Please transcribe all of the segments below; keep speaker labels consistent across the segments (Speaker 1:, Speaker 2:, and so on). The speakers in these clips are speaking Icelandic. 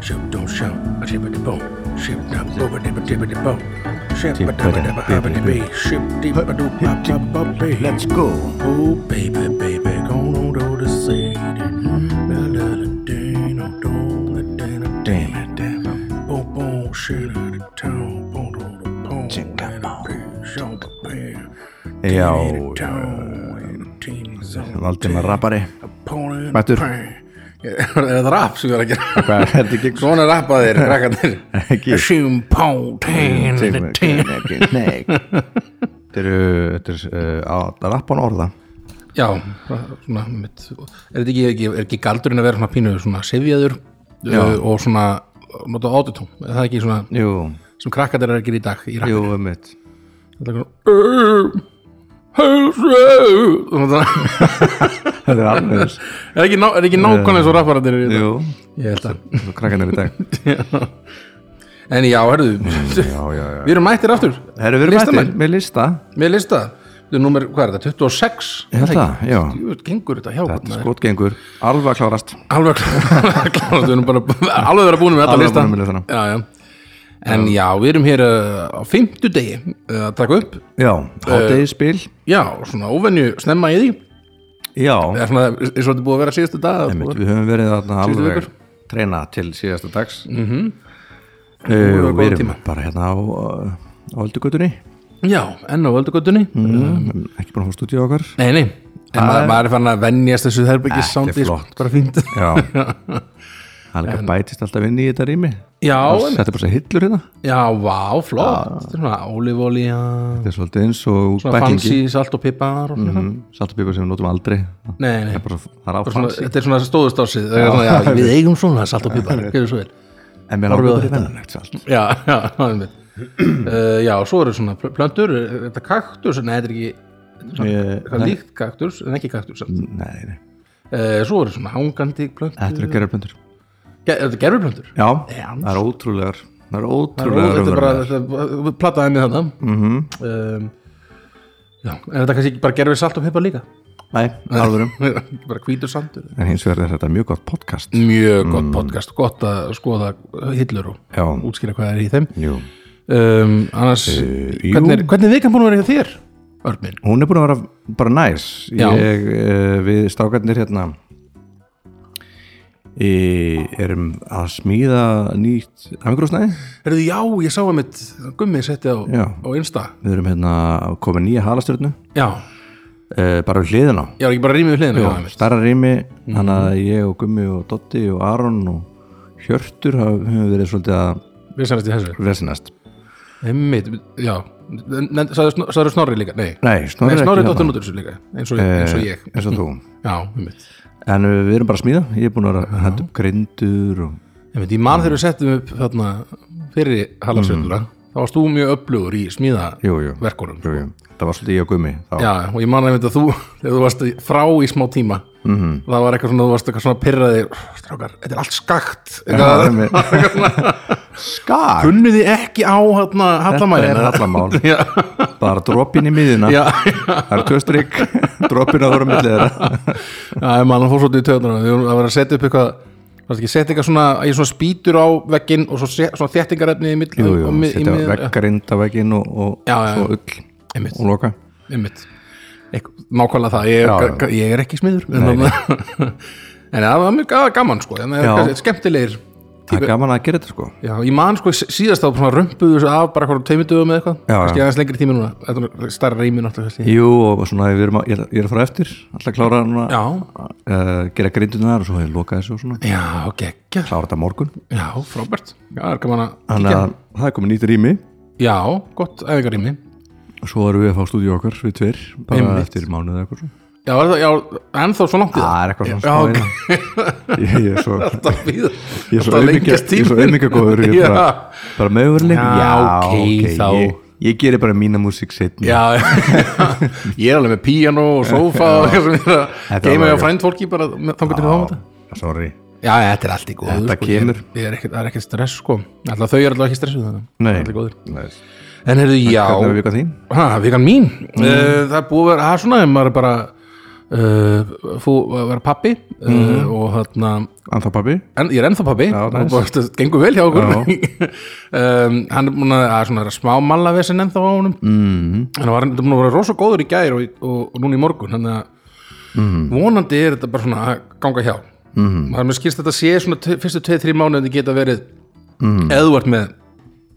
Speaker 1: shoot, don't shout. A tip of the bone. Ship down, over the tip of the bone. Ship
Speaker 2: Tip
Speaker 1: a dab a dab a hop
Speaker 2: of the
Speaker 1: baby. Ship deep a doop pop pop pop baby.
Speaker 2: Let's go
Speaker 1: Oh baby, baby, gone on to the city. La la la dino dong la dino
Speaker 2: Damn
Speaker 1: damn.
Speaker 2: it, damn it
Speaker 1: Boom boom shit out of town. Boom boom boom boom.
Speaker 2: Ching, da, bong.
Speaker 1: Show the band.
Speaker 2: Já, Valdimar
Speaker 1: Valdimar
Speaker 2: Rappari Mættur.
Speaker 1: Mættur Er það rap sem við erum að
Speaker 2: Hvað er
Speaker 1: gera?
Speaker 2: þetta ekki
Speaker 1: Svona rappaðir, krakkarnir um
Speaker 2: Ekki. um Segðu mér,
Speaker 1: Sjumpóntinn
Speaker 2: ekki, Nei Þetta eru, þetta eru uh, rappan orða
Speaker 1: Já, svona mitt, er, þetta ekki, ekki, er ekki galdurinn að vera svona pínu svona sifjaður
Speaker 2: Já.
Speaker 1: uh, og svona nota autotón, er það ekki svona
Speaker 2: Jú,
Speaker 1: sem krakkarnir er að gera í dag í rap
Speaker 2: jú, um mitt
Speaker 1: Það er svona
Speaker 2: Þetta er alveg þess
Speaker 1: Er ekki, ná, er ekki nákvæmlega svo rapparandir í dag?
Speaker 2: Jú,
Speaker 1: Ég held að
Speaker 2: svo krakkanir í dag
Speaker 1: En já, herðu,
Speaker 2: Já, já, já
Speaker 1: við erum mættir aftur
Speaker 2: Herru, við erum
Speaker 1: Listamenn.
Speaker 2: mættir með lista
Speaker 1: Mér lista, þetta er númer, hvað er þetta, 26?
Speaker 2: Ég held það, já
Speaker 1: Jú, gengur þetta hjá
Speaker 2: Þetta
Speaker 1: hvernig
Speaker 2: er sko skotgengur, alveg að klárast
Speaker 1: Alveg klárt, klárt, við erum bara alveg verið að búin með þetta
Speaker 2: Alveg
Speaker 1: lista
Speaker 2: búnir með listana.
Speaker 1: já, já. En já, við erum hér uh, á fimmtudegi uh, að taka upp
Speaker 2: Já, hátegisspil
Speaker 1: Já, svona óvenju snemma í því
Speaker 2: Já,
Speaker 1: Það er svona, eins og þetta er búið að vera síðustu dag að
Speaker 2: einmitt,
Speaker 1: búið-
Speaker 2: við höfum verið þarna
Speaker 1: Síðustu
Speaker 2: alveg
Speaker 1: vikur.
Speaker 2: treyna til síðasta dags mm
Speaker 1: Nú erum
Speaker 2: uh,
Speaker 1: við
Speaker 2: Við
Speaker 1: góðum
Speaker 2: erum
Speaker 1: tíma.
Speaker 2: bara hérna á, uh, á Öldugutunni
Speaker 1: Já, enn á öldugötunni
Speaker 2: mm. Ekki búin að fá stúdíu okkar
Speaker 1: Nei, nei, en maður, maður er fann að venjast þessu
Speaker 2: Ekki
Speaker 1: herbyggis sándi
Speaker 2: flott.
Speaker 1: sko, Bara fínt
Speaker 2: Já Það er líka bætist alltaf inn í þetta rými
Speaker 1: Já,
Speaker 2: Alls-
Speaker 1: en-
Speaker 2: Þetta er bara svo hillur hérna
Speaker 1: já, vá, flott Þetta er svona ólífólía
Speaker 2: Þetta er svolítið eins og
Speaker 1: Svona
Speaker 2: bæklingi
Speaker 1: fancy, salt og pipar og
Speaker 2: Mm.
Speaker 1: svona
Speaker 2: Saltabíkur sem við notum aldrei
Speaker 1: Nei, nei
Speaker 2: Það er bara svo- það er á
Speaker 1: Bara svona,
Speaker 2: fancy
Speaker 1: þetta er svona stóðustásið Það er svona, já, við eigum svona salt og pipar Gjörðu svo vel
Speaker 2: En mér
Speaker 1: á
Speaker 2: horfum langar bara
Speaker 1: þetta.
Speaker 2: vennanlegt salt
Speaker 1: Já, já, það er mitt uh, Já, svo eru svona pl- plöntur er Þetta kaktus, nei, þetta er ekki
Speaker 2: Ég-
Speaker 1: eitthvað líkt kaktus, en ekki kaktus uh,
Speaker 2: Nei, nei,
Speaker 1: Svo eru svona hangandi plöntur
Speaker 2: þetta eru gerðarplöndur
Speaker 1: Ge- Er þetta gerfiplöntur?
Speaker 2: Já,
Speaker 1: Jans.
Speaker 2: það er ótrúlegar Það er ótrúlegar
Speaker 1: Þetta er bara,
Speaker 2: raunverulegar.
Speaker 1: þetta plattaði henni þannig mm
Speaker 2: Mhm.
Speaker 1: um, Já, en þetta kannski ekki bara gerfið salt og pipar líka
Speaker 2: Nei, alvörum
Speaker 1: Bara hvítur sandur
Speaker 2: En hins vegar er þetta mjög gott podcast
Speaker 1: Mm. Mjög
Speaker 2: Mm.
Speaker 1: gott podcast, gott að skoða hillur og
Speaker 2: Já,
Speaker 1: útskýra hvað er í þeim
Speaker 2: jú
Speaker 1: um, annars
Speaker 2: Eh, jú.
Speaker 1: hvernig, er, hvernig er vikan búin að vera hjá þér Örmin?
Speaker 2: Hún er búin að vera bara næs
Speaker 1: Já.
Speaker 2: ég, uh, Við strákarnir hérna í, erum að smíða nýtt afgrúsnæði
Speaker 1: Herðu, já, ég sá að mitt gummi setti á,
Speaker 2: Já.
Speaker 1: á Insta
Speaker 2: Við erum hérna að koma nýja halastjörnu
Speaker 1: já,
Speaker 2: uh, bara við hliðina á
Speaker 1: já, ekki bara rýmið við hliðinu já, einmitt. Mhm.
Speaker 2: Starra rými, þannig að ég og Gummi og Dotti og Aron og Hjörtur hafa- höfum verið svolítið að
Speaker 1: við sannast í þessu
Speaker 2: resinast
Speaker 1: einmitt, já, sagður Snorri líka nei,
Speaker 2: Nei,
Speaker 1: nei
Speaker 2: Snorri, er
Speaker 1: Snorri
Speaker 2: ekki
Speaker 1: dóttur
Speaker 2: hérna.
Speaker 1: nútur þessu líka eins og, eins og ég,
Speaker 2: Eh, eins og þú
Speaker 1: já, einmitt
Speaker 2: En uh, við erum bara að smíða, ég er búin að vera að henda upp grindur og
Speaker 1: einmitt, ég man þegar við settum upp þarna fyrir halarsveituna þá varst þú mjög öflugur í smíða
Speaker 2: Mm. Jú, jú,
Speaker 1: verkunum
Speaker 2: jú, jú. það var svolítið ég og Gumi þá.
Speaker 1: Já, og ég man einmitt að þú, þegar þú varst frá í smá tíma -hmm.
Speaker 2: Mhm.
Speaker 1: það var eitthvað svona, þú varst eitthvað svona pyrraði strákar, þetta er allt skakt
Speaker 2: það
Speaker 1: eitthvað,
Speaker 2: er mér Skak,
Speaker 1: kunnu þið ekki á hérna hallamæri
Speaker 2: er hallamál
Speaker 1: Já,
Speaker 2: bara droppin í miðina
Speaker 1: já,
Speaker 2: það er köstrygg, droppin að voru millið þeirra
Speaker 1: já, ég man að fór svolítið í töðunum það var að setja upp eitthvað varst ekki, setja eitthvað svona, ég svona spýtur á vegginn og svo set, svona þéttingarefni í mill
Speaker 2: Jú, jú,
Speaker 1: og mið- í
Speaker 2: setja
Speaker 1: miðjun- já,
Speaker 2: veggarind af veggin og, og
Speaker 1: Já, já,
Speaker 2: svo ull
Speaker 1: Einmitt.
Speaker 2: og loka
Speaker 1: einmitt Eitthvað- nákvæmlega það, ég,
Speaker 2: Já,
Speaker 1: já, ég er ekki smiður en, en það var mjög ga- gaman sko, en það
Speaker 2: Já.
Speaker 1: er kannski skemmtilegir
Speaker 2: það er gaman að gera þetta sko
Speaker 1: Já, ég man sko síðast þá bara römpuðu þessu af bara hverjum tveimutugum eða eitthvað
Speaker 2: Já, já.
Speaker 1: kannski aðeins lengri tími núna, þetta er starra rými náttúrulega kannski.
Speaker 2: Jú, og svona við erum að, ég, er- ég er að fara eftir alltaf klára núna
Speaker 1: Já,
Speaker 2: uh, gera grindunar og svo hefur lokað þessu og svona
Speaker 1: já, geggja
Speaker 2: klára þetta á morgun
Speaker 1: Já, frábært, já, það er gaman að
Speaker 2: þannig að það er komið nýtt rými
Speaker 1: Já, gott æfingar rými
Speaker 2: og svo erum við að fá stúdíu okkar við tveir bara
Speaker 1: Einmitt.
Speaker 2: eftir mánuð eða eitthvað svo
Speaker 1: Já, er það, já, ennþá svo langt í
Speaker 2: Já,
Speaker 1: það
Speaker 2: það er eitthvað svona
Speaker 1: Já,
Speaker 2: smá
Speaker 1: ok.
Speaker 2: í það. Ég ég er svo
Speaker 1: Alltaf býða
Speaker 2: Ég er svo auðmyggja- ég er svo auðmyggagóður Ég er
Speaker 1: Já,
Speaker 2: bara, bara möguleg
Speaker 1: Já, ok, þá.
Speaker 2: ég, ég gerir bara mína músík setni
Speaker 1: já Ég er alveg með píano og sófa og eitthvað sem ég er að
Speaker 2: Þetta er
Speaker 1: geima
Speaker 2: alveg-
Speaker 1: hjá frændfólki bara þangar til þámata
Speaker 2: Sorry
Speaker 1: Já, þetta er allt í góðu
Speaker 2: Þetta
Speaker 1: sko, ég-
Speaker 2: kemur.
Speaker 1: ég er ekkert- Það er ekkert stress sko Alltaf þau eru alltaf ekki stressuð þannig
Speaker 2: Nei
Speaker 1: Allir góðir.
Speaker 2: Nei.
Speaker 1: En heyrðu,
Speaker 2: Hvernig er
Speaker 1: já,
Speaker 2: vikað þín?
Speaker 1: Eh, ha, vikan mín mm. Það er búið að vera, það er svona ef maður er bara uh, þú verður pappi uh, og þarna
Speaker 2: Anþá pabbi
Speaker 1: en, ég er ennþá pappi
Speaker 2: Já,
Speaker 1: og
Speaker 2: nice.
Speaker 1: bara, þetta gengur vel hjá okkur
Speaker 2: Já.
Speaker 1: um, hann er búin að, að svona, smá mallavesin ennþá á honum
Speaker 2: mm.
Speaker 1: hann var búin að vera rosa góður í gær og, í- og, og núna í morgun þannig að
Speaker 2: Mhm.
Speaker 1: vonandi er þetta bara svona að ganga hjá mm. maður mér skilst að þetta sé svona t- fyrstu 2-3 mánuði geta verið
Speaker 2: Mhm.
Speaker 1: mm. eðvart með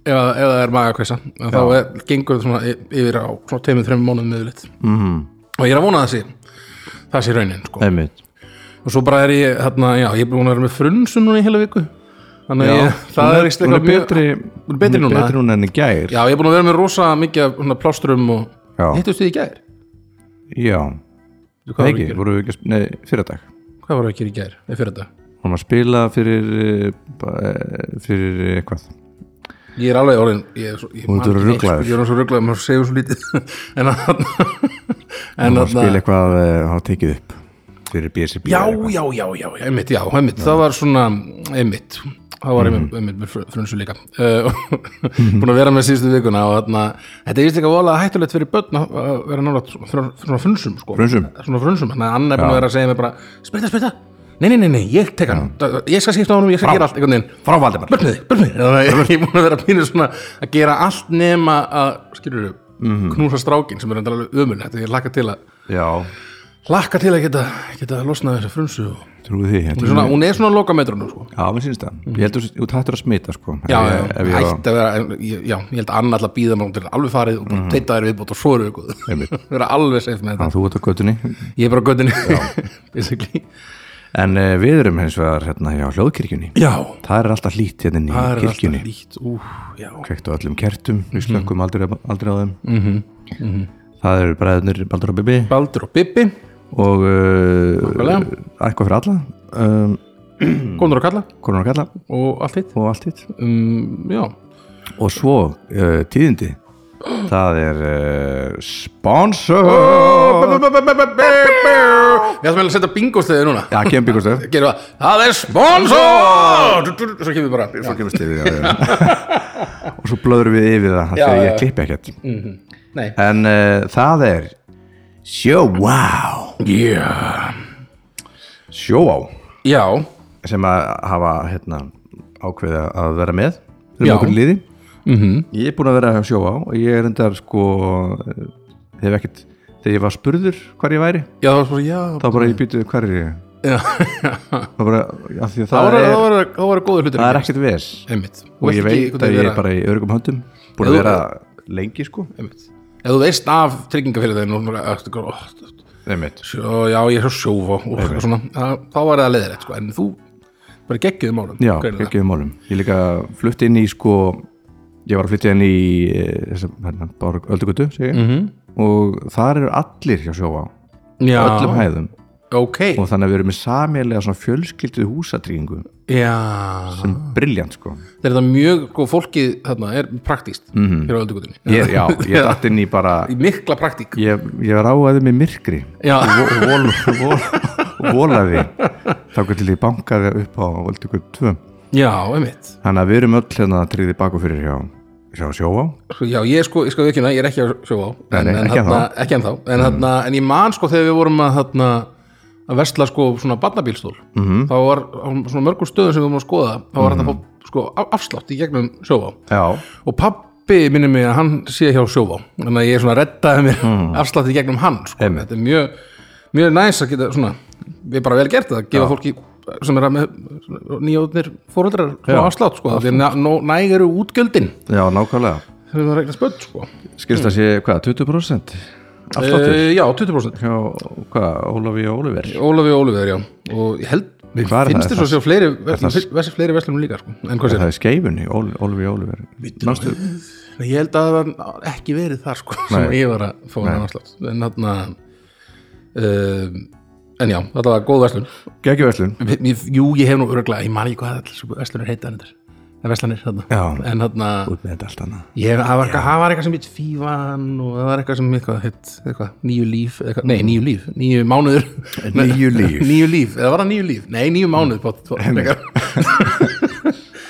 Speaker 1: ef að- ef það er magakvessa En þá er, gengur þetta svona y- yfir á svona 2-3 mánuði meðlitt mm.
Speaker 2: Mhm.
Speaker 1: og ég er að vona að það sé það sé raunin sko.
Speaker 2: Einmitt
Speaker 1: og svo bara er ég þarna, já, ég er búin að vera með frunsum núna í heila viku þannig að
Speaker 2: Já,
Speaker 1: ég, það
Speaker 2: hún
Speaker 1: er
Speaker 2: hún er
Speaker 1: eitthvað mjög-
Speaker 2: betri,
Speaker 1: Hún er betri
Speaker 2: hún
Speaker 1: núna.
Speaker 2: betri núna en í gær
Speaker 1: já, ég er búin að vera með rosa mikið af, svona, plástrum og
Speaker 2: Já.
Speaker 1: hittust þið í gær
Speaker 2: Já,
Speaker 1: Hvað voru
Speaker 2: það ekki,
Speaker 1: að gera?
Speaker 2: voru við ekki að sp- Nei, fyrir dag
Speaker 1: Hvað var ekki í gær? Nei, fyrir þetta.
Speaker 2: Hún var að spila fyrir eh, ba- eh, fyrir eitthvað
Speaker 1: Ég er alveg orðin ég, er svo- ég,
Speaker 2: Þú
Speaker 1: man
Speaker 2: ert
Speaker 1: ekki neitt,
Speaker 2: ruglaður.
Speaker 1: sko, Ég er svo rugglaður, maður segur svo lítið En
Speaker 2: Hún
Speaker 1: að
Speaker 2: var að spila eitthvað eh, hún var tekið upp fyrir BSB
Speaker 1: Hérna- Já, já, já, já, já, einmitt, já, einmitt Það var svona, einmitt Það var einmitt, einmitt með fr- frunsu líka uh, Búin að vera með síðustu vikuna og þarna, þetta er vist eitthvað vola hættulegt fyrir börn að að vera nála svona frunsum, sko
Speaker 2: Frunsum?
Speaker 1: Svona frunsum, þannig að Anna er búin að vera að segja mér bara Spyrta, spyrta, nei, nei, nei, nei, ég tek hann Ég skal skipta á honum, ég skal gera allt, einhvern veginn
Speaker 2: Frá Valdimar
Speaker 1: börnið, börnið Þannig að ég er búin að vera pínu svona að gera allt nema að skilur við,
Speaker 2: Mhm.
Speaker 1: knúsa strákin sem er enda alveg ömul þetta er ég laka til að
Speaker 2: Já,
Speaker 1: laka til að geta, geta losnað þessu frunsu og
Speaker 2: trúið því
Speaker 1: hún er
Speaker 2: þetta er-
Speaker 1: svona, hún er svona að loka metrunum sko.
Speaker 2: Já, mér sínst það Ég heldur þú tættur að smita sko
Speaker 1: já,
Speaker 2: ef
Speaker 1: já,
Speaker 2: ég- ef ég var-
Speaker 1: hætti að vera en ég- já, ég held að annar alltaf býða mér til alveg farið og bara
Speaker 2: Mhm.
Speaker 1: mm -hmm. teita þér viðbót og svo eru við góð vera alveg safe með
Speaker 2: Já,
Speaker 1: þetta
Speaker 2: Þú ert á göttunni
Speaker 1: ég er bara á göttinni basically
Speaker 2: En uh, við erum hins vegar hérna hjá hljóðkirkjunni
Speaker 1: já,
Speaker 2: Það er alltaf lít hérna inn í
Speaker 1: það er alltaf Mhm.
Speaker 2: kirkjunni
Speaker 1: líkt úf, já,
Speaker 2: Kveikt á öllum kertum, við slökkum aldrei, aldrei á þeim
Speaker 1: Mhm,
Speaker 2: Það eru bræðunir Baldur og Bibi
Speaker 1: Baldur og Bibi
Speaker 2: og uh,
Speaker 1: Nákvæmlega.
Speaker 2: eitthvað fyrir alla um,
Speaker 1: konur og kalla
Speaker 2: konar og kalla
Speaker 1: og allt hitt
Speaker 2: og allt hitt
Speaker 1: um, já,
Speaker 2: Og svo uh, tíðindi Það er uh, sponsor
Speaker 1: Við ætlum eiginlega að setja bingostöðið núna
Speaker 2: Já, kemur byggastöð
Speaker 1: Gerum það, það er sponsor Du- du- du- Svo kemur bara
Speaker 2: Svo kemur stifið Og svo blöður við yfir það
Speaker 1: Já,
Speaker 2: Þegar
Speaker 1: já. Mhm.
Speaker 2: ég klippi ekkert
Speaker 1: Nei
Speaker 2: En uh, það er Sjóvá
Speaker 1: yeah.
Speaker 2: Sjóvá
Speaker 1: Já,
Speaker 2: sem að hafa hérna, ákveða að vera með
Speaker 1: Já. Mhm.
Speaker 2: fyrir okkur liði -hmm. ég er búin að vera að sjóvá og ég er endar sko eh, hef ekkert þegar ég var spurður hvar ég væri
Speaker 1: já það var svo, já
Speaker 2: þá bara ég býtu hvar er ég
Speaker 1: Já.
Speaker 2: það, bara, já,
Speaker 1: Það
Speaker 2: það, það,
Speaker 1: var,
Speaker 2: er,
Speaker 1: það var, það var góður hlutur
Speaker 2: það er ekkert ves
Speaker 1: Einmitt Þú
Speaker 2: og
Speaker 1: vilt
Speaker 2: ég
Speaker 1: ekki einhvern
Speaker 2: veit að
Speaker 1: veginn
Speaker 2: ég er
Speaker 1: vera-
Speaker 2: bara í örgum höndum
Speaker 1: Ef
Speaker 2: búin að
Speaker 1: þú-
Speaker 2: vera lengi sko
Speaker 1: Einmitt Ef þú veist af tryggingafyrirtæðin og svona eftir góð, ó,
Speaker 2: Einmitt.
Speaker 1: sjó, já, ég er svo sjófa og eitthvað svona, það, þá var það leiðir sko. en þú bara geggjum málum
Speaker 2: já,
Speaker 1: greinilega.
Speaker 2: ekki málum ég líka flutt inn í sko ég var að flytja inn í eh, þessa, hérna, Bárug Öldugutu mm -hmm. og þar eru allir hjá sjóvá
Speaker 1: já,
Speaker 2: öllum hæðum
Speaker 1: ok,
Speaker 2: og þannig að við erum með samjælega svona fjölskyldu húsatryggingu
Speaker 1: já
Speaker 2: sem briljant sko
Speaker 1: Það er það mjög, sko, fólkið þarna er praktíst hér á öldugutinni
Speaker 2: Mhm. ég, já, ég datt inn í bara
Speaker 1: Mikla praktík
Speaker 2: ég, ég ráðaði með myrkri
Speaker 1: Já,
Speaker 2: og vol, vol, volaði þá til ég bankaði upp á Öldugur 2
Speaker 1: já, einmitt
Speaker 2: þannig að við erum öll hérna að tryggði baku fyrir hjá, hjá sjóvá
Speaker 1: Sko, Já, ég sko, ég sko ekki hérna, ég er ekki að sjóa á
Speaker 2: Nei, nei, ekki Mm.
Speaker 1: þarna, ekki ennþá en, þarna, en ég man sko þegar við vorum að þarna að vesla sko svona barnabílstól
Speaker 2: Mhm.
Speaker 1: -hmm. þá var á svona mörgum stöðum sem við vorum að skoða þá var þetta mm -hmm. sko af- afslátt í gegnum sjóa
Speaker 2: já,
Speaker 1: og pabbi minnir mig að hann sé hjá sjóa þannig að ég svona reddaði mér afslátt í gegnum hann sko.
Speaker 2: Mhm. Einmitt.
Speaker 1: þetta er mjög, mjög næs að geta svona við bara vel gert það, að gefa fólki sem er að með nýjóðnir fóreldrar
Speaker 2: Já.
Speaker 1: afslátt sko, það er næg eru útgjöldin
Speaker 2: já, nákvæmlega
Speaker 1: þegar það regna spöld sko
Speaker 2: skilst það sé hvað, 20% afsláttur
Speaker 1: Uh, já, 20%
Speaker 2: hjá hvað, Ólafi og Óliver
Speaker 1: Ólafi og Óliður, já og ég held, mér
Speaker 2: Hvað er það?
Speaker 1: finnst
Speaker 2: Er
Speaker 1: þess að
Speaker 2: það-
Speaker 1: sjá fleiri
Speaker 2: það-
Speaker 1: versi fleiri verslunum líka, sko en hvað sér,
Speaker 2: það er skeifunni, Ólafi og Óliver manstu,
Speaker 1: ég held að það var ekki verið þar, sko, sem
Speaker 2: Nei.
Speaker 1: ég var að fá hann afslátt, en þarna um, en já, þetta var góð verslun
Speaker 2: geggjöverslun
Speaker 1: Ég- ég- Jú, ég hef nú örgulega, ég man ekki hvað alls verslunir heita hann þetta, en verslanir þarna,
Speaker 2: Já.
Speaker 1: en þarna
Speaker 2: út með þetta allt annað
Speaker 1: Ég, það, var, eitthvað- það var eitthvað sem hitt fífan og það var eitthvað sem eitthvað, hitt, eitthvað nýju líf, eitthvað, nei nýju líf, nýju mánuður
Speaker 2: Níu líf.
Speaker 1: Nýju líf, eða var það nýju líf? Nei, nýju mánuð pott, pott, frekar.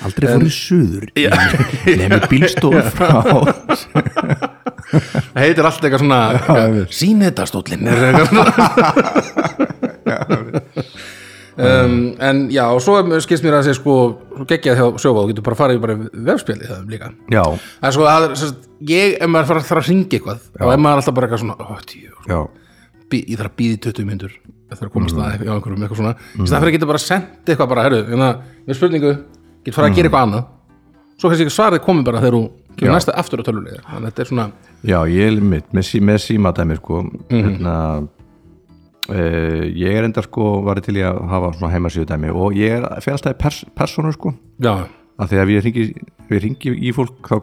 Speaker 2: Aldrei fórið suður Nefnir bílstóð frá
Speaker 1: það heitir allt eitthvað svona sínhetastóllin um, en já og svo er- skilst mér að segja sko geggjað hjá sjófá, þú getur bara farið í bara vefspjalið það líka
Speaker 2: já,
Speaker 1: það er sko að sérst, ég, ef maður fara að þarf að ringa eitthvað þá er maður alltaf bara eitthvað svona ó, tíu,
Speaker 2: já,
Speaker 1: bí, ég þarf að býði 20 myndur ég þarf að komast að mm. einhverjum eitthvað svona mm. það fyrir að geta bara sendt eitthvað bara herru, hérna, með spurningu, get farið að gera eitthvað annað svo kannski ekki svarið komið bara þegar þú kemur næsta aftur á tölulega þannig að þetta er svona,
Speaker 2: já, ég er mitt með, sí, með símatæmi sko hérna, uh, ég er enda sko varði til í að hafa svona heimasíðutæmi og ég er, fer alltaf í pers, persónu sko
Speaker 1: já,
Speaker 2: að því að við ringi, við ringi í fólk þá,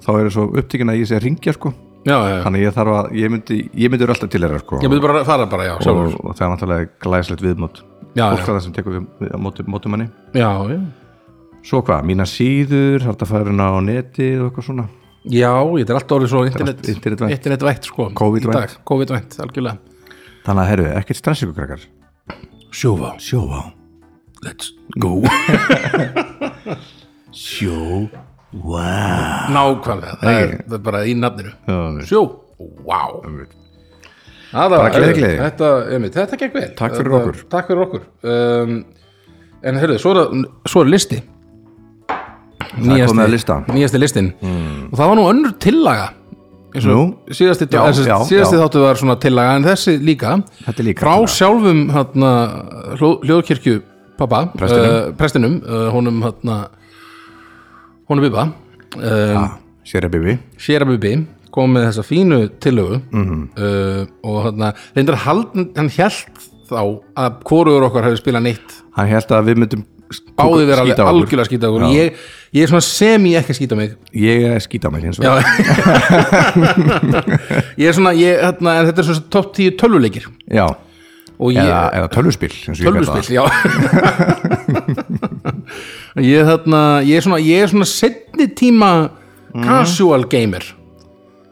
Speaker 2: þá er það svo upptíkin að ég sé að ringja sko
Speaker 1: já, já, já.
Speaker 2: þannig að ég þarf að, ég myndi, ég myndi vera alltaf til þeirra sko
Speaker 1: ég myndi bara að fara bara, já,
Speaker 2: og,
Speaker 1: sjálfur
Speaker 2: og það er náttúrulega glæslegt viðmót
Speaker 1: Já,
Speaker 2: fólk
Speaker 1: já.
Speaker 2: það sem tekur við, við á mótum, mótum henni
Speaker 1: já, já,
Speaker 2: svo hvað, mína síður, hægt að færa henni á neti og eitthvað svona
Speaker 1: já, þetta er allt orðið svo internet,
Speaker 2: allt internetvænt.
Speaker 1: internetvænt sko, í
Speaker 2: Covid-vænt.
Speaker 1: dag, COVID-vænt, algjörlega
Speaker 2: þannig að herru, ekkert stress ykkur krakkar
Speaker 1: sjófá,
Speaker 2: sjóvá,
Speaker 1: let's go
Speaker 2: sjóvá
Speaker 1: nákvæmlega, það er, það er bara í nafninu sjó, wow Aða,
Speaker 2: Bara gleði, gleði.
Speaker 1: Þetta, einmitt, þetta gekk vel
Speaker 2: Takk fyrir
Speaker 1: Þetta-
Speaker 2: okkur.
Speaker 1: Takk fyrir okkur um, En hörðu, svo er, það- svo er listi
Speaker 2: er komið að lista.
Speaker 1: Nýjasti listin Og það var nú önnur tillaga eins og
Speaker 2: Nú?
Speaker 1: Síðasti,
Speaker 2: Já,
Speaker 1: já,
Speaker 2: já,
Speaker 1: síðasti
Speaker 2: já.
Speaker 1: þáttu var svona tillaga En þessi líka
Speaker 2: Þetta er líka
Speaker 1: Frá
Speaker 2: tillaga.
Speaker 1: sjálfum hana, hljó, hljóðkirkju Pappa
Speaker 2: Prestinum.
Speaker 1: eh, prestinum uh, Honum hana, Honum Bibba uh,
Speaker 2: sér að bibi
Speaker 1: Shira Bubi kom með þessa fínu tillögu
Speaker 2: Mhm.
Speaker 1: uh, og þarna, reyndar hald, hann hjælt þá að hvorugur okkar hefði spilað neitt
Speaker 2: hann held að við myndum sk-
Speaker 1: báði vera alveg
Speaker 2: skíta á okkur.
Speaker 1: algjörlega skýta okkur ég, ég er svona sem ég ekki að skýta mig
Speaker 2: ég er skýta með hins
Speaker 1: Já.
Speaker 2: vegar
Speaker 1: ég er svona, ég, þarna, en þetta er svona topp 10 tölvuleikir
Speaker 2: já,
Speaker 1: og ég,
Speaker 2: eða, eða tölvuspil eins og ég kalla það.
Speaker 1: tölvuspill, já ég, þarna, ég er svona ég er svona setni tíma
Speaker 2: Mhm.
Speaker 1: casual gamer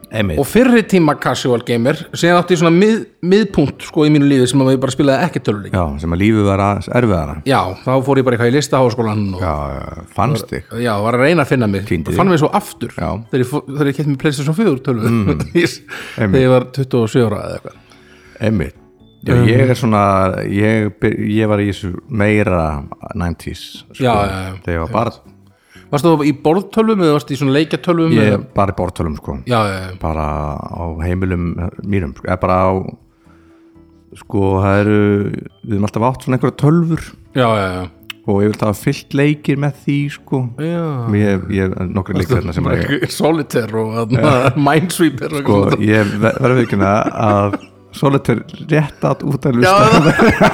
Speaker 2: Einmitt.
Speaker 1: og fyrri tíma casual gamer síðan átti ég svona mið, miðpunkt sko í mínu lífi sem að ég bara spilaði ekki töluleik já.
Speaker 2: já, sem að lífið var aðeins erfiðara
Speaker 1: þá fór ég bara eitthvað í listaháskólan og já.
Speaker 2: já, já, fannst þig
Speaker 1: var að reyna að finna mig
Speaker 2: Týndi
Speaker 1: fann mig svo aftur
Speaker 2: Já. Mm.
Speaker 1: þegar ég, fó- þegar ég kætti mér playstation 4 tölvu þegar ég var 27 ára eða eitthvað
Speaker 2: Einmitt. Já,
Speaker 1: Um,
Speaker 2: ég er svona, ég, byr- ég var í þessu meira 90s sko,
Speaker 1: Já, já, já.
Speaker 2: þegar ég var bara,
Speaker 1: varstu þá í borðtölvum eða varstu í svona leikjatölvum eða-
Speaker 2: ég, bara í bortölum sko,
Speaker 1: já, já, já,
Speaker 2: bara á heimilum mínum, sko, eða bara á sko, það eru við erum alltaf átt svona einhverja tölfur
Speaker 1: já, já, já.
Speaker 2: og ég vil það fyllt leikir með því sko
Speaker 1: Já.
Speaker 2: ég, ég nokkri leikir þarna sem að ég,
Speaker 1: Solitaire og þarna, Minesweeper og
Speaker 2: sko,
Speaker 1: eitthvað svona.
Speaker 2: ég ver- verður ekki með að Solitur rétt átt út að
Speaker 1: Já,
Speaker 2: lusta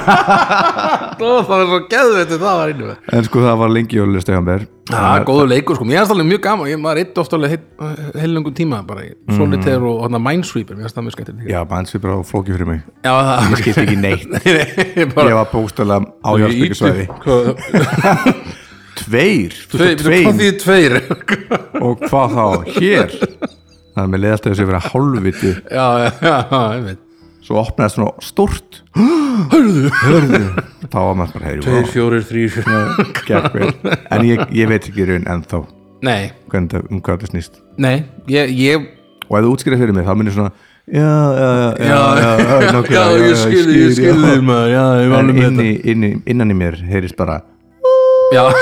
Speaker 1: það, það var svo geðveitt það var einu með
Speaker 2: en sko það var lengi og lusta hjá mér
Speaker 1: Já, góður leikur sko, mér finnst alveg mjög gaman ég maður eitt oft alveg heilungum tíma bara í Solitaire og hana, Minesweeper mér finnst það mjög skættir líka
Speaker 2: Já, manns er bara flóki fyrir mig
Speaker 1: Já, það
Speaker 2: Ég skipti ekki neitt
Speaker 1: Ég
Speaker 2: Ég
Speaker 1: bara
Speaker 2: var bókstæðlega á jarðbyggjusvæði
Speaker 1: Hvað
Speaker 2: Tveir, þú
Speaker 1: tveir-
Speaker 2: ert tveir
Speaker 1: hvað þýðir tveir?
Speaker 2: Og hvað þá, hér Það er mér leið alltaf þessi að vera hálfviti
Speaker 1: Já, já, já, ég veit
Speaker 2: Svo opnaði svona stórt Hörðu Þá var maður bara heyri
Speaker 1: Tveir, fjórir, þrýr
Speaker 2: Gekk, En ég, ég veit ekki í raun ennþá
Speaker 1: Nei,
Speaker 2: hvernig, það- um hvað þetta snýst
Speaker 1: nei, ég, ég
Speaker 2: Og ef þú útskýrði fyrir mig, þá minn ég svona Já, já, já, já, já, já, nákvæmlega,
Speaker 1: Já, ég skilði, ég
Speaker 2: já.
Speaker 1: skilði maður Já, ég var
Speaker 2: En
Speaker 1: alveg með
Speaker 2: inni, inni, innan í mér heyrist bara
Speaker 1: þetta Já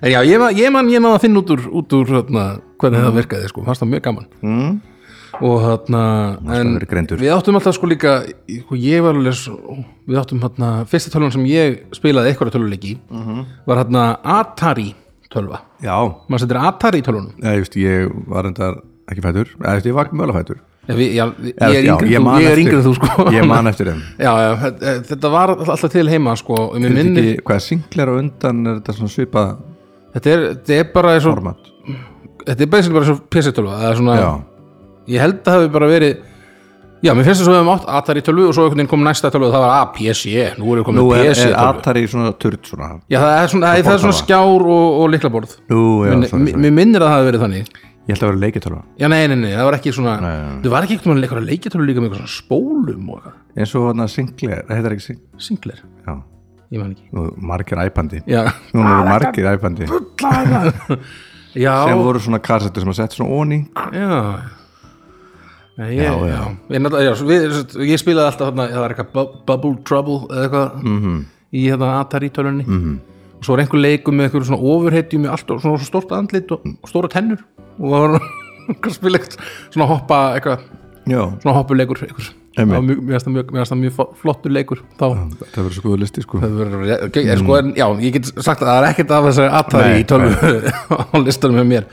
Speaker 1: En já, ég, ma- ég man ég náða að finna út úr, út úr hana, hvernig
Speaker 2: Mm.
Speaker 1: það virkaði, sko, fannst það mjög gaman mm. og þarna en
Speaker 2: verið greindur.
Speaker 1: við áttum alltaf sko líka sko, ég var alveg, svo- við áttum þarna, fyrsta tölvan sem ég spilaði eitthvað töluleiki mm
Speaker 2: Mhm.
Speaker 1: var þarna Atari tölva,
Speaker 2: Já,
Speaker 1: maður setur Atari tölvunum
Speaker 2: Já, just, ég var endar ekki fætur Eða, just, ég var mölafætur
Speaker 1: já, við, já, ég er
Speaker 2: já,
Speaker 1: yngri
Speaker 2: ég
Speaker 1: en þú,
Speaker 2: man
Speaker 1: ég er
Speaker 2: eftir-
Speaker 1: yngri en þú sko
Speaker 2: Ég man eftir þeim
Speaker 1: já, já, þetta- þetta var alltaf til heima sko, um
Speaker 2: Er þetta
Speaker 1: minni,
Speaker 2: ekki, Hvað er singlar á undan er þetta svona svipa
Speaker 1: þetta er, þetta er bara eins og
Speaker 2: format
Speaker 1: þetta er basically bara svo PC-tölva það er svona,
Speaker 2: Já,
Speaker 1: ég held að það hafi bara verið já, mér finnst þess að við höfum átt Atari 12 og svo einhvern veginn kom næsta 12 og það var "Ah, A, PC, E, nú erum við
Speaker 2: nú
Speaker 1: komin
Speaker 2: er,
Speaker 1: PC
Speaker 2: er
Speaker 1: 12
Speaker 2: Atari svona turd svona
Speaker 1: já, það er svona, það er, það er svona skjár og, og liklaborð
Speaker 2: Nú, já,
Speaker 1: Minni-
Speaker 2: sorry,
Speaker 1: mi-
Speaker 2: sorry.
Speaker 1: mér minnir að það hafi verið þannig
Speaker 2: Ég held að vera leikjartölva
Speaker 1: já, nei, nei, nei, það var ekki svona
Speaker 2: Nei, nei, nei.
Speaker 1: það var ekki eitthvað leikar leikjartölu líka með eitthvað svona spólum og eitthvað,
Speaker 2: En svo hann að singlar, það heitir ekki singlar
Speaker 1: singler,
Speaker 2: Já,
Speaker 1: ég man ekki
Speaker 2: nú, margir æpandi
Speaker 1: já,
Speaker 2: Nú eru margir æpandi
Speaker 1: en já,
Speaker 2: sem voru svona kassettur sem að setja svona onni
Speaker 1: já. Nei, Ég, já,
Speaker 2: já.
Speaker 1: já. Ég, náttúrulega- já, svo við, svo- ég spilaði alltaf þarna, það er eitthvað bu- Bubble Trouble eða eitthvað -hmm. í hérna Atari tölunni -hmm. og svo er einhver leikur með einhver svona ofurhetju með allt og svona stórt andlit og og stóra tennur og það var eitthvað spila eitthvað svona hoppa eitthvað,
Speaker 2: já,
Speaker 1: svona hoppuleikur eitthvað. Það
Speaker 2: Einmitt.
Speaker 1: var mjög- mér finnst það mjög- mér finnst það mjög fo- flottur leikur þá
Speaker 2: þetta verður svo góðu listi sko
Speaker 1: Það verður- ok, er sko, en, já, ég get sagt að það er ekkert af þessari Atari
Speaker 2: Nei,
Speaker 1: í tölvu á listanum með mér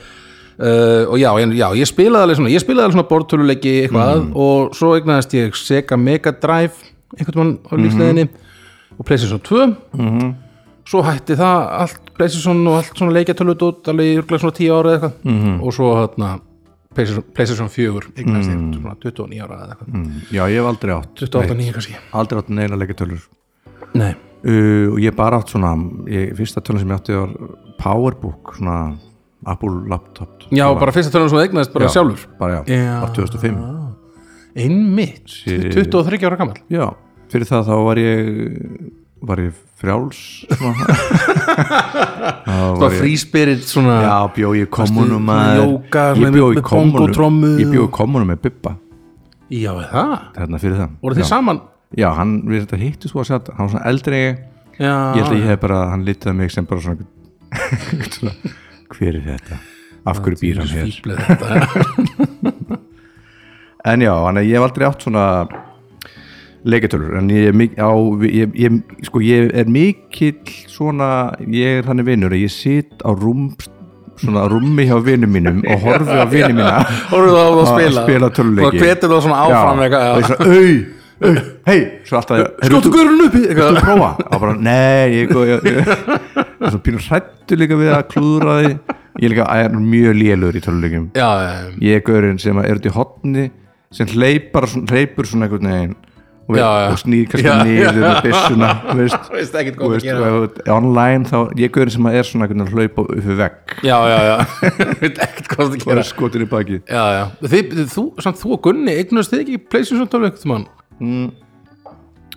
Speaker 1: uh, og já, en, já, ég spilaði alveg svona ég spilaði alveg svona bortöluleiki eitthvað
Speaker 2: Mm.
Speaker 1: og svo eignaðist ég Sega Mega Drive einhvern mann á
Speaker 2: Mhm.
Speaker 1: lífsleðinni og Playstation 2 svo hætti það allt Playstation og allt svona leikjatölut út alveg í örugglega svona 10 ára eða eitthvað
Speaker 2: Mhm.
Speaker 1: og svo hérna PlayStation, PlayStation 4 eignaðist ég
Speaker 2: Mm.
Speaker 1: svona 29 ára eða eitthvað
Speaker 2: já, ég hef aldrei átt,
Speaker 1: 28 9 kannski
Speaker 2: aldrei átt sko. neina leikatölur
Speaker 1: Nei.
Speaker 2: uh, og ég hef bara átt svona ég, fyrsta tölun sem ég átti var Powerbook svona Apple laptop
Speaker 1: já, bara fyrsta tölum sem þú eignaðist bara sjálfur
Speaker 2: bara já,
Speaker 1: Já.
Speaker 2: á 2005
Speaker 1: einmitt, 23 ára gammal
Speaker 2: Já, fyrir það þá var ég var ég frjáls svona. Þá
Speaker 1: það
Speaker 2: var
Speaker 1: var
Speaker 2: ég,
Speaker 1: fríspirit svona
Speaker 2: Já, bjó ég í
Speaker 1: Varstu
Speaker 2: kommunum maður.
Speaker 1: jóka, svona
Speaker 2: Ég bjó
Speaker 1: með-
Speaker 2: í
Speaker 1: með
Speaker 2: kommunum
Speaker 1: bongotrommu
Speaker 2: Ég bjó í
Speaker 1: og-
Speaker 2: kommunum með Bubba
Speaker 1: já er það,
Speaker 2: þarna fyrir það
Speaker 1: voru þið
Speaker 2: já.
Speaker 1: saman
Speaker 2: já, hann, við þetta hittu sko að sjá hann var svona eldri en ég
Speaker 1: já,
Speaker 2: Ég held að
Speaker 1: Ah.
Speaker 2: ég hef bara, hann litaði mig sem bara svona, einhvern- svona hver er þetta? Af hverju býr hann hér?
Speaker 1: fíflið þetta
Speaker 2: En já, hann ég hef aldrei átt svona leikatölur, en ég er mikið á, ég, ég, sko, ég er mikill svona, ég er þannig vinnur að ég sit á rúm svona á rúmi hjá vinnum mínum og horfi á vinnum mína
Speaker 1: voru það að spila
Speaker 2: spila
Speaker 1: og
Speaker 2: töluleiki
Speaker 1: hvetur það svona áfram
Speaker 2: og ég
Speaker 1: eitthvað,
Speaker 2: svona, au, au, hei svo alltaf,
Speaker 1: já. skjóttu guðurinn upp í-
Speaker 2: Viltu
Speaker 1: eitthvað.
Speaker 2: prófa? Og bara, nei, ég, ég, ég, ég svo pínur hrættu líka við að klúðra því ég líka er mjög lélur í töluleikum
Speaker 1: já, já,
Speaker 2: ég er gaurinn sem er út í hotni sem hleypar, svona- hleypur svona einhvern veginn og,
Speaker 1: Já, já.
Speaker 2: og snýr kannski
Speaker 1: Já,
Speaker 2: niður
Speaker 1: já.
Speaker 2: með byssuna þú veist,
Speaker 1: Veist ekkert
Speaker 2: Þú
Speaker 1: hvað
Speaker 2: veist,
Speaker 1: það gera.
Speaker 2: og ef þú- online þá ég er gaurinn sem er svona einhvern veginn að hlaupa upp við vegg
Speaker 1: já, já, já veit ekkert hvað það
Speaker 2: og
Speaker 1: gera
Speaker 2: er skotin í baki
Speaker 1: já, já, þið, þú, samt þú og Gunni eignast þið ekki Playstation 12 eitthvað mann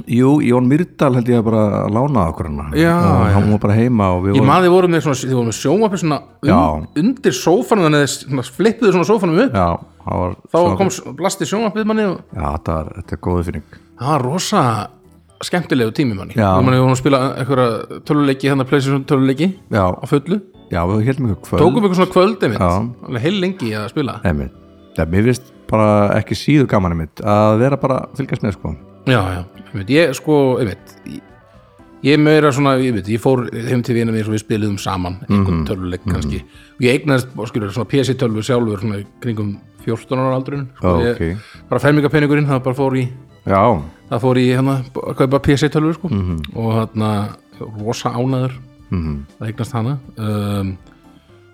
Speaker 2: Jú, Jón Myrdal held ég að bara lána okkur hana
Speaker 1: Já,
Speaker 2: og hann var bara heima og við
Speaker 1: ég
Speaker 2: vorum
Speaker 1: maður þið voru með svona, þið voru með sjónvapi svona un,
Speaker 2: Já.
Speaker 1: undir sófanum þannig að þið svona flippuðu svona sófanum upp
Speaker 2: já, hann var,
Speaker 1: þá
Speaker 2: svo-
Speaker 1: kom, blasti sjónvapið manni og
Speaker 2: já, þetta, var, þetta er góðu finning
Speaker 1: það var rosa skemmtilegu tími manni
Speaker 2: Já.
Speaker 1: og manni við vorum að spila einhverja töluleiki hérna Playstation töluleiki
Speaker 2: já,
Speaker 1: á fullu
Speaker 2: já, við heldum ykkur kvöld
Speaker 1: tókum eitthvað svona kvöldi mitt
Speaker 2: Já.
Speaker 1: alveg heil lengi í að spila
Speaker 2: Einmitt. Já, mér finnst bara ekki síður gaman einmitt að vera bara að fylgjast með sko
Speaker 1: já, já, einmitt, ég sko einmitt, ég- ég meira svona einmitt, ég fór heim til vina mér og við spiluðum saman einhvern
Speaker 2: Mhm.
Speaker 1: töluleik kannski og ég eignaðist og skilur svona PC tölvu sjálfur svona í kringum 14 ára aldrun sko,
Speaker 2: Já,
Speaker 1: ég,
Speaker 2: ok.
Speaker 1: bara fermingapeningurinn það bara fór í
Speaker 2: Já,
Speaker 1: það fór í hérna að kaupa PC tölvur sko
Speaker 2: Mhm.
Speaker 1: og hérna rosa ánaður -hmm. það eignast hana um,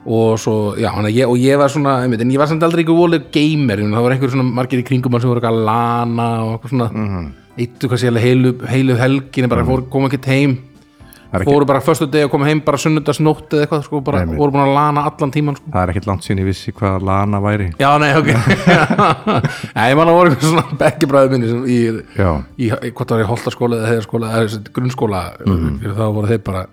Speaker 1: og svo, já, hana, ég, og ég var svona einmitt, en ég var samt aldrei ekki volið gamer ég meina, það var einhver svona margir í kringum mann sem voru eitthvað að lana og eitthvað svona mm -hmm.
Speaker 2: Mhm.
Speaker 1: eittu kannski alveg heilu, heilu helgin bara fóru, kom ekki heim
Speaker 2: það er ekki,
Speaker 1: fóru bara föstu deg og kom heim bara sunnudagsnótt eða eitthvað sko, bara
Speaker 2: Einmitt.
Speaker 1: voru búin að lana allan tíman sko
Speaker 2: það er ekkert langt síðan ég vissi hvað lana væri
Speaker 1: Já, nei, ok Nei, ég man að voru eitthvað svona bekkibræðu minni sem í
Speaker 2: Já,
Speaker 1: í, í hvort það var í holtaskóla eða heiðarskóla eða þessi grunnskóla fyrir þá voru þeir bara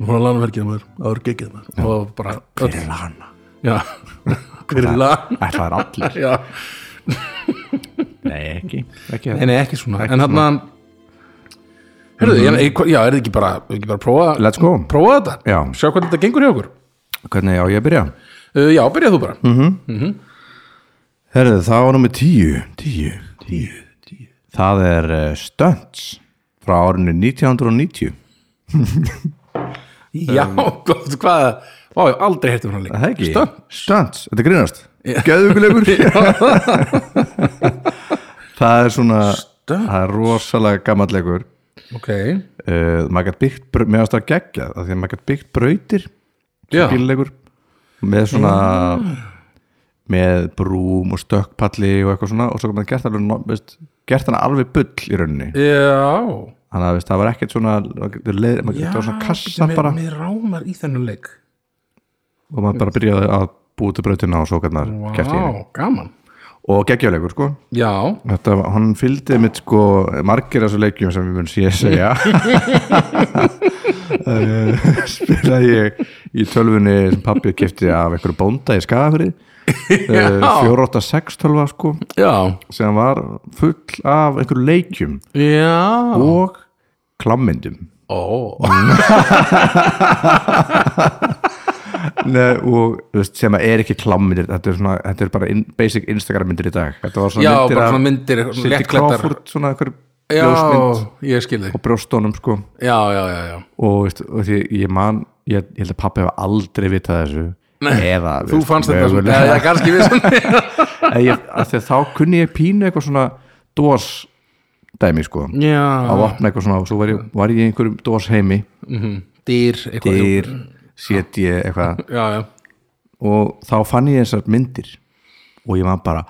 Speaker 1: nú hún að lanaverkina maður, áður gekið maður og bara öll,
Speaker 2: lana
Speaker 1: já hver er lan,
Speaker 2: Það er allir
Speaker 1: já
Speaker 2: Nei, ekki, ekki
Speaker 1: nei, nei, ekki svona, en hann að Hörðu, mm já, er þið ekki bara, ekki bara að prófa,
Speaker 2: Let's go
Speaker 1: prófa þetta?
Speaker 2: Já.
Speaker 1: Sjá hvernig þetta gengur hjá okkur?
Speaker 2: Hvernig á ég að byrja?
Speaker 1: Uh, já, byrjaðu þú bara.
Speaker 2: Herðu, það var nummer tíu Tíu, tíu, tíu Það er uh, Stunts frá árinu 1990
Speaker 1: Já, hvað, hvað, vá, ég hef aldrei um hértum frá hann líka.
Speaker 2: Er Það ekki? Stunts, Stunts. þetta er grínast Gæðugulegur Það er svona Það er rosalega gamallegur
Speaker 1: Ok.
Speaker 2: uh, maður gætt byggt, brau- mér varst það geggja af því að maður gætt byggt brautir
Speaker 1: Já.
Speaker 2: bíllegur með svona með brúm og stökkpalli og eitthvað svona og svo maður gert alveg no- veist, gert hana alveg bull í rauninni
Speaker 1: Já.
Speaker 2: þannig að veist, það var ekkert svona maður gætt leið- maður gætt á svona kassa
Speaker 1: mér,
Speaker 2: bara
Speaker 1: Mér rámar í þennan leik.
Speaker 2: og maður bara byrjaði að búið til brautina og svo gætt maður gert í henni
Speaker 1: Vá, gaman.
Speaker 2: og geggjuleikur sko
Speaker 1: já,
Speaker 2: Þetta, var- hann fylgdi mitt sko margir af þessu leikjum sem við mun sé segja Eh, spilaði ég í tölfunni sem pappi kefti af einhverju bónda í Eh, skafri
Speaker 1: Já.
Speaker 2: 486 tölva sko
Speaker 1: já
Speaker 2: sem var full af einhverju leikjum
Speaker 1: já,
Speaker 2: og klammyndum
Speaker 1: ó
Speaker 2: Nei, og þú veist, sem að er ekki klammyndir þetta er, svona, þetta er bara in, basic Instagram myndir í dag þetta var svona
Speaker 1: já,
Speaker 2: myndir
Speaker 1: bara
Speaker 2: af
Speaker 1: svona myndir eitthvað svona
Speaker 2: Cindy
Speaker 1: léttklæddar.
Speaker 2: Crawford, svona einhverju ljósmynd
Speaker 1: já, ég skilði
Speaker 2: á brjóstónum sko
Speaker 1: já, já, já, já
Speaker 2: og, veist, og því ég man ég, ég held að pappi hefa aldrei vitað þessu
Speaker 1: Nei,
Speaker 2: eða
Speaker 1: þú
Speaker 2: veist,
Speaker 1: fannst þetta svona,
Speaker 2: mögulega.
Speaker 1: eða kannski við svona
Speaker 2: En ég, af því að þá kunni ég pínu eitthvað svona dós dæmi sko að
Speaker 1: já,
Speaker 2: opna eitthvað svona og svo var ég, var ég í einhverjum dós heimi
Speaker 1: dýr, eitthvað jú.
Speaker 2: dyr, set ég eitthvað
Speaker 1: já, já,
Speaker 2: og þá fann ég þessar myndir og ég var bara,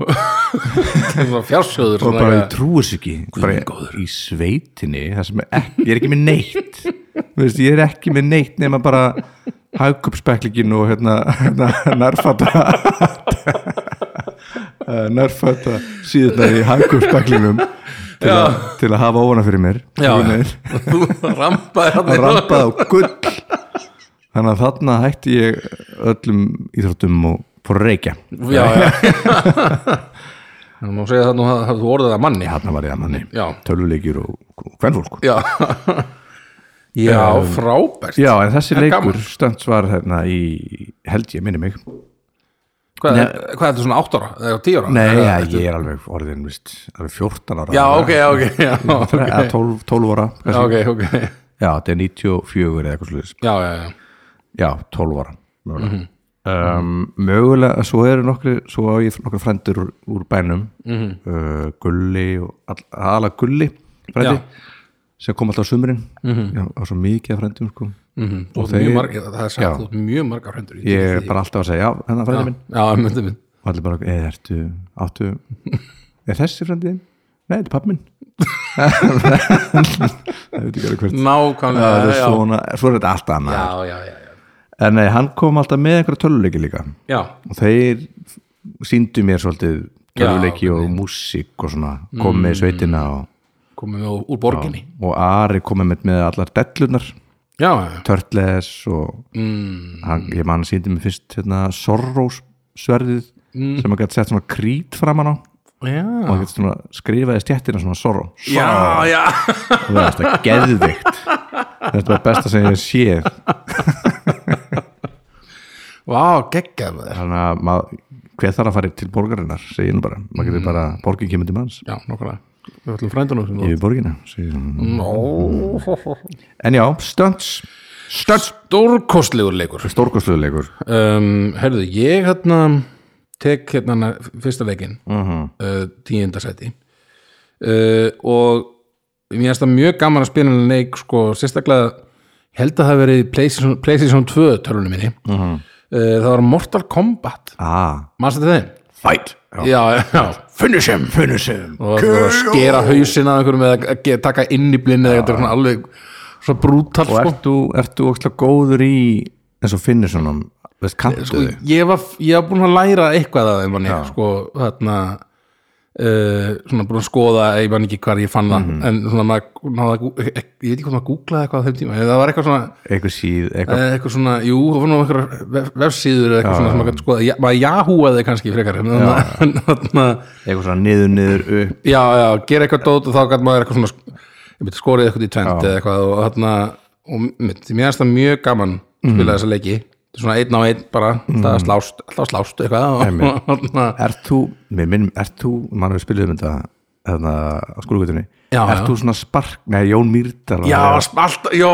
Speaker 1: Það er svona fjársjóður
Speaker 2: og
Speaker 1: svona
Speaker 2: bara ég
Speaker 1: eitthvað.
Speaker 2: trúi þess ekki bara í sveitinni það sem er ekki, ég er ekki með neitt Þú veist, ég er ekki með neitt nema bara hagkupspeklingin og hérna, hérna nærfata eh, nærfata síðan í hagkupspeklingum til, að- til að hafa óvana fyrir mér
Speaker 1: Já,
Speaker 2: Fyrir mér.
Speaker 1: já. þú rampaði hann
Speaker 2: að rampa á gull þannig að þarna hætti ég öllum íþróttum og fór að reykja
Speaker 1: já, já það má segja það nú að að þú orðið að manni
Speaker 2: þarna var ég að manni
Speaker 1: já,
Speaker 2: töluleikjur og hvernfólk
Speaker 1: já já, frábært
Speaker 2: Já, en þessi
Speaker 1: En
Speaker 2: leikur
Speaker 1: gaman.
Speaker 2: stönds var þarna í held ég, minni mig
Speaker 1: hvað,
Speaker 2: Nei.
Speaker 1: hvað er þetta svona 8 ára, eða 10 ára
Speaker 2: Nei,
Speaker 1: Eða-
Speaker 2: ja, ég er alveg orðin, vist, alveg 14 ára
Speaker 1: já, ok, já, ok já, ok,
Speaker 2: Eða 12, 12 ára
Speaker 1: já,
Speaker 2: kannski.
Speaker 1: ok, ok
Speaker 2: Já, þetta er 94 eða eitthvað sluðis
Speaker 1: já, já, já,
Speaker 2: Já, 12 ára Mögulega, um, mögulega svo eru nokkri, svo á ég nokkri frændur úr, úr bænum uh, Gulli, og all, ala Gulli frændi,
Speaker 1: Já.
Speaker 2: sem kom alltaf á sumrin Já, á svo mikið af frændum sko.
Speaker 1: Mhm. Þú
Speaker 2: Og
Speaker 1: ert mjög
Speaker 2: þeir-
Speaker 1: marg- það er
Speaker 2: Já.
Speaker 1: sagt út mjög margar hendur í
Speaker 2: Ég er bara alltaf að segja, já, hennar frændi minn
Speaker 1: já, myndi minn
Speaker 2: og allir bara, eða ertu, áttu er þessi frændið? Nei, þetta er pappi minn það veit ekki alveg hvert
Speaker 1: nákvæmlega,
Speaker 2: það er
Speaker 1: já,
Speaker 2: svona, svo er þetta allt annað
Speaker 1: já, já, já, já.
Speaker 2: en nei, hann kom alltaf með einhverja töluleiki líka
Speaker 1: já,
Speaker 2: og þeir síndu mér svolítið töluleiki og músík og svona komið mm. sveitina og,
Speaker 1: komum við úr- úr borginni
Speaker 2: og Ari komið með, með allar dellunar
Speaker 1: já, já,
Speaker 2: Turtles og mm. hann, ég man síndi mér fyrst hérna, Sorrows sverðið sem að gæti sett svona krít framan á
Speaker 1: já
Speaker 2: og það getur svona skrifaði stjættina svona sorro
Speaker 1: já, já,
Speaker 2: og það er þetta geðvikt þetta var besta sem ég séð
Speaker 1: vá, geggjað með þér
Speaker 2: þannig að maður, hver þarf að fara til borgarinnar segir nú bara, maður
Speaker 1: Mm.
Speaker 2: getur bara borgin kemur til manns
Speaker 1: já, nákvæmlega, við ætlum frændunum sem þú
Speaker 2: yfir borginna segir hún.
Speaker 1: Nó
Speaker 2: en já, stunts, stunts
Speaker 1: Stórkostlegur leikur
Speaker 2: stórkostluðuleikur
Speaker 1: um, Herðu, ég hérna tek hérna hana fyrsta leikin uh
Speaker 2: Mhm.
Speaker 1: tíundasæti uh, og mér finnst það mjög gaman að spila hann leik sko, sérstaklega ég held að það hafi verið í PlayStation, PlayStation 2 tölunum minni uh
Speaker 2: Mhm.
Speaker 1: það var Mortal Kombat
Speaker 2: ah,
Speaker 1: mannstu þetta þeim?
Speaker 2: fight já.
Speaker 1: Já, já
Speaker 2: finish him, finish him
Speaker 1: og það var að skera hausin að einhverjum eða að ge- taka inn í blinni eða eitthvað svona alveg svo brútal
Speaker 2: og
Speaker 1: sko.
Speaker 2: ert þú, ert þú ókslega góður í eins og finnir svona, veist, kanntu
Speaker 1: Sko,
Speaker 2: þau
Speaker 1: ég var, ég var búin að læra eitthvað að þeim manni, sko, þarna uh, svona búin að skoða ég man ekki hvar ég fann það en svona maður, náða, að gú- e- ég veit ekki hvað maður googlaði eitthvað á þeim tíma, en það var eitthvað svona
Speaker 2: eitthvað síð, eitthvað
Speaker 1: eh, eitthvað svona, jú, það var nú eitthvað vef- vefsíður eða eitthvað svona sem maður gæti skoða Ja- maður jahúaði kannski frekar en þarna- en þarna
Speaker 2: eitthvað svona niður, niður, upp
Speaker 1: já, já, gera eitthvað dót og þá gæti maður eitthvað svona ég myndi skorið eitthvað í tvent eða eitthvað og þarna, og mitt, mér finnst það mjög gaman
Speaker 2: Mhm.
Speaker 1: að spila þessa leiki Þetta er svona einn á einn bara, alltaf að slást alltaf að slást eitthvað og, þarna,
Speaker 2: Ert þú, mér minnum, ert þú mann við spilum um þetta hérna, á skólugötunni,
Speaker 1: Já,
Speaker 2: ert
Speaker 1: já.
Speaker 2: þú svona spark nei, Jón Mýrdal var
Speaker 1: já, sko,
Speaker 2: það.
Speaker 1: alltaf, já,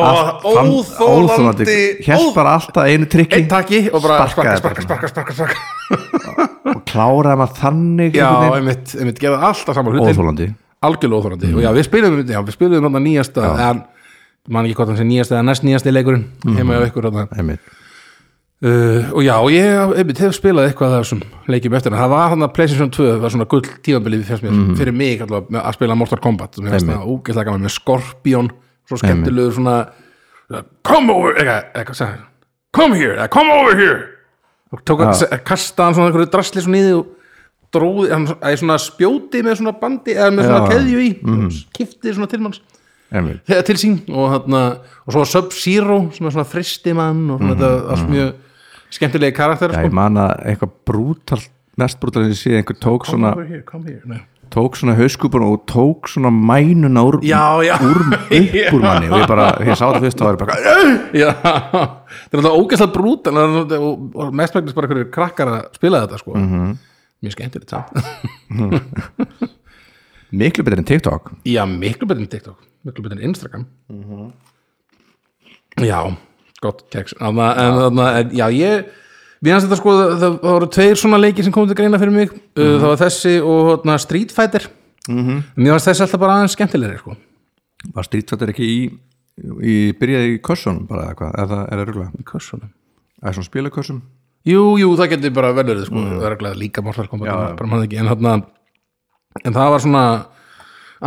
Speaker 2: Fann-
Speaker 1: óþólandi
Speaker 2: hélt bara alltaf einu trikki
Speaker 1: einn takki og bara sparka,
Speaker 2: Sparkaði
Speaker 1: sparka, sparka, sparka, sparka
Speaker 2: og kláraði maður þannig
Speaker 1: já,
Speaker 2: einhvern veginn.
Speaker 1: einmitt, einmitt, gera alltaf saman hlutin
Speaker 2: óþólandi
Speaker 1: algjörlega óþorandi
Speaker 2: Mhm.
Speaker 1: og já, við spilum já, við spilum þarna nýjasta en man ekki hvort hann sé nýjasta eða næst nýjasti leikurinn
Speaker 2: Mhm.
Speaker 1: heima hjá ykkur þarna
Speaker 2: einmitt.
Speaker 1: Uh, og já, og ég einmitt, hef spilað eitthvað af þessum leikjum eftir en það var hann að PlayStation 2 var svona gull tífambilið fyrir, mér, fyrir mig allavega, með að spila Mortal Kombat og mér finnst það ógeðslega gaman með Scorpion svo skemmtilegur svona come over eitthvað, eitthvað, sagði hann. come here, eða, come over here og tók að ja. kasta hann svona einhverju drasli svona í því og dróði, hann æ, svona spjóti með svona bandi eða með svona
Speaker 2: Já.
Speaker 1: keðju í mm. kifti svona til manns
Speaker 2: Emil
Speaker 1: þegar til sín og, hana, og svo Sub-Zero sem er svona fristimann og svona þetta allt mjög skemmtilegi karakter
Speaker 2: Mm, Já,
Speaker 1: sko.
Speaker 2: ég man að eitthvað brútal mest brútal en ég sé einhver tók svona
Speaker 1: Over here, come here. Nei.
Speaker 2: tók svona hauskupun og tók svona mænuna úr,
Speaker 1: já, já,
Speaker 2: úr, upp úr manni og ég bara, ég sá þetta fyrst og var ég bara
Speaker 1: já. það er alltaf ógeðslega brút og, og, og mest megnast bara hverju krakkar að spila þetta sko.
Speaker 2: Mhm.
Speaker 1: mjög skemmtilegt samt
Speaker 2: miklu betur en TikTok
Speaker 1: já, miklu betur en TikTok miklu betur en Instagram
Speaker 2: Mhm.
Speaker 1: já, gott keks Þarna- en þannig að, já, ég við hans þetta sko, það, það voru tveir svona leiki sem komið til greina fyrir mig,
Speaker 2: Mhm.
Speaker 1: uh, það var þessi og hana, Street Fighter mér fannst þessi alltaf bara aðeins skemmtilegri sko.
Speaker 2: var strýtfattir ekki í, í byrjaði í kössunum bara eða hvað, eða er það rúglega
Speaker 1: Í kössunum.
Speaker 2: eða svona spilakössum
Speaker 1: Jú, jú, það getur bara velur sko. það er ekki líka Mortal Kombat
Speaker 2: Mhm. Já, já.
Speaker 1: bara maður ekki, en, þarna, en það var svona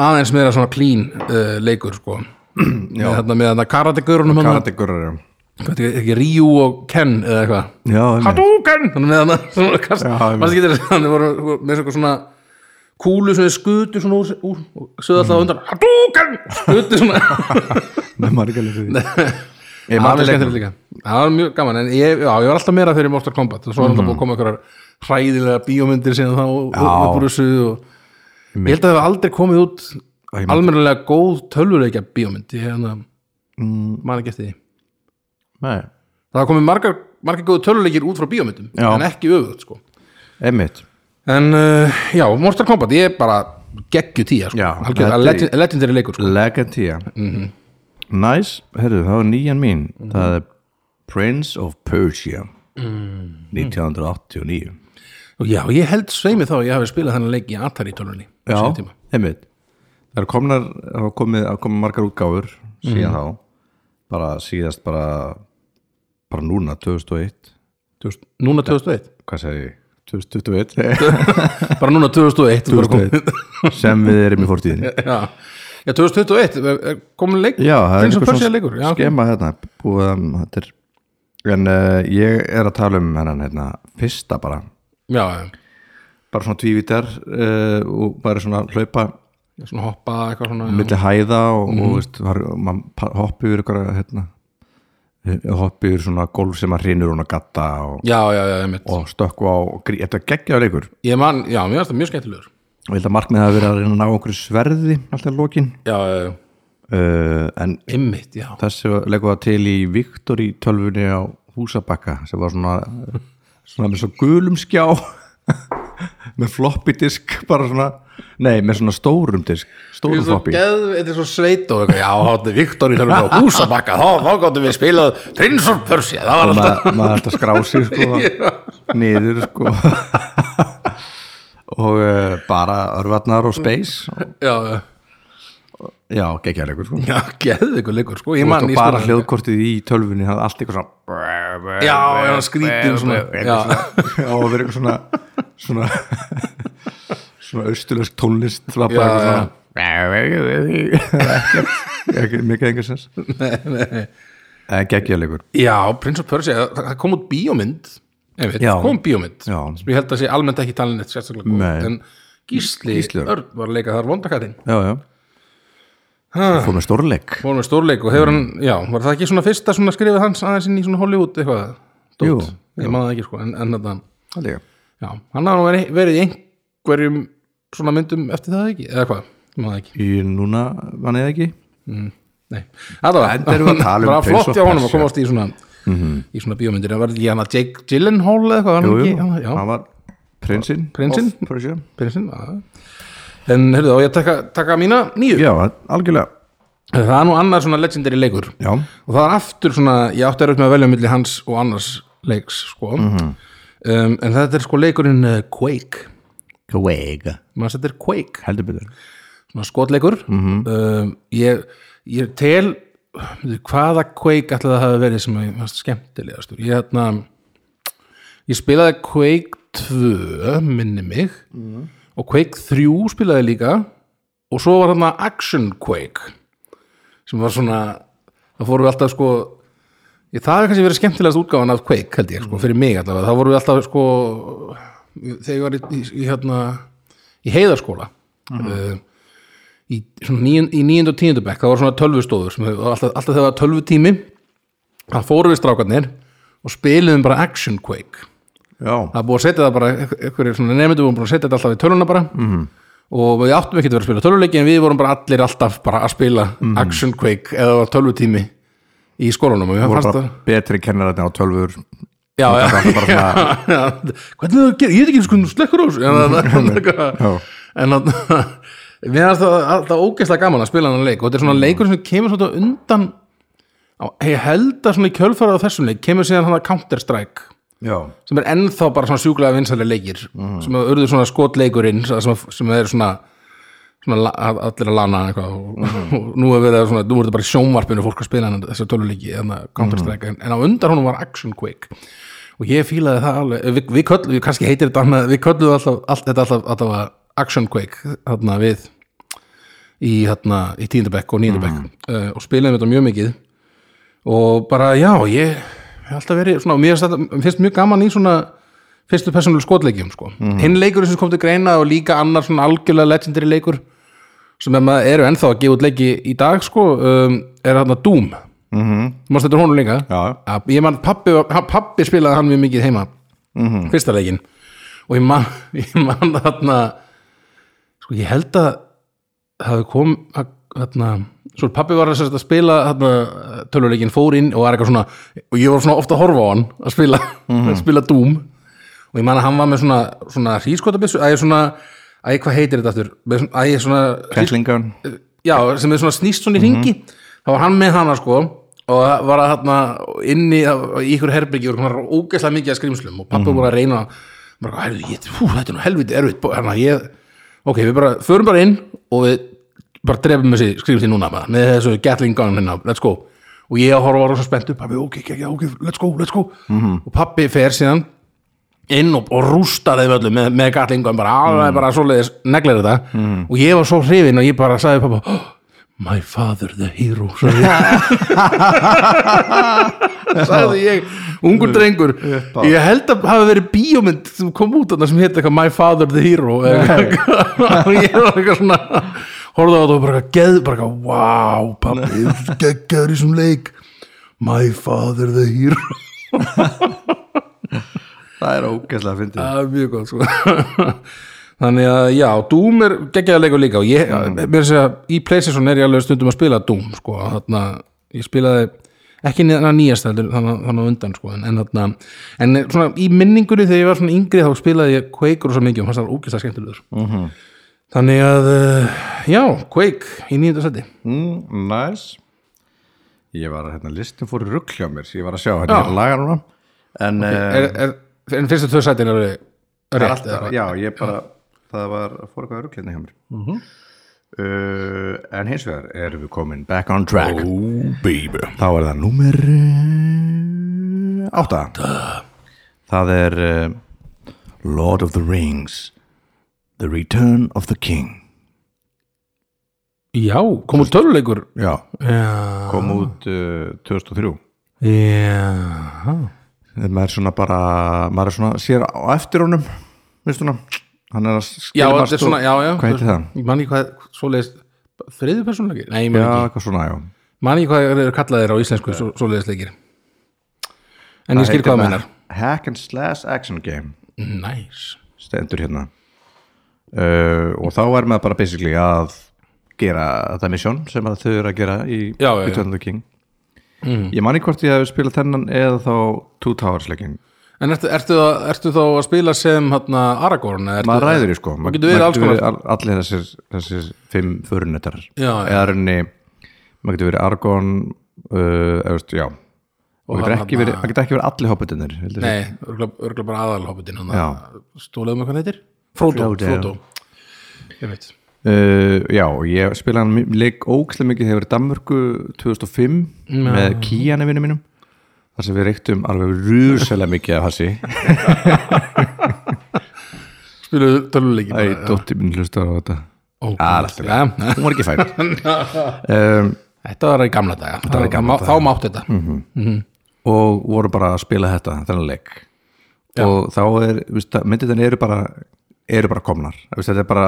Speaker 1: aðeins meira svona clean uh, leikur sko. með þarna, með þarna karategurunum hann-
Speaker 2: karategurur já,
Speaker 1: hvað heitir ekki Ryu og Ken eða eitthvað
Speaker 2: einmitt.
Speaker 1: Hadouken þannig með hann svona kast
Speaker 2: Já, einmitt.
Speaker 1: maður getur þess að hann voru sko, með svona- svona kúlu sem við skutu svona úr, úr og sögðu alltaf á undan Hadouken skutu svona
Speaker 2: Nei, maður er ekki alveg fyrir því. Ég
Speaker 1: það
Speaker 2: man
Speaker 1: var
Speaker 2: alveg
Speaker 1: skemmtilega líka það var mjög gaman en ég, já, ég var alltaf meira fyrir Mortal Kombat og svo var alltaf búið að koma einhverjar hræðilega bíómyndir síðan þá og-
Speaker 2: Mm. Já.
Speaker 1: og upp úr þessu og ég held að það hafa aldrei komið út
Speaker 2: Æ, ég man-
Speaker 1: almennilega góð tölvuleikja bíómynd ég hérna
Speaker 2: Mm.
Speaker 1: man ekki eftir því
Speaker 2: Nei.
Speaker 1: það hafa komið margar, margar góðu töluleikir út frá bíómyndum
Speaker 2: Já.
Speaker 1: en ekki öfugt sko
Speaker 2: Einmitt.
Speaker 1: en uh, já, Mortal Kombat, ég er bara geggju tíja sko,
Speaker 2: Já,
Speaker 1: algjörlega
Speaker 2: þetta er-
Speaker 1: legend, legendary leikur sko
Speaker 2: Legatia Nice, herru, það var nýjan mín það er Prince of Persia 1989
Speaker 1: og já, ég held sveimi þá að ég hafi spilað þennan leik í Atari tölunni á sínum tíma.
Speaker 2: einmitt það er komnar, það er komið, það er komið margar útgáfur síðan þá bara síðast bara bara núna 2001
Speaker 1: Þú veist, núna 2001
Speaker 2: hvað segi ég? 2021
Speaker 1: bara núna 2001, 2001.
Speaker 2: 2001 sem við erum í fórtíðinni
Speaker 1: sko. Já. já, 2021 er- er komin leik
Speaker 2: já, það er
Speaker 1: Prince of
Speaker 2: einhver
Speaker 1: Persia
Speaker 2: svona
Speaker 1: leikur já, ok.
Speaker 2: skema hérna búið um, þetta er en uh, ég er að tala um hennan hérna fyrsta bara
Speaker 1: já, já.
Speaker 2: bara svona tvívítar uh, og bara svona hlaupa
Speaker 1: Já, svona hoppa eitthvað svona já. Mhm.
Speaker 2: milli hæða og, og veist, var, man, hoppi yfir ykkur hérna, hoppi yfir svona golf sem að hrinur hún að gatta og,
Speaker 1: já, já, já, einmitt
Speaker 2: og stökku á og grí, þetta er geggjaður leikur
Speaker 1: ég man, já, mér finnst það mjög skemmtilegur
Speaker 2: og ég held að markmið hafi verið að reyna að ná okkur sverði alltaf lokin
Speaker 1: já, já, já,
Speaker 2: uh, en
Speaker 1: einmitt, já
Speaker 2: þessi leikur var til í Victory tölfunni á húsabakka sem var svona svona með svo gulum skjá með floppy disk bara svona, nei með svona stórum disk stórum floppy
Speaker 1: geð, þetta er svo sveit og eitthvað, já, hátti Viktor í þörfum á húsabakka, þá, þá gáttum við spilað Prince of Persia, það var
Speaker 2: og
Speaker 1: alltaf
Speaker 2: maður maður ætti að skrá sig sko niður sko og uh, bara örvarnar og space og,
Speaker 1: já, já,
Speaker 2: já, geggjarleikur sko
Speaker 1: já, geð ykkur leikur, sko, ég
Speaker 2: Man,
Speaker 1: man
Speaker 2: og
Speaker 1: ég
Speaker 2: bara
Speaker 1: spilaði-
Speaker 2: hljóðkortið í tölvunni hafði allt eitthvað svona
Speaker 1: já, já, skrítið og svona, já,
Speaker 2: og verið eitthvað svona svona svona austurlösk tónlist það var
Speaker 1: Já,
Speaker 2: bara eitthvað svona Ekkert- ekki mikið engar sens geggjarleikur
Speaker 1: já, Prince of Persia, það það kom út bíómynd, einmitt,
Speaker 2: Já.
Speaker 1: kom bíómynd
Speaker 2: Já.
Speaker 1: sem ég held að sé almennt ekki talin eitt sérstaklega góð,
Speaker 2: Nei.
Speaker 1: en Gísli,
Speaker 2: Gísli Örn.
Speaker 1: Örn var að leika þar vondakatinn,
Speaker 2: já, já fór með stórleik
Speaker 1: fórum við stórleik og hefur hann, já, var það ekki svona fyrsta svona skrifið hans aðeins inn í svona Hollywood eitthvað, dót,
Speaker 2: Jú,
Speaker 1: ég man það ekki, sko, en, en þetta,
Speaker 2: það líka
Speaker 1: Já, hann hafði nú verið, verið í einhverjum svona myndum eftir það ekki, eða hvað, Ég maður það ekki,
Speaker 2: í núna mann eða ekki
Speaker 1: nei. Alla vega,
Speaker 2: Enda erum við að tala um
Speaker 1: bara
Speaker 2: Prince
Speaker 1: flott
Speaker 2: of
Speaker 1: hjá honum að
Speaker 2: Persia. Mhm.
Speaker 1: komast í svona, í svona bíómyndir, en var þetta ekki hann að Jake Gyllenhaal eða eitthvað, var hann
Speaker 2: jú, jú,
Speaker 1: ekki, hann, já,
Speaker 2: hann var prinsinn
Speaker 1: Prinsinn?
Speaker 2: of Persia.
Speaker 1: prinsinn, já. En hörðu þá, ég að taka, taka mína nýju,
Speaker 2: já, algjörlega
Speaker 1: það er nú annar svona legendary leikur
Speaker 2: já,
Speaker 1: og það er aftur svona, ég átti erut með að velja milli hans og annars leiks, sko,
Speaker 2: Mhm.
Speaker 1: um, en þetta er sko leikurinn eh, Quake,
Speaker 2: kvega
Speaker 1: maður þetta er Quake,
Speaker 2: heldur betur
Speaker 1: svona skotleikur um, ég, ég tel veitu, hvaða kveik alltaf það hafi verið sem ég fannst skemmtilegast ég, hérna, ég spilaði kveik 2 minni mig og kveik 3 spilaði líka og svo var þarna action kveik sem var svona það fórum við alltaf sko ég, það er kannski verið skemmtilegast útgáfan af kveik held ég sko, fyrir mig alltaf, það voru við alltaf sko þegar ég var í, í, í, hérna, í heiðarskóla uh, í, svona níun, í níund og tíundu bekk það var svona tölvustóður sem, hefur- alltaf, alltaf þegar það var tölvutími það fórum við strákarnir og spiluðum bara Action Quake
Speaker 2: já,
Speaker 1: það er búið að setja það bara einhverjir svona nefndu vorum búin að setja þetta alltaf í töluna bara
Speaker 2: Mhm.
Speaker 1: -hmm. og við áttum ekki að vera að spila töluleiki en við vorum bara allir alltaf bara að spila
Speaker 2: Mhm.
Speaker 1: Action Quake eða það var tölvutími í skólanum og ég
Speaker 2: voru
Speaker 1: fannst
Speaker 2: bara
Speaker 1: það
Speaker 2: betri kennararnir á tölfur
Speaker 1: já, já,
Speaker 2: það er bara
Speaker 1: já,
Speaker 2: svona-
Speaker 1: já, hvernig það gerir, ég er ekki sko slekkur á þessu en það- það-
Speaker 2: Já.
Speaker 1: það- en það mér er það alltaf ógeðslega gaman að spila hann leik og þetta er
Speaker 2: Mm.
Speaker 1: svona leikur sem kemur svona undan á- ég held að svona í kjölfara á þessum leik kemur síðan hann að Counter Strike
Speaker 2: já,
Speaker 1: sem er ennþá bara svona sjúklega vinsæli leikir sem að urðu svona skotleikurinn sem, sem er svona, svona la- að- allir að lana eitthvað og, og nú er verið að svona, nú er þetta bara í sjónvarpinu fólk að spila hann þessar töluleiki þannig að Counter Strike hérna, en, en á undan honum var Action Quake og ég fílaði það alveg við, við köllum, við kannski heitir þetta annað við köllum alltaf, allt þetta alltaf, alltaf að Action Quake þarna við í, þarna, í tíndabekk og nýndabekk uh, og spilaðum þetta mjög mikið og bara já, ég hef alltaf verið svona, mér finnst þetta- mér finnst mjög gaman í svona fyrstu persónuleg skotleikjum sko. hinn leikur sem kom til greina og líka annar svona algjörlega legendary leikur sem er maður eru ennþá að gefa út leiki í dag sko, um, er þarna Doom mm -hmm. mást þetta honum líka
Speaker 2: Já.
Speaker 1: ég man pappi, hann- pappi spilaði hann mjög mikið heima fyrsta leikin og ég man, ég man þarna sko ég held að það hafi kom að, þarna, svo pappi var þess að spila þarna, töluleikin fór inn og var eitthvað svona og ég var svona ofta að horfa á hann að spila, að spila Doom og ég man að hann var með svona, svona hrískotabissu, að ég svona að ég hvað heitir þetta aftur, Með svona- að ég svona
Speaker 2: kesslingan
Speaker 1: já, sem er svona snýst svona í ringi þá var hann með hana sko og það var að þarna inni í ykkur herbyggi og hann var ógeðslega mikið að skrimslum og pappi voru að reyna bara, "Heyrðu, ég, fú, þetta er nú helviti erfitt hérna, ég, ok, við bara, förum bara inn og við bara drefum þessi skrimsli núna bara, með þessu Gatling gun hérna, let's go og ég að horfa rosa spennt upp pappi, ok, ok, ok, let's go, let's go og pappi fer síðan inn og, og rústa þeim öllum með, með gatlingum bara, mm. bara svoleiðis neglir þetta
Speaker 2: Mm.
Speaker 1: og ég var svo hrifinn og ég bara sagði pappa oh, my father the hero sagði ég, sagði ég ungur drengur
Speaker 2: Upp á.
Speaker 1: ég held að hafi verið bíómynd sem kom út þarna sem hétt eitthvað my father the hero eða eitthvað. og ég var eitthvað svona horfði á þetta og bara eitthvað geð bara eitthvað, wow pappi, geggjaður í þessum leik my father the hero
Speaker 2: það er ógeðslega að fyndi
Speaker 1: Það er mjög gott sko Þannig að já, Doom er geggjaða leikur líka og ég, mér sé að í Playstation er ég alveg stundum að spila Doom sko, þarna, ég spilaði ekki neðan nýjast heldur, þannig þannig á undan sko, en, en, þarna, en eh, svona í minningunni þegar ég var svona yngri þá spilaði ég Quake og svo mikið og fannst það ógæsta skemmtilegur Þannig að, eh, já, Quake í nýjönda seti
Speaker 2: mm, nice. ég var að hérna listin fór í rugl hjá mér ég var að sjá hérna að laga núna en okay.
Speaker 1: er, er, En fyrstu tvö sætin eru
Speaker 2: er,
Speaker 1: rétt
Speaker 2: alltaf, já, ég bara það var fór eitthvað rugl hérna hjá mér
Speaker 1: Mhm.
Speaker 2: uh, en hins vegar erum við komin back on track
Speaker 1: Oh baby
Speaker 2: þá er það númer 8 það er uh, Lord of the Rings The Return of the King
Speaker 1: Já, komur töluleikur
Speaker 2: já,
Speaker 1: Já,
Speaker 2: kom út uh, 2003
Speaker 1: já.
Speaker 2: maður er svona bara maður er svona, sér á eftir honum veistu svona, hann er að
Speaker 1: Já,
Speaker 2: skila bara
Speaker 1: þetta er
Speaker 2: stó-
Speaker 1: svona, já, já
Speaker 2: hvað heitir það?
Speaker 1: Ég man ekki hvað, svoleiðis Þriðu persónuleikir? Nei, ég man
Speaker 2: já,
Speaker 1: ekki
Speaker 2: eitthvað svona, já
Speaker 1: Man ekki hvað þeir eru kallaðir á íslensku svo, svoleiðis leikir En ég skil hvað það meinar
Speaker 2: Hack and Slash Action Game
Speaker 1: Næs
Speaker 2: stendur hérna uh, og þá er maður bara basically að gera þetta mission sem að þau eru að gera í
Speaker 1: Já, já, Mhm. já.
Speaker 2: Return of the King ég man ekki hvort ég hef spilað þennan eða þá Two Towers leikin
Speaker 1: En ertu, ertu, þá- ertu þá að spila sem hana, Aragorn? eða Ertu,
Speaker 2: maður ræður í sko, maður
Speaker 1: getur verið
Speaker 2: maður
Speaker 1: alls konar.
Speaker 2: verið al- allir þessir, þessir fimm förunettar
Speaker 1: Já, já.
Speaker 2: eða raunni, maður getur verið Argon uh, eða veist, já og maður getur
Speaker 1: hann
Speaker 2: ekki verið, maður getur ekki verið allir hopputinir
Speaker 1: Nei, örgulega, örgulega bara aðalhopputin
Speaker 2: Já.
Speaker 1: Stólaðum um eitthvað hann heitir? Frodo,
Speaker 2: Frodo.
Speaker 1: Frodo. Ég veit
Speaker 2: Uh, já, og ég spilaði hann mi- leik ókslega mikið þegar ég var í Danmörku 2005 með Kíana vinnum mínum þar sem við reyktum alveg rúsalega mikið af hassi
Speaker 1: Spiluðu töluleikin
Speaker 2: Æ, dótti mín hlustar á þetta
Speaker 1: Ó,
Speaker 2: allt í
Speaker 1: ja.
Speaker 2: Hún var ekki fætt um,
Speaker 1: Þetta var í gamla daga,
Speaker 2: var í gamla Mhm.
Speaker 1: Þá mátt þetta
Speaker 2: og voru bara að spila þetta, þennan leik og þá er, viðst, myndir þannig eru bara eru bara komnar, viðst, þetta er bara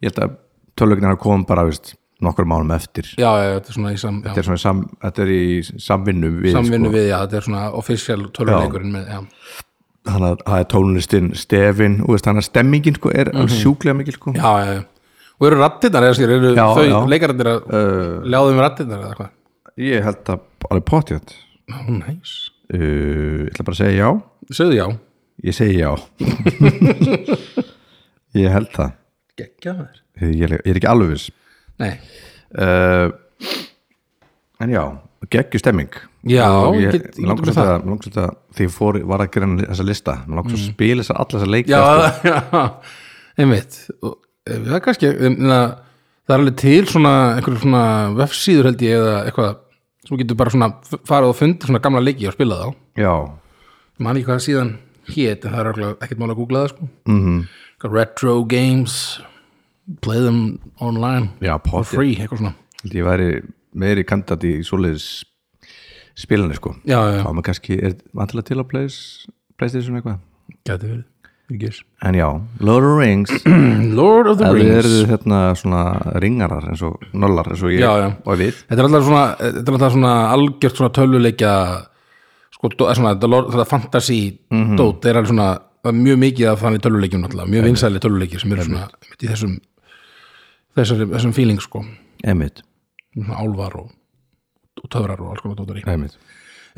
Speaker 2: ég held að tölvögnin hafa komið bara viðst, nokkur mánum eftir
Speaker 1: já, já, þetta er svona í sam,
Speaker 2: þetta er, svona í sam, þetta er í samvinnu við, sko.
Speaker 1: samvinnu við, já, þetta er svona official tölvuleikurinn með, já,
Speaker 2: þannig að það er tónlistin stefin og veist, þannig að stemmingin sko, er alveg sjúklega mikil sko.
Speaker 1: Mhm. já, já, já. og eru rattirnar, eða skil, eru
Speaker 2: Já,
Speaker 1: þau
Speaker 2: já.
Speaker 1: leikararnir að uh, ljáðum rattirnar eða hvað?
Speaker 2: ég held að alveg potið uh,
Speaker 1: Ó, næs.
Speaker 2: ég ætla bara að segja já
Speaker 1: Sögðu já.
Speaker 2: ég segi já ég held það
Speaker 1: Gekkjaður.
Speaker 2: ég er, ég er ekki alveg viss
Speaker 1: Nei.
Speaker 2: uh, en já geggju stemming
Speaker 1: Já,
Speaker 2: Og ég
Speaker 1: get- ég get
Speaker 2: langar
Speaker 1: með
Speaker 2: svolítið að- mig langar svolítið að því ég fór, var að gera þessa lista mér langar svolítið að spila þess að alla þessa leiki
Speaker 1: Mm. Já,
Speaker 2: aftur.
Speaker 1: já, einmitt. Og, eh, það er kannski, ég meina, það er alveg til svona, einhverjum svona vefsíður held ég eða eitthvað sem þú getur bara svona f- farið og fundið svona gamla leiki og spilað á.
Speaker 2: já,
Speaker 1: Ég man ekki hvað það síðan hét, en það er örugglega ekkert mál að googla það, sko. Mm
Speaker 2: Mhm.
Speaker 1: -hmm. Retro games, play them online,
Speaker 2: já,
Speaker 1: for
Speaker 2: potið
Speaker 1: free, eitthvað svona.
Speaker 2: Held ég væri meiri kandidat í svoleiðis spilinu sko
Speaker 1: Já, já,
Speaker 2: þá er maður kannski, er vantilega til að place, playstation eitthvað
Speaker 1: gæti verið. Ég gís.
Speaker 2: en já, Lord of the Rings
Speaker 1: Lord of the
Speaker 2: það
Speaker 1: Rings.
Speaker 2: eru hérna svona ringarar eins og nollar eins og ég
Speaker 1: Já, já.
Speaker 2: og við
Speaker 1: Þetta er alltaf svona, þetta er alltaf svona algjört svona töluleikja sko, dó- svona, þetta, lor- þetta fantasy
Speaker 2: Mhm.
Speaker 1: dót, það er alveg svona það er mjög mikið af þannig töluleikjum náttúrulega, mjög vinsæli töluleikjir sem eru svona einmitt í þessum þessum, þessum feeling sko,
Speaker 2: Emmitt,
Speaker 1: svona álvar og, og töfrar og alls konar dótar í
Speaker 2: Emmitt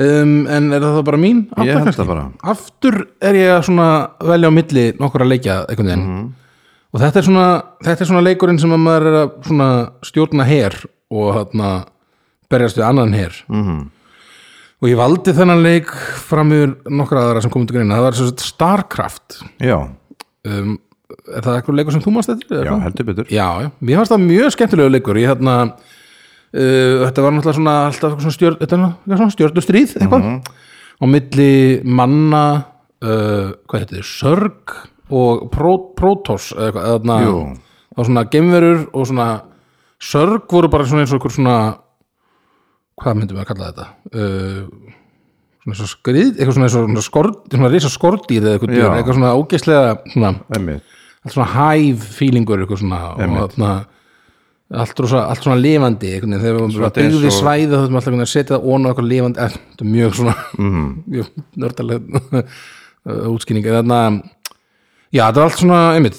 Speaker 1: um, En er það þá bara mín?
Speaker 2: Ég
Speaker 1: Aftur
Speaker 2: held
Speaker 1: kannski?
Speaker 2: það bara.
Speaker 1: Aftur er ég að svona velja á milli nokkur að leikja einhvern veginn
Speaker 2: Mhm.
Speaker 1: og þetta er, svona, þetta er svona leikurinn sem að maður er að svona stjórna her og þarna berjast við annan her
Speaker 2: Mhm.
Speaker 1: og ég valdi þennan leik fram yfir nokkra aðra sem komum til greina það var svo sagt Starcraft
Speaker 2: Já,
Speaker 1: um, Er það eitthvað leikur sem þú mást þetta?
Speaker 2: já, heldur betur
Speaker 1: Já, já, mér fannst það mjög skemmtilegu leikur ég þarna uh, þetta var náttúrulega svona, alltaf eitthvað svona, stjörn, þetta er nú- eitthvað svona stjörnustríð eitthvað
Speaker 2: Mhm.
Speaker 1: á milli manna uh, hvað heitir þið, sörg og pró, prótós eða eitthvað, eða þarna
Speaker 2: Jú.
Speaker 1: það var svona gemverur og svona sörg voru bara svona eins og einhver svona hvað myndum við að kalla þetta uh, svona eins og skrið eitthvað svona, eins og svona, skord, svona risa skordýr eða eitthvað, dýr,
Speaker 2: Já.
Speaker 1: eitthvað svona ógeislega svona,
Speaker 2: Emmitt,
Speaker 1: allt svona hæf feelingur eitthvað svona og þarna allt, rosa, allt svona lifandi einhvern veginn, þegar við
Speaker 2: Svona
Speaker 1: bara byggði
Speaker 2: eins og-
Speaker 1: svæði þá þurfum alltaf einhvern veginn að setja það ón og eitthvað lifandi eh, þetta er mjög svona
Speaker 2: Mhm.
Speaker 1: mjög nördalega útskýning en þarna já þetta var allt svona einmitt,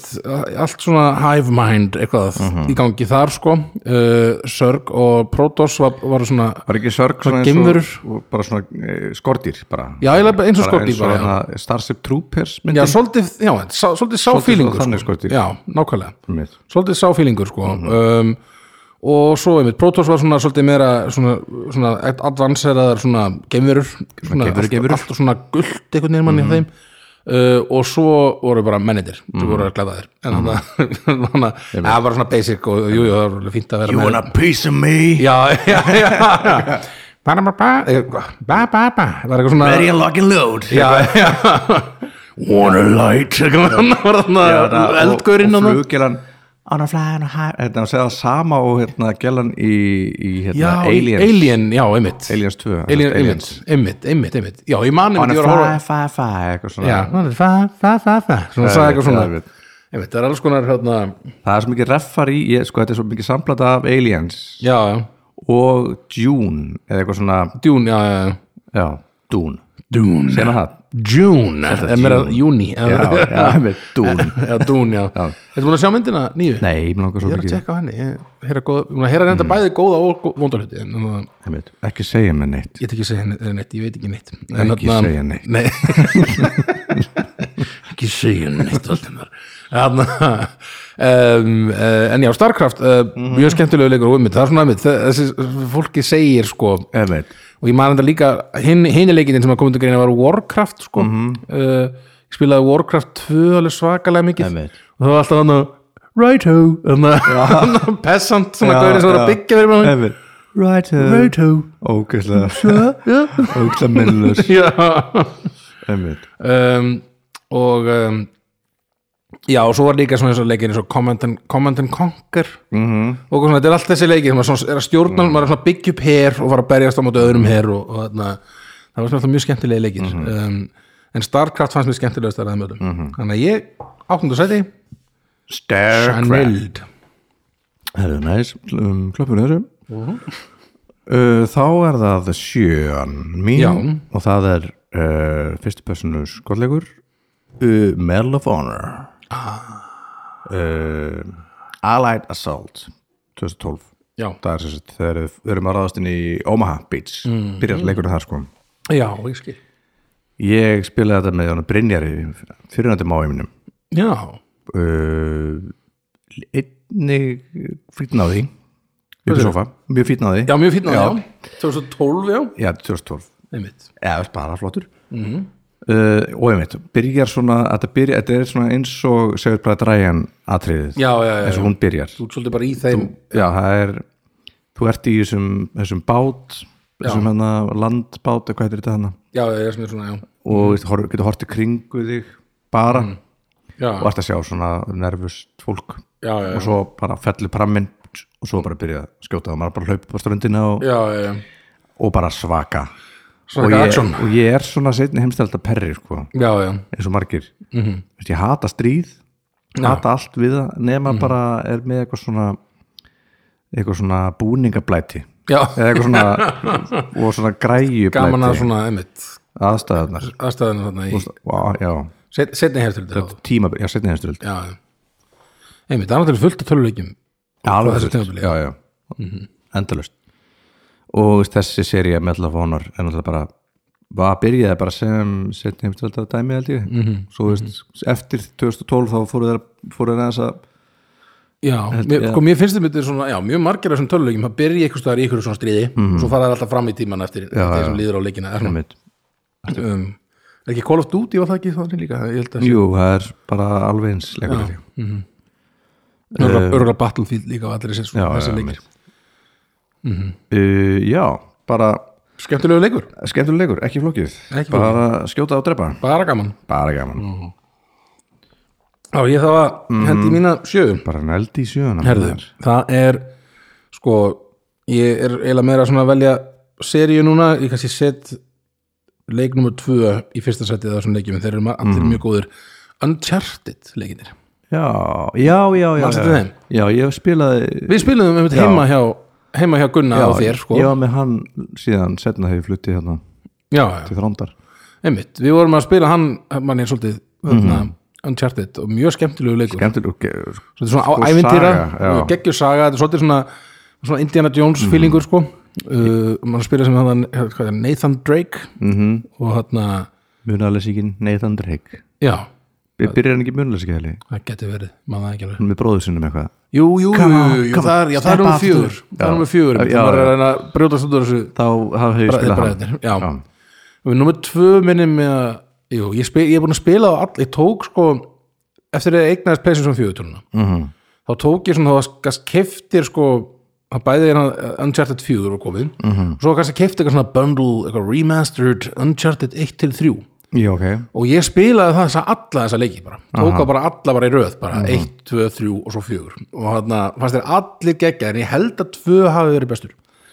Speaker 1: allt svona hive mind eitthvað
Speaker 2: Mhm.
Speaker 1: í gangi þar sko uh, Sörg og Protoss var, var svona
Speaker 2: var ekki sörg
Speaker 1: Svona
Speaker 2: svona eins
Speaker 1: geimverur.
Speaker 2: og, og bara svona e, skordýr bara
Speaker 1: já eiginlega eins og
Speaker 2: Bara
Speaker 1: skorti bara já.
Speaker 2: hérna Starship Troopers
Speaker 1: já
Speaker 2: myndin
Speaker 1: svolítið, já, sá, svolítið sá
Speaker 2: Svolítið
Speaker 1: feelingur
Speaker 2: svona þannig
Speaker 1: sko.
Speaker 2: skordýr.
Speaker 1: já nákvæmlega
Speaker 2: Einmitt.
Speaker 1: svolítið sáfílingur sko
Speaker 2: Mhm.
Speaker 1: um, og svo einmitt, Protoss var svona svolítið meira svona, svona advanceraðar svona geimverur, svona
Speaker 2: geimveru- geimverur.
Speaker 1: allt, allt svona gullt einhvern veginn
Speaker 2: Mhm.
Speaker 1: manni mm þeim uh, og svo voru bara mennir sem voru að glæða þér en
Speaker 2: Mhm.
Speaker 1: þannig að það var svona basic og jú, jú, það var alveg fínt að vera með
Speaker 2: piece of me?
Speaker 1: já, já, já ba ba ba eh, ba ba ba það var eitthvað svona
Speaker 2: a lock and load
Speaker 1: já, já wanna light það var þarna eldgurinn
Speaker 2: og
Speaker 1: þarna.
Speaker 2: fluggelan on a fly on a high hérna að segja það sama og hérna gelan í, í hérna
Speaker 1: Já,
Speaker 2: Aliens
Speaker 1: Alien, já, einmitt
Speaker 2: Aliens 2 sem sagt,
Speaker 1: Alien, Aliens, einmitt, einmitt, einmitt Já, ég man
Speaker 2: on
Speaker 1: einmitt,
Speaker 2: a
Speaker 1: ég var að horfa
Speaker 2: fly fly fly eitthvað svona
Speaker 1: Já, hann er fa, fa, fa, fa Svona sagði eitthvað svona
Speaker 2: Já, ég veit.
Speaker 1: Einmitt, það er alls konar hérna
Speaker 2: það er svo mikið reffar í ég, sko þetta er svo mikið samblat af Aliens
Speaker 1: Já, já,
Speaker 2: og Dune eða eitthvað svona
Speaker 1: Dune, já, já, já
Speaker 2: já Dune
Speaker 1: Dune
Speaker 2: sena það
Speaker 1: June, það er meira júni
Speaker 2: já já með Dune
Speaker 1: já, Dune, já Þetta búin að sjá myndina nýju?
Speaker 2: nei ég langar svo
Speaker 1: Ég er Mm. að
Speaker 2: mikið
Speaker 1: tjekka á henni, ég heyra góða Ég er að heyra reynda bæði góða og vondalhuti En hérna, það
Speaker 2: Einmitt. ekki segja mér neitt
Speaker 1: ég get ekki að segja henni neitt, ég veit ekki neitt
Speaker 2: Ekki segja neitt.
Speaker 1: nei. ekki segja neitt Valdimar. Þarna, um, uh, en já, Starcraft uh,
Speaker 2: Mhm.
Speaker 1: mjög skemmtilegu leikur og ummið það er svona ummið, þessi fólki segir sko,
Speaker 2: Einmitt.
Speaker 1: og ég man þetta líka hinn hinni leikinn sem að komið til greina var Warcraft sko,
Speaker 2: Mhm.
Speaker 1: uh, ég spilaði Warcraft 2 alveg svakalega mikið
Speaker 2: Einmitt.
Speaker 1: og það var alltaf hann að righto, hann að pessant svona
Speaker 2: Já,
Speaker 1: gaurið sem var
Speaker 2: já.
Speaker 1: að byggja fyrir mér
Speaker 2: Einmitt. right
Speaker 1: righto,
Speaker 2: ógæslega
Speaker 1: já
Speaker 2: ógæslega minnlös
Speaker 1: já
Speaker 2: Einmitt.
Speaker 1: um, og um, já og svo var líka svona eins og leikir eins og Command and, Command and Conquer -hmm. og svona, þetta er allt þessi leikir maður svona, er að stjórna, maður er svona að byggja upp her og fara að berjast á móti öðrum her og, og þarna, það var svona alltaf mjög skemmtilegi leikir um, en Starcraft fannst mér skemmtilegast þar aðeim öllum þannig að ég áttundu sæti
Speaker 2: Starcraft
Speaker 1: Chanild
Speaker 2: Það er næs, um, klöppum við þessu uh, Þá er það sjöan mín
Speaker 1: Já.
Speaker 2: og það er uh, fyrstu personu skollegur uh, Medal of Honor uh, Allied Assault 2012
Speaker 1: já.
Speaker 2: Það er sem sagt, þegar við við erum að ráðast inn í Omaha Beach,
Speaker 1: Mhm.
Speaker 2: byrjar leikurinn þar sko
Speaker 1: já, ég skil
Speaker 2: Ég spilaði þetta með hann Brynjari fyrirnandi máið mínum
Speaker 1: já,
Speaker 2: uh, einnig fýtna á því upp í sofa, mjög fýtna á því
Speaker 1: já mjög fínna já. 2012 já,
Speaker 2: já 2012,
Speaker 1: einmitt
Speaker 2: eða bara flottur
Speaker 1: Mhm.
Speaker 2: uh, og einmitt byrjar svona, þetta, byrja, þetta er svona eins og segur bara dræjan atriðið
Speaker 1: já, já, já,
Speaker 2: eins og
Speaker 1: já.
Speaker 2: hún byrjar
Speaker 1: þú ert svolítið bara í þeim
Speaker 2: já, það er, þú ert í þessum, þessum bát þessum hana landbát, eða hvað heitir þetta hana
Speaker 1: já, já, já, sem er svona, já,
Speaker 2: og mm. getur hortið kringu þig bara
Speaker 1: Mhm. já,
Speaker 2: og ert að sjá svona nervust fólk
Speaker 1: já, já,
Speaker 2: og svo bara fellur prammin og svo bara byrja að skjóta og maður bara hlaup á ströndina og,
Speaker 1: já, já, já.
Speaker 2: og bara svaka
Speaker 1: Svaka
Speaker 2: og, ég,
Speaker 1: action.
Speaker 2: og ég er svona setni heimstælda perri sko,
Speaker 1: já, já.
Speaker 2: eins og margir mm
Speaker 1: Mhm.
Speaker 2: -hmm. ég hata stríð hata allt við það nema
Speaker 1: Mhm.
Speaker 2: bara er með eitthvað svona eitthvað svona búningablæti
Speaker 1: já.
Speaker 2: eða eitthvað svona og svona græju
Speaker 1: gaman að
Speaker 2: blæti
Speaker 1: svona, einmitt
Speaker 2: aðstæðarnar
Speaker 1: aðstæðan þarna í
Speaker 2: Vá, já,
Speaker 1: set- setni hertöld já,
Speaker 2: tíma, já, setni heimstælda
Speaker 1: já einmitt, það er náttúrulega fullt af töluleikjum
Speaker 2: alveg
Speaker 1: þessu
Speaker 2: fullt,
Speaker 1: tímabili,
Speaker 2: já, já. endalust Mhm. og veist, þessi sería Medal of Honor er náttúrulega bara var byrjaði bara sem setni heimstöld að dæmi held ég svo veist, eftir 2012 þá fóru þeir fóru þeir aðeins að
Speaker 1: já, mér, sko, mér finnst þetta svona, já, mjög margir af þessum töluleikjum, það byrja einhvers staðar í einhverju svona stríði svo fara það alltaf fram í tíman eftir þeir sem líður á leikina er,
Speaker 2: Mhm. einmitt.
Speaker 1: svona, um, er ekki Call of Duty var það ekki þannig líka, ég held að sé
Speaker 2: jú, það er bara alveg eins leikur já,
Speaker 1: Örgulega- örgulega Battlefield líka og allir þessi,
Speaker 2: Eh. já,
Speaker 1: þessi
Speaker 2: já,
Speaker 1: leikir
Speaker 2: uh, já, bara
Speaker 1: skemmtilegu leikur,
Speaker 2: skemmtulegur leikur, ekki flókið
Speaker 1: Ekki
Speaker 2: bara skjóta og drepa
Speaker 1: bara gaman
Speaker 2: bara gaman,
Speaker 1: já, ég það var mm.
Speaker 2: Mhm.
Speaker 1: hendi mína sjöum
Speaker 2: bara nældi í sjöðuna
Speaker 1: Herðu, það er sko, ég er eiginlega meira svona að velja seríu núna, ég kannski set leik nummer tvö í fyrsta setið af þessum leikjum, en þeir eru ma- allir mjög góðir Uncharted leikinir
Speaker 2: já, já, já, já,
Speaker 1: Manstu
Speaker 2: já.
Speaker 1: þeim?
Speaker 2: já, ég spilaði
Speaker 1: Við spilum um þetta heima hjá heima hjá Gunna og þér, sko
Speaker 2: ég var með hann síðan setna þegar ég flutti hérna
Speaker 1: já,
Speaker 2: til þrándar
Speaker 1: einmitt, við vorum að spila hann manni svolítið þarna, Uncharted og mjög skemmtilegu leikur
Speaker 2: skemmtileg og
Speaker 1: Svolítið svona á
Speaker 2: Sko,
Speaker 1: ævintýra,
Speaker 2: saga, já.
Speaker 1: geggjur saga þetta er svolítið svona, svona Indiana Jones feelingur sko, uh, mann spila sem hann, hvað er, Nathan Drake -hmm. og hann
Speaker 2: munalesíkin Nathan Drake
Speaker 1: já,
Speaker 2: við byrjar hann ekki munalesíki heli
Speaker 1: það getur verið maður það ekki alveg
Speaker 2: með bróður sinum eitthvað
Speaker 1: jú, jú,
Speaker 2: Come on,
Speaker 1: jú, jú,
Speaker 2: come
Speaker 1: það er,
Speaker 2: on,
Speaker 1: já, það er
Speaker 2: step
Speaker 1: um
Speaker 2: after.
Speaker 1: fjögur það er
Speaker 2: Já.
Speaker 1: um fjögur,
Speaker 2: Já,
Speaker 1: það er
Speaker 2: já.
Speaker 1: að reyna að brjótast út úr þessu
Speaker 2: þá hafði ég
Speaker 1: þeir
Speaker 2: spilað hann
Speaker 1: bræðirnir, já. og nummer tvö minni með að jú, ég, spil, ég er búin að spila á all, ég tók sko eftir að ég eignaðist pleysin sem fjöðutúruna -hmm. þá tók ég svona, þá kannski keftir sko, það bæði hérna Uncharted 4 og komið, -hmm. og svo kannski kefti eitthvað svona bundle, eitthvað remastered Uncharted 1 til 3
Speaker 2: já, ok
Speaker 1: og ég spilaði það þessa alla þessa leiki bara, tók það bara alla bara í röð bara 1, 2, 3 og svo 4 og hann fannst þér allir geggja en ég held að 2 hafi verið bestur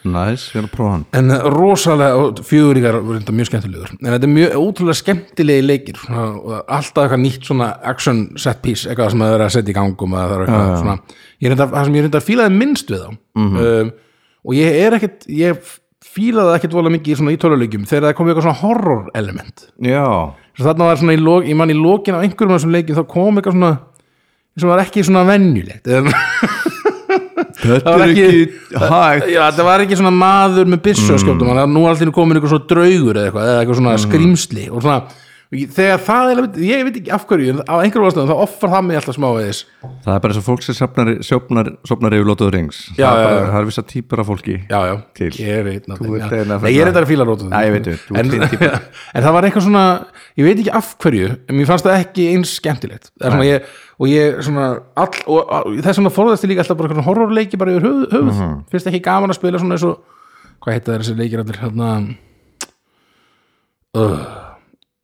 Speaker 2: næs, við erum að prófa hann
Speaker 1: en rosalega fjöguríkar voru þetta mjög skemmtilegur en þetta er mjög ótrúlega skemmtilegi leikir svona, og alltaf eitthvað nýtt svona action set piece, eitthvað sem það er að setja í gangum það er eitthvað svona ég reynda, það sem ég reynda að fílaði minnst við þá um, og ég er ekkit ég fílaði ekkit vola mikið í svona í töluleikjum þegar það kom eitthvað svona horror element
Speaker 2: já,
Speaker 1: svo þarna var svona í lok, ég man í lokin á einhverjum af þessum leikjum þá kom eitthvað svona sem var ekki svona venjulegt eða
Speaker 2: þetta
Speaker 1: var
Speaker 2: er
Speaker 1: ekki-
Speaker 2: ekki hægt
Speaker 1: Já, þetta var ekki svona maður með byssu
Speaker 2: Mm.
Speaker 1: að skjóta mann, nú er allir komin eitthvað svona draugur eða eitthvað, eða eitthvað svona skrýmsli og svona, og ég- þegar það er ég veit ekki af hverju, en á einhverjum ástæðum þá offar það mig alltaf smá eðis
Speaker 2: það er bara eins og fólk sem sopnar, sopnar, sopnar yfir lótuður rings
Speaker 1: Já,
Speaker 2: það, er
Speaker 1: já,
Speaker 2: bara, það er vissa típur af fólki
Speaker 1: Já, já,
Speaker 2: Til.
Speaker 1: ég er einn af
Speaker 2: Þú
Speaker 1: þeim
Speaker 2: ert
Speaker 1: já.
Speaker 2: einn af
Speaker 1: Nei,
Speaker 2: þeim,
Speaker 1: ég er
Speaker 2: já.
Speaker 1: eitthvað að fíla rótum
Speaker 2: Já, ég veit, þú ert
Speaker 1: en,
Speaker 2: þín
Speaker 1: en það var eitthvað svona, ég veit ekki af hverju en mér fannst það ekki eins skemmtilegt Það er svona, ég, og ég svona all, og, og þess vegna forðast ég líka alltaf bara einhvern horrorleiki bara yfir höfuð, höfuð.
Speaker 2: Mhm.
Speaker 1: finnst ekki gaman að spila svona eins og hvað heita þær þessi leikir allir hérna uh,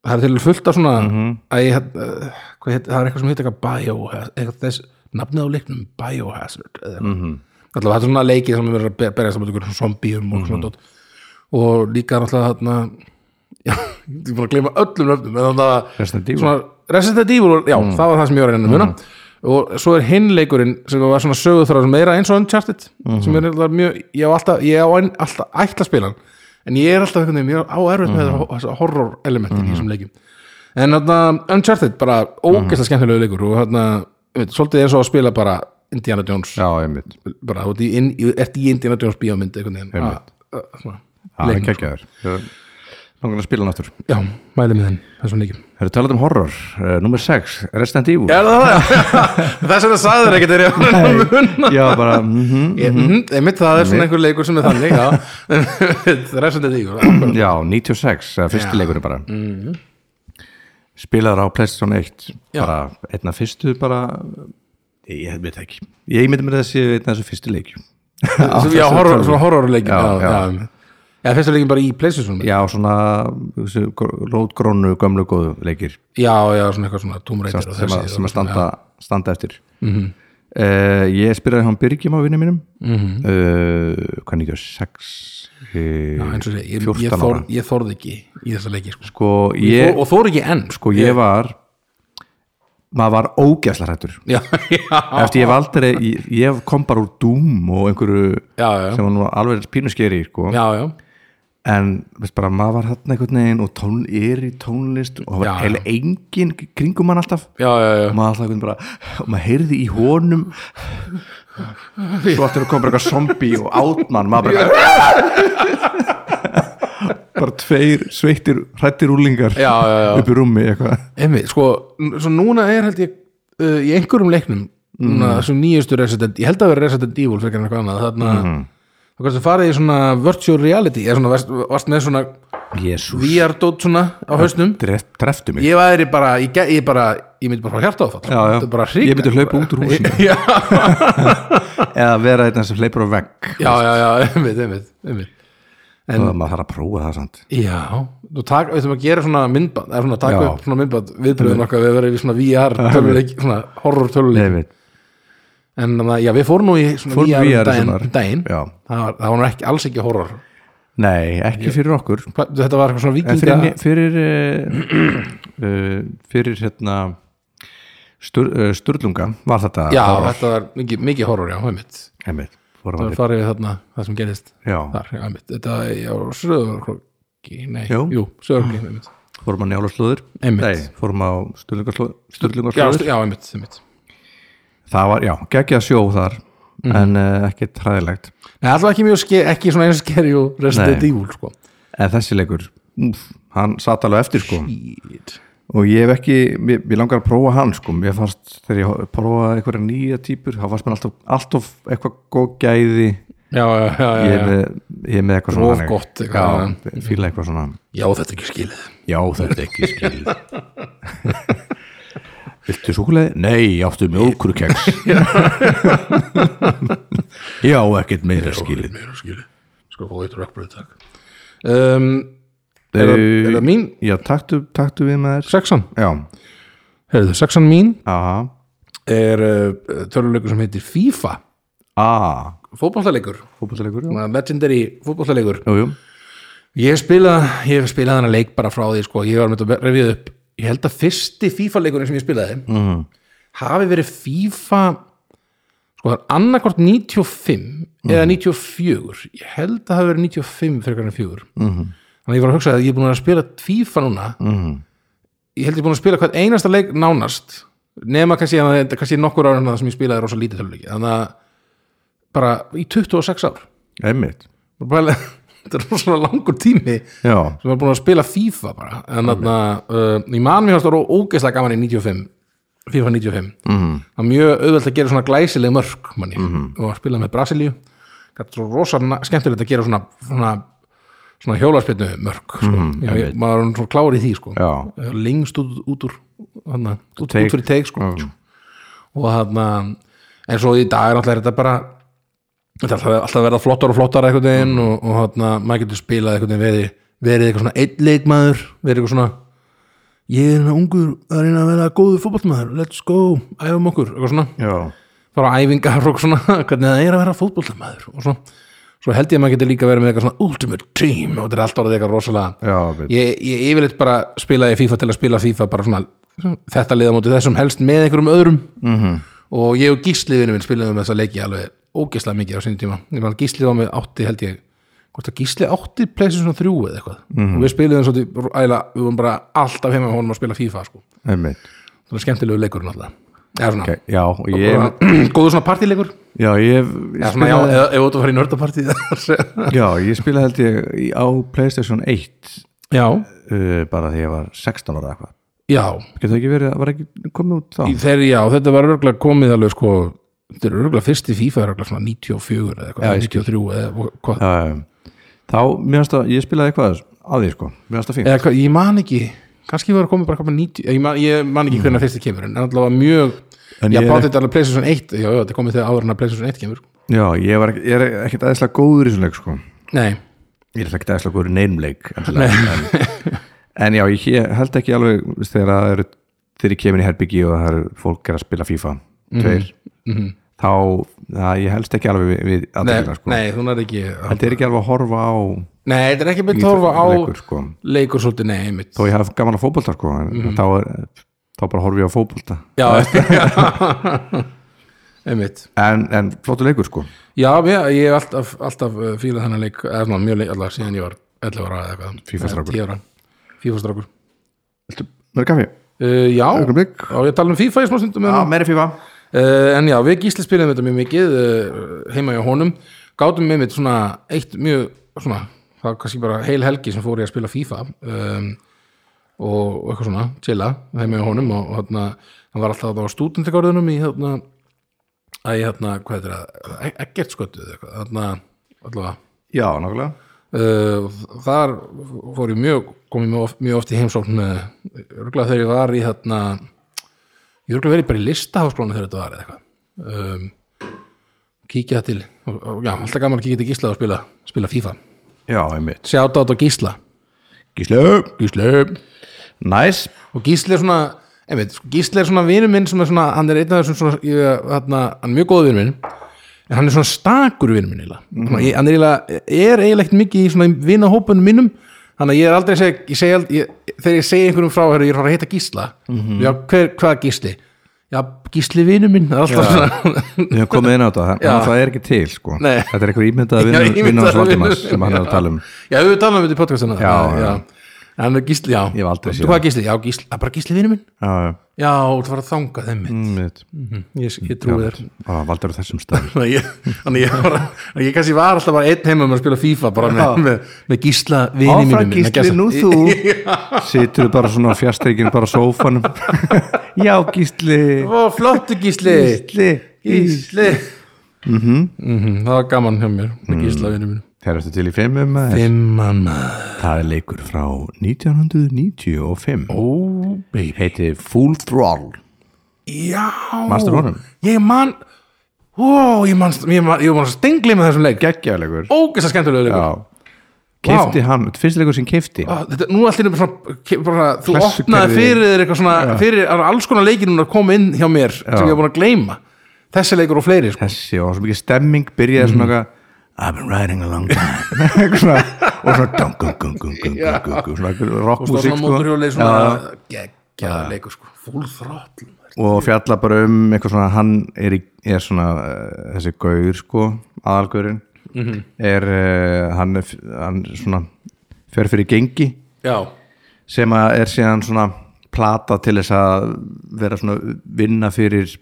Speaker 1: það er til fullt af svona mm
Speaker 2: Mhm.
Speaker 1: -hmm. að ég, uh, hvað heita, það er eitthvað sem heita eitthvað biohazard, eitthvað þess nafnið á leiknum biohazard eða eitthvað
Speaker 2: Mhm.
Speaker 1: alltaf þetta er svona
Speaker 2: Mhm.
Speaker 1: leikið sem er verið að berjast á móti einhverjum zombíum og svona dót og líka náttúrulega þarna já, ég er búin að gleyma öllum nöfnum en þannig að
Speaker 2: Resident Evil. Mm.
Speaker 1: svona, Resident Evil, já, það var það sem ég var að reyna að muna og svo er hinn leikurinn sem var svona söguþráð meira eins og Uncharted
Speaker 2: Mhm.
Speaker 1: sem er alltaf mjög, ég á alltaf ég á ein- alltaf ætla að spila hann en ég er alltaf einhvern veginn, ég er á erfitt með mm -hmm. horror elementin
Speaker 2: Mm.
Speaker 1: í þessum leikjum en þarna Uncharted, bara
Speaker 2: Mm.
Speaker 1: ógeðslega skemmtilegu leikur og þarna, veit, svolítið eins og að spila bara Indiana Jones
Speaker 2: já, einmitt
Speaker 1: bara, þú ert í, inn, ert í Indiana Jones bíómynd einhvern veginn
Speaker 2: Einmitt.
Speaker 1: A- a- svona,
Speaker 2: það er
Speaker 1: leiknum.
Speaker 2: kekkjaður langar að spila hann aftur
Speaker 1: Já, mæli með henn, þessum leikum
Speaker 2: það er talað um horror, uh, nummer 6 Resident Evil
Speaker 1: Er það það? Þess vegna sagði þér ekkert er ég að munna
Speaker 2: já, bara, mhm
Speaker 1: Einmitt það er svona einhver leikur sem er þannig já. Það er svona því
Speaker 2: Já, 96, eða fyrsti
Speaker 1: Hm. Já. Mhm.
Speaker 2: leikurinn bara Spilaður á Playstation 1 bara einn af fyrstu bara ég veit ekki ég myndi mér þessi einn af þessu fyrstu leikjum
Speaker 1: Já,
Speaker 2: þessu
Speaker 1: horror,
Speaker 2: tölvu.
Speaker 1: svona horrorleikin
Speaker 2: Já,
Speaker 1: Já,
Speaker 2: já.
Speaker 1: já Já, fyrsta leikin bara í Playstation Já,
Speaker 2: Já, svona þessu gr- rótgrónu gömlu góðu leikir
Speaker 1: já, svona eitthvað svona Tomb Raider og
Speaker 2: sem, að,
Speaker 1: þessi
Speaker 2: sem að standa, standa eftir mm
Speaker 1: Mhm.
Speaker 2: Ég spilaði hann Birgjum á vinni mínum mm -hmm.
Speaker 1: Mhm.
Speaker 2: uh, hvað 96
Speaker 1: Já,
Speaker 2: uh,
Speaker 1: eins og segi, ég,
Speaker 2: 14
Speaker 1: ég,
Speaker 2: ára
Speaker 1: þor, ég þorði ekki í þessa leiki sko.
Speaker 2: sko,
Speaker 1: ég,
Speaker 2: ég,
Speaker 1: Og þorði ekki enn
Speaker 2: sko, ég var maður var ógæsla hrættur
Speaker 1: Já, já,
Speaker 2: eftir ég hef aldrei, ég, ég kom bara úr Doom og einhverju
Speaker 1: já, já,
Speaker 2: sem var nú alveg pínuskeri sko.
Speaker 1: já, já.
Speaker 2: en veist bara, maður var hann einhvern veginn og tón, er í tónlist
Speaker 1: Já,
Speaker 2: og það var
Speaker 1: já.
Speaker 2: heila engin kringum hann alltaf
Speaker 1: Já, já, já.
Speaker 2: og maður alltaf einhvern veginn bara, og maður heyrði í honum svo aftur kom bara eitthvað zombi og átmann maður bara bara tveir sveittir hrættir úlingar
Speaker 1: Já, já, já.
Speaker 2: upp í rúmi eitthvað
Speaker 1: Einmitt, sko, n- svo núna er held ég uh, í einhverjum leiknum
Speaker 2: Mhm.
Speaker 1: núna, þessum nýjustu Resident, ég held að vera Resident Evil fyrir en eitthvað annað, þarna
Speaker 2: Mhm.
Speaker 1: þá kannski farið í svona virtual reality eða svona, varst, varst með svona
Speaker 2: Jésús,
Speaker 1: VR-dót svona á hausnum
Speaker 2: dreftu mig
Speaker 1: ég væri bara, ég, ge- ég bara ég myndi bara fá hjarta á það,
Speaker 2: Já, já.
Speaker 1: þetta er bara
Speaker 2: ég
Speaker 1: hrík
Speaker 2: myndi hlaupa út úr húsinu
Speaker 1: já,
Speaker 2: eða vera einn sem hleypur á vegg
Speaker 1: já, já, já, einmitt, einmitt, einmitt
Speaker 2: en, og maður þarf að prófa það samt
Speaker 1: já, þú tak, við þurfum að gera svona myndband, eða svona taka
Speaker 2: Já.
Speaker 1: upp svona myndband viðbröðum okkar, við verðum í svona VR töluleik, svona horror töluleik
Speaker 2: Nei,
Speaker 1: En þannig að, já, við fórum nú í svona
Speaker 2: Fórum
Speaker 1: VR,
Speaker 2: VR
Speaker 1: um daginn,
Speaker 2: svona.
Speaker 1: um daginn.
Speaker 2: Já.
Speaker 1: Það, var, það var nú ekki, alls ekki horror
Speaker 2: Nei ekki fyrir okkur
Speaker 1: Hva, Þetta var eitthvað svona
Speaker 2: en
Speaker 1: vikinga
Speaker 2: fyrir, fyrir, uh, uh, fyrir hérna stur, uh, Sturlunga var þetta
Speaker 1: Já, þetta var mikið, mikið horror, já, heimitt
Speaker 2: einmitt,
Speaker 1: Það var
Speaker 2: fyrir,
Speaker 1: farið við þarna, það sem gerðist
Speaker 2: já,
Speaker 1: Þar, já, heimitt, þetta, já, söðurkroki Nei,
Speaker 2: Jú.
Speaker 1: jú söðurkroki, heimitt
Speaker 2: fórum á Njálaslóður
Speaker 1: Einmitt.
Speaker 2: Nei, fórum á
Speaker 1: Já,
Speaker 2: Sturlungaslóður
Speaker 1: stu- já, heimitt, heimitt
Speaker 2: það var, já, geggjað sjó þar
Speaker 1: Mhm.
Speaker 2: en uh, ekki træðilegt
Speaker 1: Nei, alltaf ekki mjög ske, ekki svona eins skeri og Resident
Speaker 2: Nei.
Speaker 1: Evil, sko
Speaker 2: en þessi leikur, úf, hann satt alveg eftir sko
Speaker 1: Shit.
Speaker 2: og ég hef ekki, mér, mér langar að prófa hann sko, mér fannst þegar ég prófaði einhverja nýja típur, þá fannst mér alltaf, alltaf eitthvað góð gæði
Speaker 1: Já, já, já, já,
Speaker 2: ég er
Speaker 1: já.
Speaker 2: með, ég er með eitthvað
Speaker 1: Of
Speaker 2: þannig.
Speaker 1: gott, eitthvað,
Speaker 2: já, fíla eitthvað svona
Speaker 1: já, þetta er ekki skilið
Speaker 2: já, þetta er ekki skil viltu súkulegði? nei, áttu mjólkurkeks já, ekkert meira skilin
Speaker 1: Meira skilið, sko, fóðu eitt rökkbröð, takk um, Er það- er það mín?
Speaker 2: já, taktu, taktu við með þér
Speaker 1: Sexan,
Speaker 2: já,
Speaker 1: heyrðu, sexan mín
Speaker 2: aha,
Speaker 1: er uh, töluleikur sem heitir FIFA
Speaker 2: a
Speaker 1: fótballtaleikur,
Speaker 2: fótboltaleikur, já,
Speaker 1: svona legendary fótballtaleikur
Speaker 2: jú, jú
Speaker 1: ég hef spilað, ég hef spilað hana leik bara frá því sko, ég var með að revið upp ég held að fyrsti FIFA leikurinn sem ég spilaði hafi verið FIFA sko það er annarkvort 95 eða 94 ég held að það hafi verið 95 frekar en 4 -hmm. þannig að ég var að hugsa að ég er búin að spila FIFA núna
Speaker 2: Mhm.
Speaker 1: ég held ég er búin að spila hvern einasta leik nánast nema kannski, að- kannski nokkur ára en það sem ég spilaði rosa lítið töluleiki þannig að bara í 26 ár
Speaker 2: einmitt,
Speaker 1: Bara pæla- þetta er rosa langur tími
Speaker 2: já
Speaker 1: sem er búin að spila FIFA bara en þarna, uh, ég man mér hans það ógeðslega gaman í 95 FIFA 95, mm. það er mjög auðvelt að gera svona glæsileg mörk manni, mm. og að spila með Brasilíu gæti svo rosa na- skemmtilegt að gera svona svona, svona hjólarspilnu mörk sko. ég, ég, maður er orðinn svo klár í því sko.
Speaker 2: Já.
Speaker 1: lengst út, út úr hana, út,
Speaker 2: Teig.
Speaker 1: út fyrir teik sko. og þarna en svo í dag er alltaf þetta bara þetta er alltaf, alltaf verða flottar og flottar einhvern veginn og, og þarna, maður getur spilað einhvern veginn verið, verið eitthvað svona einn leikmaður verið eitthvað svona ég er hérna ungur að reyna að vera góðu fótboltamaður let's go, æfum okkur eitthvað svona
Speaker 2: Já,
Speaker 1: fara á æfingar og svona hvernig það er að vera fótboltamaður og svona, svo held ég að maður getur líka verið með eitthvað svona ultimate team og þetta er allt orðið eitthvað rosalega
Speaker 2: Já, veit.
Speaker 1: ég, ég yfirleitt bara spilaði FIFA til að spila FIFA bara svona þetta liða móti þessum helst með einhverjum öðrum
Speaker 2: Mhm.
Speaker 1: -hmm. og ég og gísliðinu minn spilaðum þessa leiki alveg ógeðslega mikið á sinni tíma ég var gíslið á mig átti held ég hvort að gíslið átti pleysið svona þrjú eða eitthvað
Speaker 2: Mhm.
Speaker 1: og við spilaðum svona æla, við vorum bara alltaf heima með honum að spila FIFA sko.
Speaker 2: einmitt
Speaker 1: það var skemmtilegu leikur náttúrulega eða svona,
Speaker 2: Ok, Já, og ég,
Speaker 1: okay. góður svona partíleikur
Speaker 2: já, ég, ég
Speaker 1: eða svona já,
Speaker 2: spilaði-
Speaker 1: eða- ef þú ert að fara í nördapartíð
Speaker 2: já, ég spilaði held ég í- á Playstation 1
Speaker 1: já,
Speaker 2: uh, bara því ég var 16 ára eitthvað
Speaker 1: Já,
Speaker 2: Getur það ekki verið, það var ekki komið út þá
Speaker 1: í þeirri já, þetta var örgulega komið alveg sko, þetta er örgulega fyrsti FIFA er örgulega svona 94 eða eitthvað, 93 eða hvað,
Speaker 2: Já, Þá, mér finnst að, ég spilaði eitthvað að því sko, mér finnst það fínt
Speaker 1: eða hvað, ég man ekki, kannski var komið bara komið 90, ég man, ég man ekki hvernig fyrsti kemur, en allavega mjög,
Speaker 2: Mm. En
Speaker 1: já,
Speaker 2: ég er
Speaker 1: bátt þetta alveg PlayStation 1, já, já, þetta er komið þegar áður en að PlayStation 1 kemur,
Speaker 2: Já, ég, var, ekki- ég er ekkert aðeinslega góður í svona leik sko
Speaker 1: nei,
Speaker 2: Ég er ekkert aðeinslega góður í neinum leik endilega, en, en já, ég he- held ekki alveg þú veist, þegar það eru þegar ég kemur í herbyggi og það eru fólk er að spila FIFA
Speaker 1: Mhm.
Speaker 2: tveir, þá það, ég helst ekki alveg við, við
Speaker 1: nei,
Speaker 2: aðeins sko.
Speaker 1: nei, þú nær ekki
Speaker 2: Þetta er ekki alveg að horfa á
Speaker 1: nei, þetta er ekki beint að horfa á
Speaker 2: leikur sko
Speaker 1: leikur svolítið, nei, einmitt
Speaker 2: Þó ég hef gaman að fótbolta sko en
Speaker 1: Mhm.
Speaker 2: þá, er- þá bara horfi ég á fótbolta
Speaker 1: já, einmitt
Speaker 2: En, en flottu leikur sko
Speaker 1: Já, já, ég hef alltaf, alltaf uh, fílað þennan leik, eða svona mjög leik allar síðan ég var 11 ára eða eitthvað
Speaker 2: FIFA-strákur.
Speaker 1: Nei, 10 ára. FIFA-strákur
Speaker 2: Mörg kaffi,
Speaker 1: uh, Já,
Speaker 2: Augnablik.
Speaker 1: já, ég tala um FIFA í smá stundum
Speaker 2: já,
Speaker 1: uh,
Speaker 2: meiri FIFA
Speaker 1: En já, við gísli spilum þetta mjög mikið uh, heima hjá honum gátum með mitt svona eitt mjög svona, það var kannski bara heil helgi sem fór ég að spila FIFA um, og og eitthvað svona, chilla heima hjá honum og, og hérna, hann var alltaf þarna á stúdendagarðunum í hérna að ég hérna, hvað er það, ekkert sköttu eitthvað, hérna, allavega
Speaker 2: Já, nákvæmlega
Speaker 1: uh, þar fór ég mjög kom ég mjög oft, mjög oft í heimsókn örgulega þegar ég var í þarna ég örgulega verið bara í listaháskólanum þegar þetta var eða eitthvað um, kíkja til og- og- já, alltaf gaman að kíkja til Gísla og spila, spila FIFA
Speaker 2: Já, einmitt
Speaker 1: sjáta á Gísla
Speaker 2: Gíslu
Speaker 1: Gísli
Speaker 2: Næs
Speaker 1: og Gísli er svona einmitt, sko, Gísli er svona vinur minn sem er svona, hann er einn af þessum svona, ég, þarna, hann er mjög góð vinur minn en hann er svona stakur vinur minn mm -hmm. hann er eiginlega, er eiginlega ekkert mikið í svona vinahópunum mínum þannig að ég er aldrei að segja, ég segja ald- ég, þegar ég segi einhverjum frá, herru, ég er að fara að heita Gísla
Speaker 2: Mhm.
Speaker 1: já, hver, hvað Gísli? já, Gísli vinur minn, það er alltaf svona
Speaker 2: Við höfum komið inn á þetta,
Speaker 1: Já.
Speaker 2: en það er ekki til sko
Speaker 1: Nei.
Speaker 2: Þetta er einhver ímyndaða
Speaker 1: Já,
Speaker 2: vinnur
Speaker 1: ímyndaður
Speaker 2: vinnur
Speaker 1: vinur.
Speaker 2: um- Valdimars sem hann er að tala um
Speaker 1: já, við talum um þetta í podcastinu
Speaker 2: Já, já.
Speaker 1: en Gísli, já,
Speaker 2: Ég hef aldrei séð
Speaker 1: hvað Gísli? já, Gísli, það er bara Gísli vinur minn
Speaker 2: Já, já,
Speaker 1: já, þú var að þanga þeim mitt
Speaker 2: einmitt
Speaker 1: ég, ég trúi þér
Speaker 2: Já, Valdur á þessum stað
Speaker 1: Þannig að ég- þannig að ég, var- þannig að ég kannski var alltaf bara einn heima með að spila FIFA bara með, með, með gísla vini mínum
Speaker 2: Áfram Gísli, nú þú Situr bara svona á fjastreikin bara á sófanum Já, Gísli
Speaker 1: Ó, flottu gísli
Speaker 2: Gísli Mhm.
Speaker 1: Gísli mm Það var gaman hjá mér
Speaker 2: Mm.
Speaker 1: með gísla vini mínum
Speaker 2: Þegar ertu til í fimmum eða?
Speaker 1: Fimman
Speaker 2: Það er leikur frá 1995
Speaker 1: Ó, baby
Speaker 2: Heiti Full Thrall
Speaker 1: Já
Speaker 2: Manstu honum?
Speaker 1: Ég man Ó, ég man, ég man, ég man stengli með þessum leik
Speaker 2: Gekkjæðleikur
Speaker 1: Ógæsta skemmtulega leikur
Speaker 2: Já Keifti hann, fyrst leikur sem keifti
Speaker 1: Ó, Ah, þetta, nú allir er svona, ke- bara, þú
Speaker 2: Klessukerfi.
Speaker 1: opnaði fyrir þér eitthvað svona, fyrir það eru alls konar leikir núna að koma inn hjá mér sem ég hef búin að gleyma þessi leikur og fleiri sko.
Speaker 2: Þessi og svo mikið stemming byrjaði svona
Speaker 1: Mhm.
Speaker 2: eitthvað I've been riding a long time Eitthvað svona, og svona dung, dung, dung, dung, dung, dung, dung, dung, svona
Speaker 1: og
Speaker 2: rockmusík
Speaker 1: svona
Speaker 2: sko.
Speaker 1: móturhjólið svona geggjaða leikur sko, full throttle maður.
Speaker 2: og fjalla bara um eitthvað svona hann er, í, er svona uh, þessi gaur sko, aðalgaurinn
Speaker 1: Mhm.
Speaker 2: er uh, hann, er f- hann svona fer fyrir gengi
Speaker 1: já,
Speaker 2: sem að er síðan svona plata til þess að vera svona vinna fyrir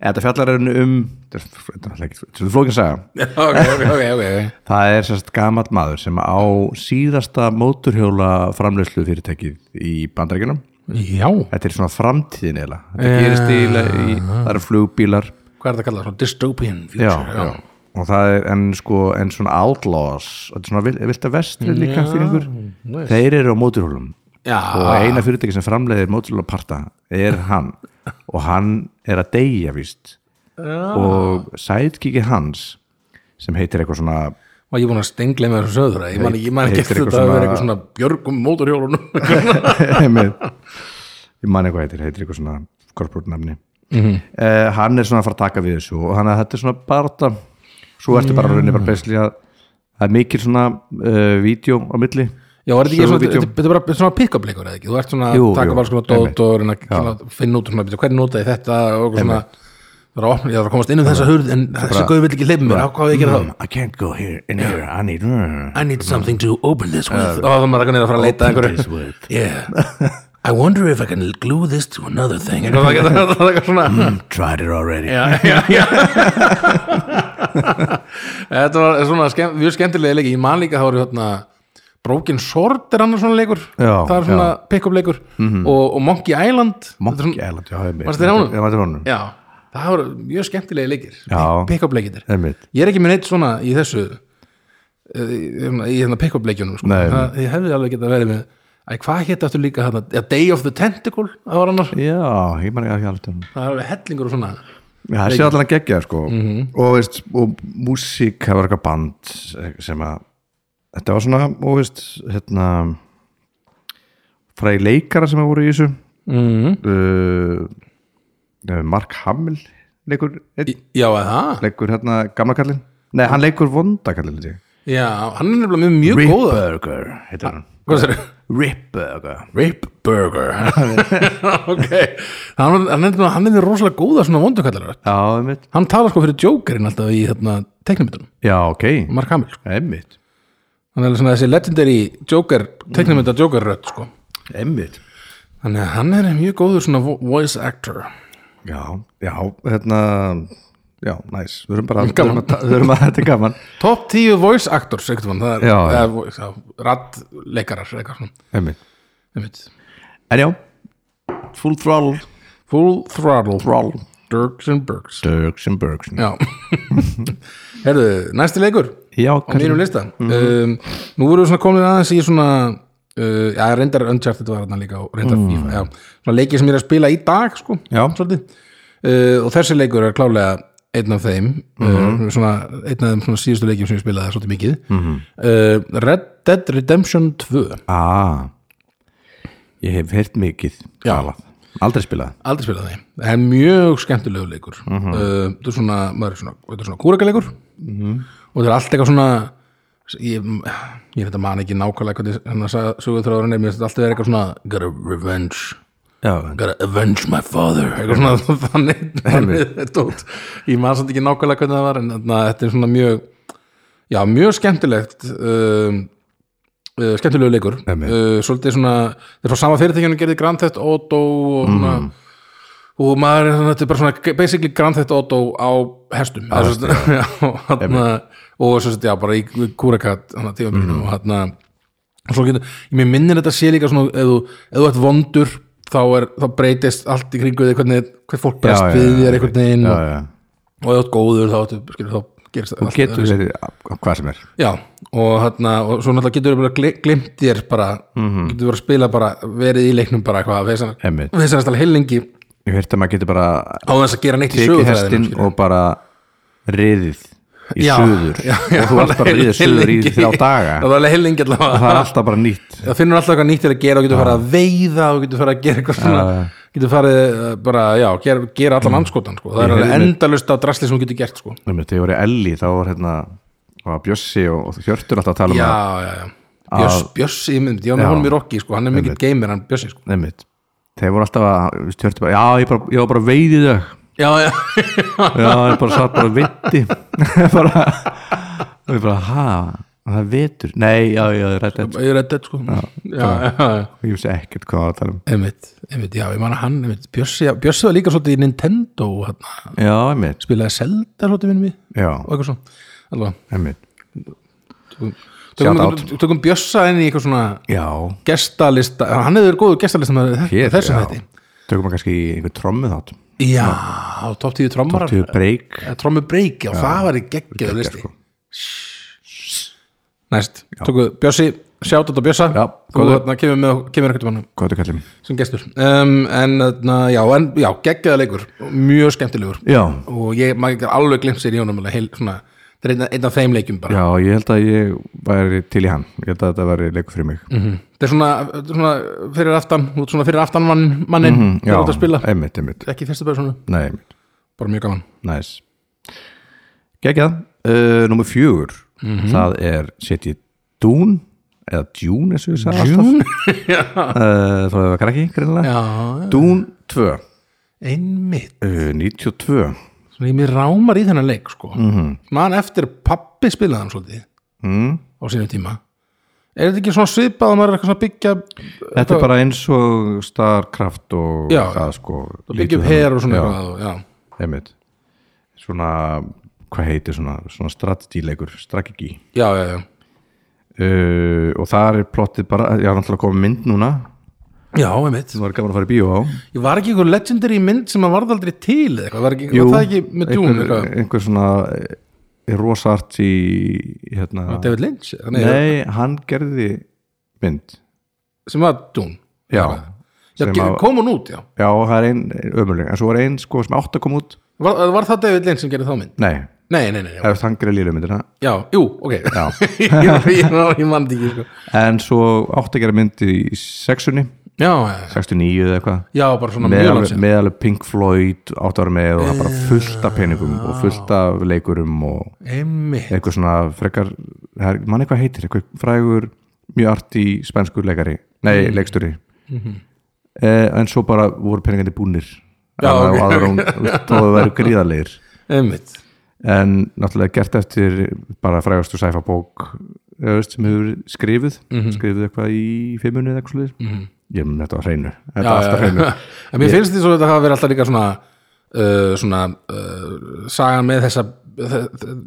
Speaker 2: eða þetta fjallar er um þetta er- þetta er ekki- þetta er flókin saga
Speaker 1: Já, ok, ok, ok, okay.
Speaker 2: það er sérst gamall maður sem á síðasta móturhjóla framleyslu fyrirtækið í bandarækjunum
Speaker 1: já,
Speaker 2: þetta er svona framtíðin eða þetta gerist í, í það eru flugbílar
Speaker 1: hvað er það að kalla, svona dystopian future
Speaker 2: já, já. og það er en sko en svona outlaws, þetta er svona vil- vilt að vestri líka fyrir einhver, þeir eru á móturhjólum
Speaker 1: já,
Speaker 2: og eina fyrirtæki sem framleiðir mótorhjólaparta er hann og hann er að deyja víst Ah. og sætkiki hans sem heitir eitthvað svona
Speaker 1: var ég búin að stengla með þessum söður ég man, ég man ekki
Speaker 2: heitir
Speaker 1: eftir
Speaker 2: eitthvað
Speaker 1: þetta að vera
Speaker 2: svona-
Speaker 1: eitthvað svona björgum móturhjólunum
Speaker 2: með, ég man eitthvað heitir, heitir eitthvað svona
Speaker 1: Mhm.
Speaker 2: Eh, korportnafni mm hann er svona að fara að taka við þessu og hann að þetta er svona barta svo ertu bara rauninni bara beisli að það er mikil svona uh, vídeo á milli
Speaker 1: Já, er þetta ekki svona,
Speaker 2: Söguvídeó.
Speaker 1: þetta þetta er bara svona pick-up-leikur eða ekki, þú ert svona að
Speaker 2: Jú,
Speaker 1: taka
Speaker 2: jú,
Speaker 1: bara svona dót og reyna að kynna- finna út svona, "Bíddu, hvernig notaði þetta og okkur svona, það er að opna, ég þarf að komast inn um þessa hurð en þessi gauð vill ekki leifa mér, á hvað á ég að gera þá?
Speaker 2: I can't go here in here, I need mm.
Speaker 1: I need something to open this with, og þá er maður eitthvað niður að fara að leita að einhverju, yeah, I wonder if I can glue this to another thing, eitthvað það getur- það er eitthvað svona,
Speaker 2: Tried it already
Speaker 1: já, já, já, þetta var svona, skemm- mjög skemmtilega leiki, ég man líka þá eru þarna, hérna, Broken Sword er annar svona leikur
Speaker 2: Já, Mhm.
Speaker 1: það er svona pick-up leikur og, og Monkey Island Þetta er
Speaker 2: Monkey
Speaker 1: svona-
Speaker 2: Island, já, einmitt
Speaker 1: Varstu þér á honum?
Speaker 2: Já, varstu þér á honum
Speaker 1: Já, það voru mjög skemmtilegi leikir
Speaker 2: Já.
Speaker 1: Pick-up leikir
Speaker 2: Einmitt.
Speaker 1: Ég er ekki með neitt svona í þessu eh, í í hérna pick-up leikjunum sko.
Speaker 2: Nei.
Speaker 1: Það- Ég hefði alveg getað verið með Æ, hvað hétt aftur líka hérna ja, Day of the Tentacle það var annars
Speaker 2: Já, ég man ekki að hjálta honum
Speaker 1: Það er alveg hellingur og svona
Speaker 2: Já, það sé allan að gegja sko og, veist, og músík það var eitthvað band eh, sem að þetta var svona og veist hérna fræði leikara sem að voru í þessu
Speaker 1: mm.
Speaker 2: uh, Mark Hamill leikur, einn,
Speaker 1: Já, eða það
Speaker 2: leikur hérna gamla kallinn nei, hann leikur vonda kallinn held ég.
Speaker 1: Já, hann er nefnilega mjög, mjög
Speaker 2: Rip
Speaker 1: góða
Speaker 2: Burger heitir hann
Speaker 1: Hvað það er?
Speaker 2: Rip Burger
Speaker 1: Rip Burger Ok Hann, var- hann, er nefnilega- hann er nefnilega rosalega góða svona vondukallar
Speaker 2: Já, einmitt
Speaker 1: Hann talar sko fyrir Jokerinn alltaf í hérna, teknumyndunum,
Speaker 2: Já, ok,
Speaker 1: Mark Hamill sko.
Speaker 2: einmitt
Speaker 1: hann er svona þessi legendary Joker teknumynda Joker rödd sko
Speaker 2: Einmitt
Speaker 1: þannig að hann er mjög góður svona vo- voice actor
Speaker 2: Já, já, hérna Já, næs, við erum bara við
Speaker 1: Gaman.
Speaker 2: erum að, ta- við erum að þetta er gaman
Speaker 1: top 10 voice actors ekkert mann, það er,
Speaker 2: Já,
Speaker 1: það
Speaker 2: já.
Speaker 1: er vo- það er raddleikarar eitthvað svona
Speaker 2: Einmitt.
Speaker 1: einmitt.
Speaker 2: En já, full throttle
Speaker 1: full throttle,
Speaker 2: Throttle.
Speaker 1: Dirks and Burks
Speaker 2: Dirks and Burks Já,
Speaker 1: já herðu, næsti leikur á
Speaker 2: kannski- Mhm.
Speaker 1: mínum lista um, nú vorum við svona komin aðeins í svona uh, já, reyndar Uncharted var þarna líka og reyndar FIFA, já, svona leiki sem ég er að spila í dag sko,
Speaker 2: Mhm. Já.
Speaker 1: svolítið uh, og þessi leikur er klálega einn af þeim
Speaker 2: Mhm.
Speaker 1: uh, svona, einn af þeim svona síðustu leikjum sem ég spilaði svolítið mikið uh, Red Dead Redemption 2
Speaker 2: Ah, ég hef heyrt mikið
Speaker 1: Já.
Speaker 2: talað. Aldrei spilað
Speaker 1: aldrei spilaði þeim, það er mjög skemmtilegu leikur uh, þetta er svona, maður er svona, þetta er svona kúrakaleikur og þetta er allt eitthvað svona ég, ég veit að man ekki nákvæmlega hvernig hann að sögur þráðurinn er, mér finnst þetta alltaf er eitthvað svona gotta revenge
Speaker 2: Já,
Speaker 1: gotta avenge my father eitthvað svona þannig, þannig tótt. ég man samt ekki nákvæmlega hvernig það var en na, þetta er svona mjög já, mjög skemmtilegt um, uh, skemmtilegu leikur
Speaker 2: Einmitt.
Speaker 1: uh, svolítið svona þetta er frá sama fyrirtækjunum gerði Grand Theft Auto og svona og maður, er svona- þetta er bara svona basically Grand Theft Auto á hestum ah, svo, já, og, hana, og svo þetta, já, bara í kúrakat hana, tífaminu, og hana, og svo getur, ég mér minnir þetta sé líka svona ef þú, ef þú ert vondur þá, er, þá breytist allt í kringu þig hvernig, hvernig fólk breyst
Speaker 2: já,
Speaker 1: við
Speaker 2: já,
Speaker 1: þér einhvern veginn
Speaker 2: já,
Speaker 1: og,
Speaker 2: já.
Speaker 1: og ef þú ert góður þá, ertu- skilur, þá gerist allt
Speaker 2: Getur verið á- á hvað sem er
Speaker 1: Já, og, þarna, og svo náttúrulega getur við bara gli- glimt þér bara, getur við bara að spila bara verið í leiknum bara eitthvað
Speaker 2: Mhm. Einmitt.
Speaker 1: veist að heilingi
Speaker 2: Ég hef heyrt að maður getur bara
Speaker 1: á þess að gera neitt í
Speaker 2: tekið hestinn
Speaker 1: sögutræðinu
Speaker 2: og bara riðið í
Speaker 1: Já,
Speaker 2: suður
Speaker 1: já, já,
Speaker 2: og þú ert bara að riðið suður í
Speaker 1: heilingi.
Speaker 2: þrjá daga
Speaker 1: Já, það er heilingi
Speaker 2: og
Speaker 1: allavega
Speaker 2: það er alltaf bara nýtt
Speaker 1: það finnur alltaf eitthvað nýtt til að gera og getur farið að veiða og getur farið að gera eitthvað svona getur farið eh, bara, já, gera, gera
Speaker 2: Mm.
Speaker 1: allan anskotan sko. það
Speaker 2: Ég
Speaker 1: er
Speaker 2: heyrði mér-
Speaker 1: endalust af drasli sem þú getur gert sko.
Speaker 2: Einmitt, Þegar ég var í Elli þá var hérna var Bjössi og, og Hjörtur alltaf að tala um
Speaker 1: já,
Speaker 2: það
Speaker 1: já, já Björs, Björs, ég mynd, ég var með
Speaker 2: Já.
Speaker 1: honum í Rocky sko. hann er mikill gamer, hann Björsi sko.
Speaker 2: Einmitt. Þeir voru alltaf að þú veist, Hjörtur bara, já ég, bara, ég var bara veiðið þau
Speaker 1: já, já,
Speaker 2: Já ég bara satt bara viti bara, og ég bara ha það er vitur, nei já já ég rætti
Speaker 1: ég er að þetta sko. já, já, já
Speaker 2: ég vissi ekkert hvað það var að tala um
Speaker 1: Einmitt, einmitt, já, ég man að hann einmitt, Bjössi, já, Bjössi var líka svolítið í Nintendo hann
Speaker 2: Já einmitt,
Speaker 1: spilaði Zelda svolítið minnum við
Speaker 2: já
Speaker 1: og eitthvað svona Allavega,
Speaker 2: einmitt
Speaker 1: tökum,
Speaker 2: Shout
Speaker 1: tökum, tökum Bjössa inn í eitthvað svona
Speaker 2: Já,
Speaker 1: gestalista, hann hefur verið góður gestalista með
Speaker 2: Hér,
Speaker 1: þessum
Speaker 2: já.
Speaker 1: þetta
Speaker 2: Tökum við kannski einhver trommu þátt
Speaker 1: Já, top 10 trommarar
Speaker 2: Tökum við break
Speaker 1: Eh, Trommu break, já, það var í geggjöðu listi
Speaker 2: sko.
Speaker 1: Næst, tökum Bjössi, sjátt á Bjössa
Speaker 2: Já,
Speaker 1: og
Speaker 2: góður.
Speaker 1: þarna kemur, með- kemur eitthvað mann
Speaker 2: Hvað þú kallum?
Speaker 1: sem gestur um, en, na, já, en já, geggjöða leikur mjög skemmtilegur
Speaker 2: Já,
Speaker 1: og ég, maður getur alveg glimt sér í honum alveg heil, svona, það er einn- einn af þeim leikjum bara
Speaker 2: já, ég held að ég væri til í hann Ég held að þetta væri leikur fyrir mig
Speaker 1: Mhm. þetta er svona, þetta er svona fyrir aftan þú ert svona fyrir aftan mann, mannin mm -hmm,
Speaker 2: Mhm, Já,
Speaker 1: að spila,
Speaker 2: einmitt, einmitt
Speaker 1: ekki í fyrstu personu
Speaker 2: Nei, einmitt,
Speaker 1: bara mjög gaman
Speaker 2: næs Gekkið uh, Númer fjögur
Speaker 1: Mhm.
Speaker 2: Það er setjið Dún eða Dún eins og ég sagði alltaf uh, Þá hefur krakki greinlega
Speaker 1: Já,
Speaker 2: Dún 2 uh,
Speaker 1: einmitt
Speaker 2: Eh, 92
Speaker 1: Svona ég mér rámar í þennan leik sko Man eftir pappi spilaði hann svolítið
Speaker 2: mm.
Speaker 1: á sínu tíma Er þetta ekki svona svipað að maður er eitthvað svona að byggja
Speaker 2: Þetta er bara eins og Starcraft og
Speaker 1: Já.
Speaker 2: það sko
Speaker 1: byggja upp her og svona eitthvað og, Já,
Speaker 2: Einmitt Svona, hvað heitir svona, svona strategileikur, strategi
Speaker 1: já, já, já
Speaker 2: uh, Og þar er plottið bara, ég har náttúrulega komið mynd núna
Speaker 1: Já, einmitt
Speaker 2: Nú er gaman að fara í bíó á
Speaker 1: Ég var ekki einhver legendary mynd sem að varð aldrei til eða eitthvað, var, ekki, var það ekki með Dune
Speaker 2: einhver,
Speaker 1: eitthvað
Speaker 2: einhver svona eh, rosa art í hérna,
Speaker 1: David Lynch, nei,
Speaker 2: nei, hann gerði mynd
Speaker 1: sem var Dune
Speaker 2: já,
Speaker 1: Já,
Speaker 2: Sem
Speaker 1: að...
Speaker 2: að-
Speaker 1: kom hún út, já
Speaker 2: já það er ein ömuleg, en svo var ein sko sem átt að koma út
Speaker 1: var, var það David Lynch sem gerði þá mynd?
Speaker 2: nei,
Speaker 1: Nei, nei, nei, já,
Speaker 2: eða hann gerði lílu myndina
Speaker 1: já jú, ok Ég, ég, ég mandi ekki sko.
Speaker 2: en svo átt að gera mynd í sexunni,
Speaker 1: Já, já, já.
Speaker 2: 69 eða eitthvað
Speaker 1: já, bara svona
Speaker 2: með
Speaker 1: mjög
Speaker 2: alveg-
Speaker 1: langsinn
Speaker 2: með alveg Pink Floyd átt ára með og það bara fullt af peningum og fullt af leikurum og
Speaker 1: Einmitt,
Speaker 2: eitthvað svona frekar mann eitthvað heitir, eitthvað frægur mjög arti spænskur leikari nei, mm. leiksturi
Speaker 1: Mhm.
Speaker 2: eh, en svo bara voru peningandi búnir
Speaker 1: Já,
Speaker 2: Þannig að
Speaker 1: ok,
Speaker 2: áður en- þó að vera gríðarleir
Speaker 1: einmitt
Speaker 2: en náttúrulega gert eftir bara frægastu sæfa bók eða veist, sem hefur verið skrifuð
Speaker 1: Mhm.
Speaker 2: skrifuð eitthvað í fimmunni eða eitthvað mm -hmm. ég mun þetta á hreinu þetta er alltaf hreinu
Speaker 1: En mér finnst því svo að þetta hafa verið alltaf líka svona uh, svona uh, sagan með þessa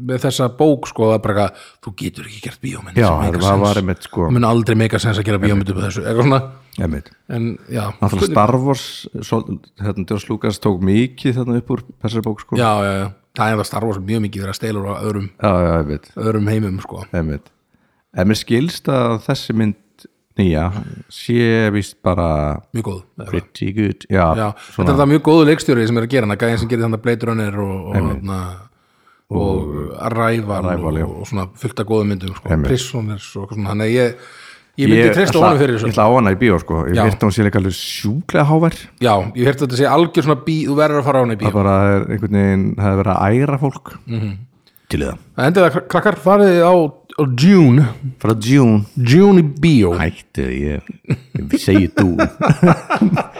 Speaker 1: með þessa bók sko að bara eitthvað, þú getur ekki gert bíómynd
Speaker 2: já,
Speaker 1: sem make a
Speaker 2: það var
Speaker 1: sense.
Speaker 2: einmitt sko
Speaker 1: Það mun aldrei meika sens að gera bíómynd upp á þessu eitthvað svona,
Speaker 2: einmitt
Speaker 1: en já
Speaker 2: Náttúrulega sko. Star Wars, svo, hérna, Djós Lukas tók mikið þarna upp úr þessari bók sko.
Speaker 1: já, já, já, það er það starfa sem mjög mikið verið að steilur á öðrum,
Speaker 2: já, já, einmitt
Speaker 1: öðrum heimum sko.
Speaker 2: Einmitt. En mér skilst að þessi mynd nýja sé vist bara
Speaker 1: mjög góð eða hvað.
Speaker 2: pretty good já,
Speaker 1: já,
Speaker 2: svona,
Speaker 1: þetta er það mjög góðu leikstjóri sem er að gera hana gæðin sem gerir þannig Blade Runner og, og, hana, og Arrival,
Speaker 2: Arrival, já.
Speaker 1: og, og svona fullt af góðu myndum sko,
Speaker 2: Einmitt.
Speaker 1: Prisoners og eitthvað svona, þannig að ég ég myndi treysta honum fyrir
Speaker 2: Ég
Speaker 1: þessu
Speaker 2: ætla á hana í bíó sko Ég
Speaker 1: Já.
Speaker 2: veit að hún sé líka alveg sjúklega hávær
Speaker 1: já, ég hérti þetta sé algjör svona bí, þú verður að fara á hana í
Speaker 2: Það
Speaker 1: bíó
Speaker 2: bara er einhvern veginn Það er verið að æra fólk
Speaker 1: Mhm.
Speaker 2: Til í það
Speaker 1: það endur það krakkar, farið á, á Dune
Speaker 2: Frá June
Speaker 1: Dune í bíó
Speaker 2: Hætti, ég, ég segi þú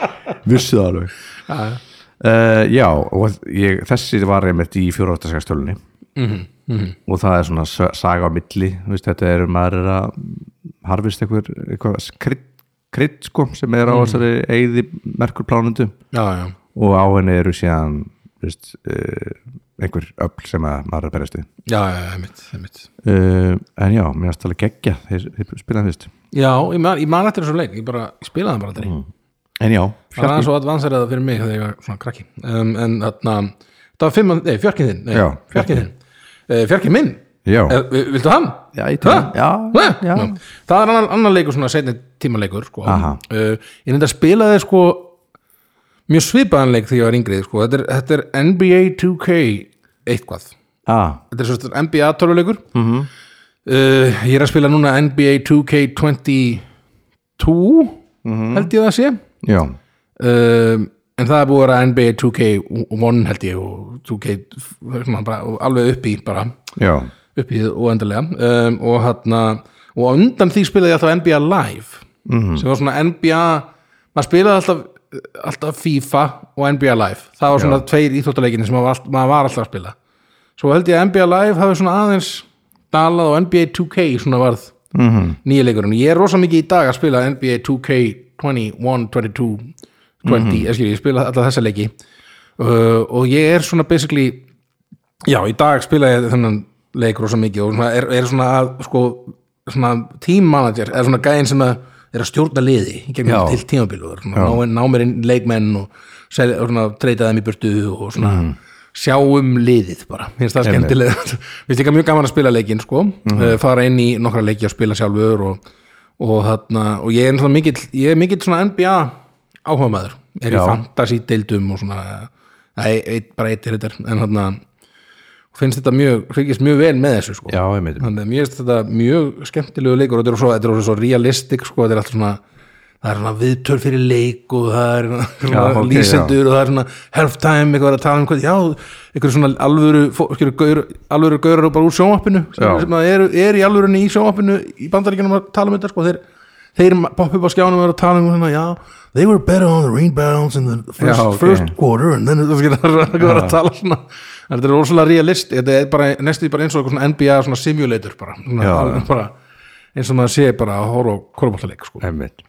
Speaker 2: Vissu það alveg uh, Já, og ég, þessi var einmitt í fjóraftaskastölunni
Speaker 1: Mhm,
Speaker 2: og það er svona sa- saga á milli, þú veist, þetta er maður er að harfist eitthvað, eitthvað krydd, krydd sko, sem er á
Speaker 1: Mhm.
Speaker 2: þessari eigði merkur plánundu
Speaker 1: já, já,
Speaker 2: og á henni eru síðan þú veist, uh, einhver öll sem að maður er að berjast við
Speaker 1: já, já, einmitt, einmitt
Speaker 2: uh, en já, mér er stálega geggja þeir, þeir spilaði fyrst
Speaker 1: já, ég man, ég man eftir þessu leik ég bara ég spilaði hann bara
Speaker 2: Mm.
Speaker 1: aldrei
Speaker 2: en já,
Speaker 1: Það var aðeins og advansera það fyrir mig þegar ég var svona krakki um, En þarna, það var fimm, nei, fjarkinn þinn nei,
Speaker 2: Já,
Speaker 1: Fjarkinn þinn, uh, fjarkinn minn
Speaker 2: já.
Speaker 1: uh, Viltu hann?
Speaker 2: Já, ég tek
Speaker 1: Ha?
Speaker 2: hann. Já,
Speaker 1: Ha?
Speaker 2: já.
Speaker 1: Nú, Það er annar, annar leikur svona seinni tímaleikur sko.
Speaker 2: Aha.
Speaker 1: uh, Ég nefndi að spila þeir sko mjög svipaðan leik þegar ég var yngrið sko. þetta, er, þetta er NBA 2K eitthvað
Speaker 2: ah,
Speaker 1: Þetta er svona NBA töluleikur mm
Speaker 2: Mhm.
Speaker 1: -hmm. uh, Ég er að spila núna NBA 2K22
Speaker 2: Mhm.
Speaker 1: held ég að það sé
Speaker 2: Ah, já
Speaker 1: um, en það er búið að vera NBA 2K1 held ég og 2K svona, bara, og alveg upp í bara
Speaker 2: já,
Speaker 1: upp í og endalega um, og hann og á undan því spilaði ég alltaf NBA Live sem var svona NBA maður spilaði alltaf, alltaf FIFA og NBA Live, það var svona
Speaker 2: Já.
Speaker 1: tveir íþjóttuleikinni sem maður, var allt- maður var alltaf að spila svo held ég að NBA Live hafi svona aðeins dalað og NBA 2K svona varð mm -hmm. nýja leikurinn ég er rosa mikið í dag að spila NBA 2K 21, 22 20, mm -hmm. ég spila alltaf þessa leiki uh, og ég er svona basically Já, í dag spila ég þennan leik rosa mikið og svona er, er svona að sko, svona team manager er svona gæðin sem að er að stjórna liði í gegnum
Speaker 2: Já.
Speaker 1: til tímabil og er svona ná, ná mér inn leikmenn og, sel, og svona, treyta þeim í burtu og svona
Speaker 2: Mhm.
Speaker 1: sjá um liðið bara, finnst það skemmtilega finnst ekki mjög gaman að spila leikinn sko
Speaker 2: Mhm.
Speaker 1: mm. fara inn í nokkra leiki að spila sjálfur og, og þarna og ég er svona mikill, ég er mikill svona NBA áhuga maður, er í
Speaker 2: Já.
Speaker 1: fantasy deildum og svona, eh, nei, eitt, bara eitt er þetta, en þarna finnst þetta mjög, fylgist mjög vel með þessu sko.
Speaker 2: já, einmitt
Speaker 1: þannig að mér finnst þetta mjög skemmtilegu leikur og þetta er svo, þetta er svo realistik sko, þetta er alltaf svona það er svona viðtöl fyrir leik og það er svona
Speaker 2: Já, ok,
Speaker 1: lýsendur og það er svona halftime, eitthvað er að tala um hvað, já, eitthvað svona alvöru, fó- skilur, gaur, alvöru gaurar bara úr sjónvappinu
Speaker 2: Já.
Speaker 1: sem, sem að eru er í alvörunni í sjónvappinu í bandaríkjunum að tala um þetta, sko, þeir þeir poppa upp á skjánum og eru að tala um svona, já, they were better on the rebounds in the first,
Speaker 2: Já, ok.
Speaker 1: first quarter and then it was gonna vera að tala svona þetta er rosalega realist, þetta er bara næstu bara eins og eitthvað svona NBA svona simulator bara, svona,
Speaker 2: Já,
Speaker 1: alveg bara eins og maður sé bara að horfa á korfballaleik sko.
Speaker 2: Einmitt.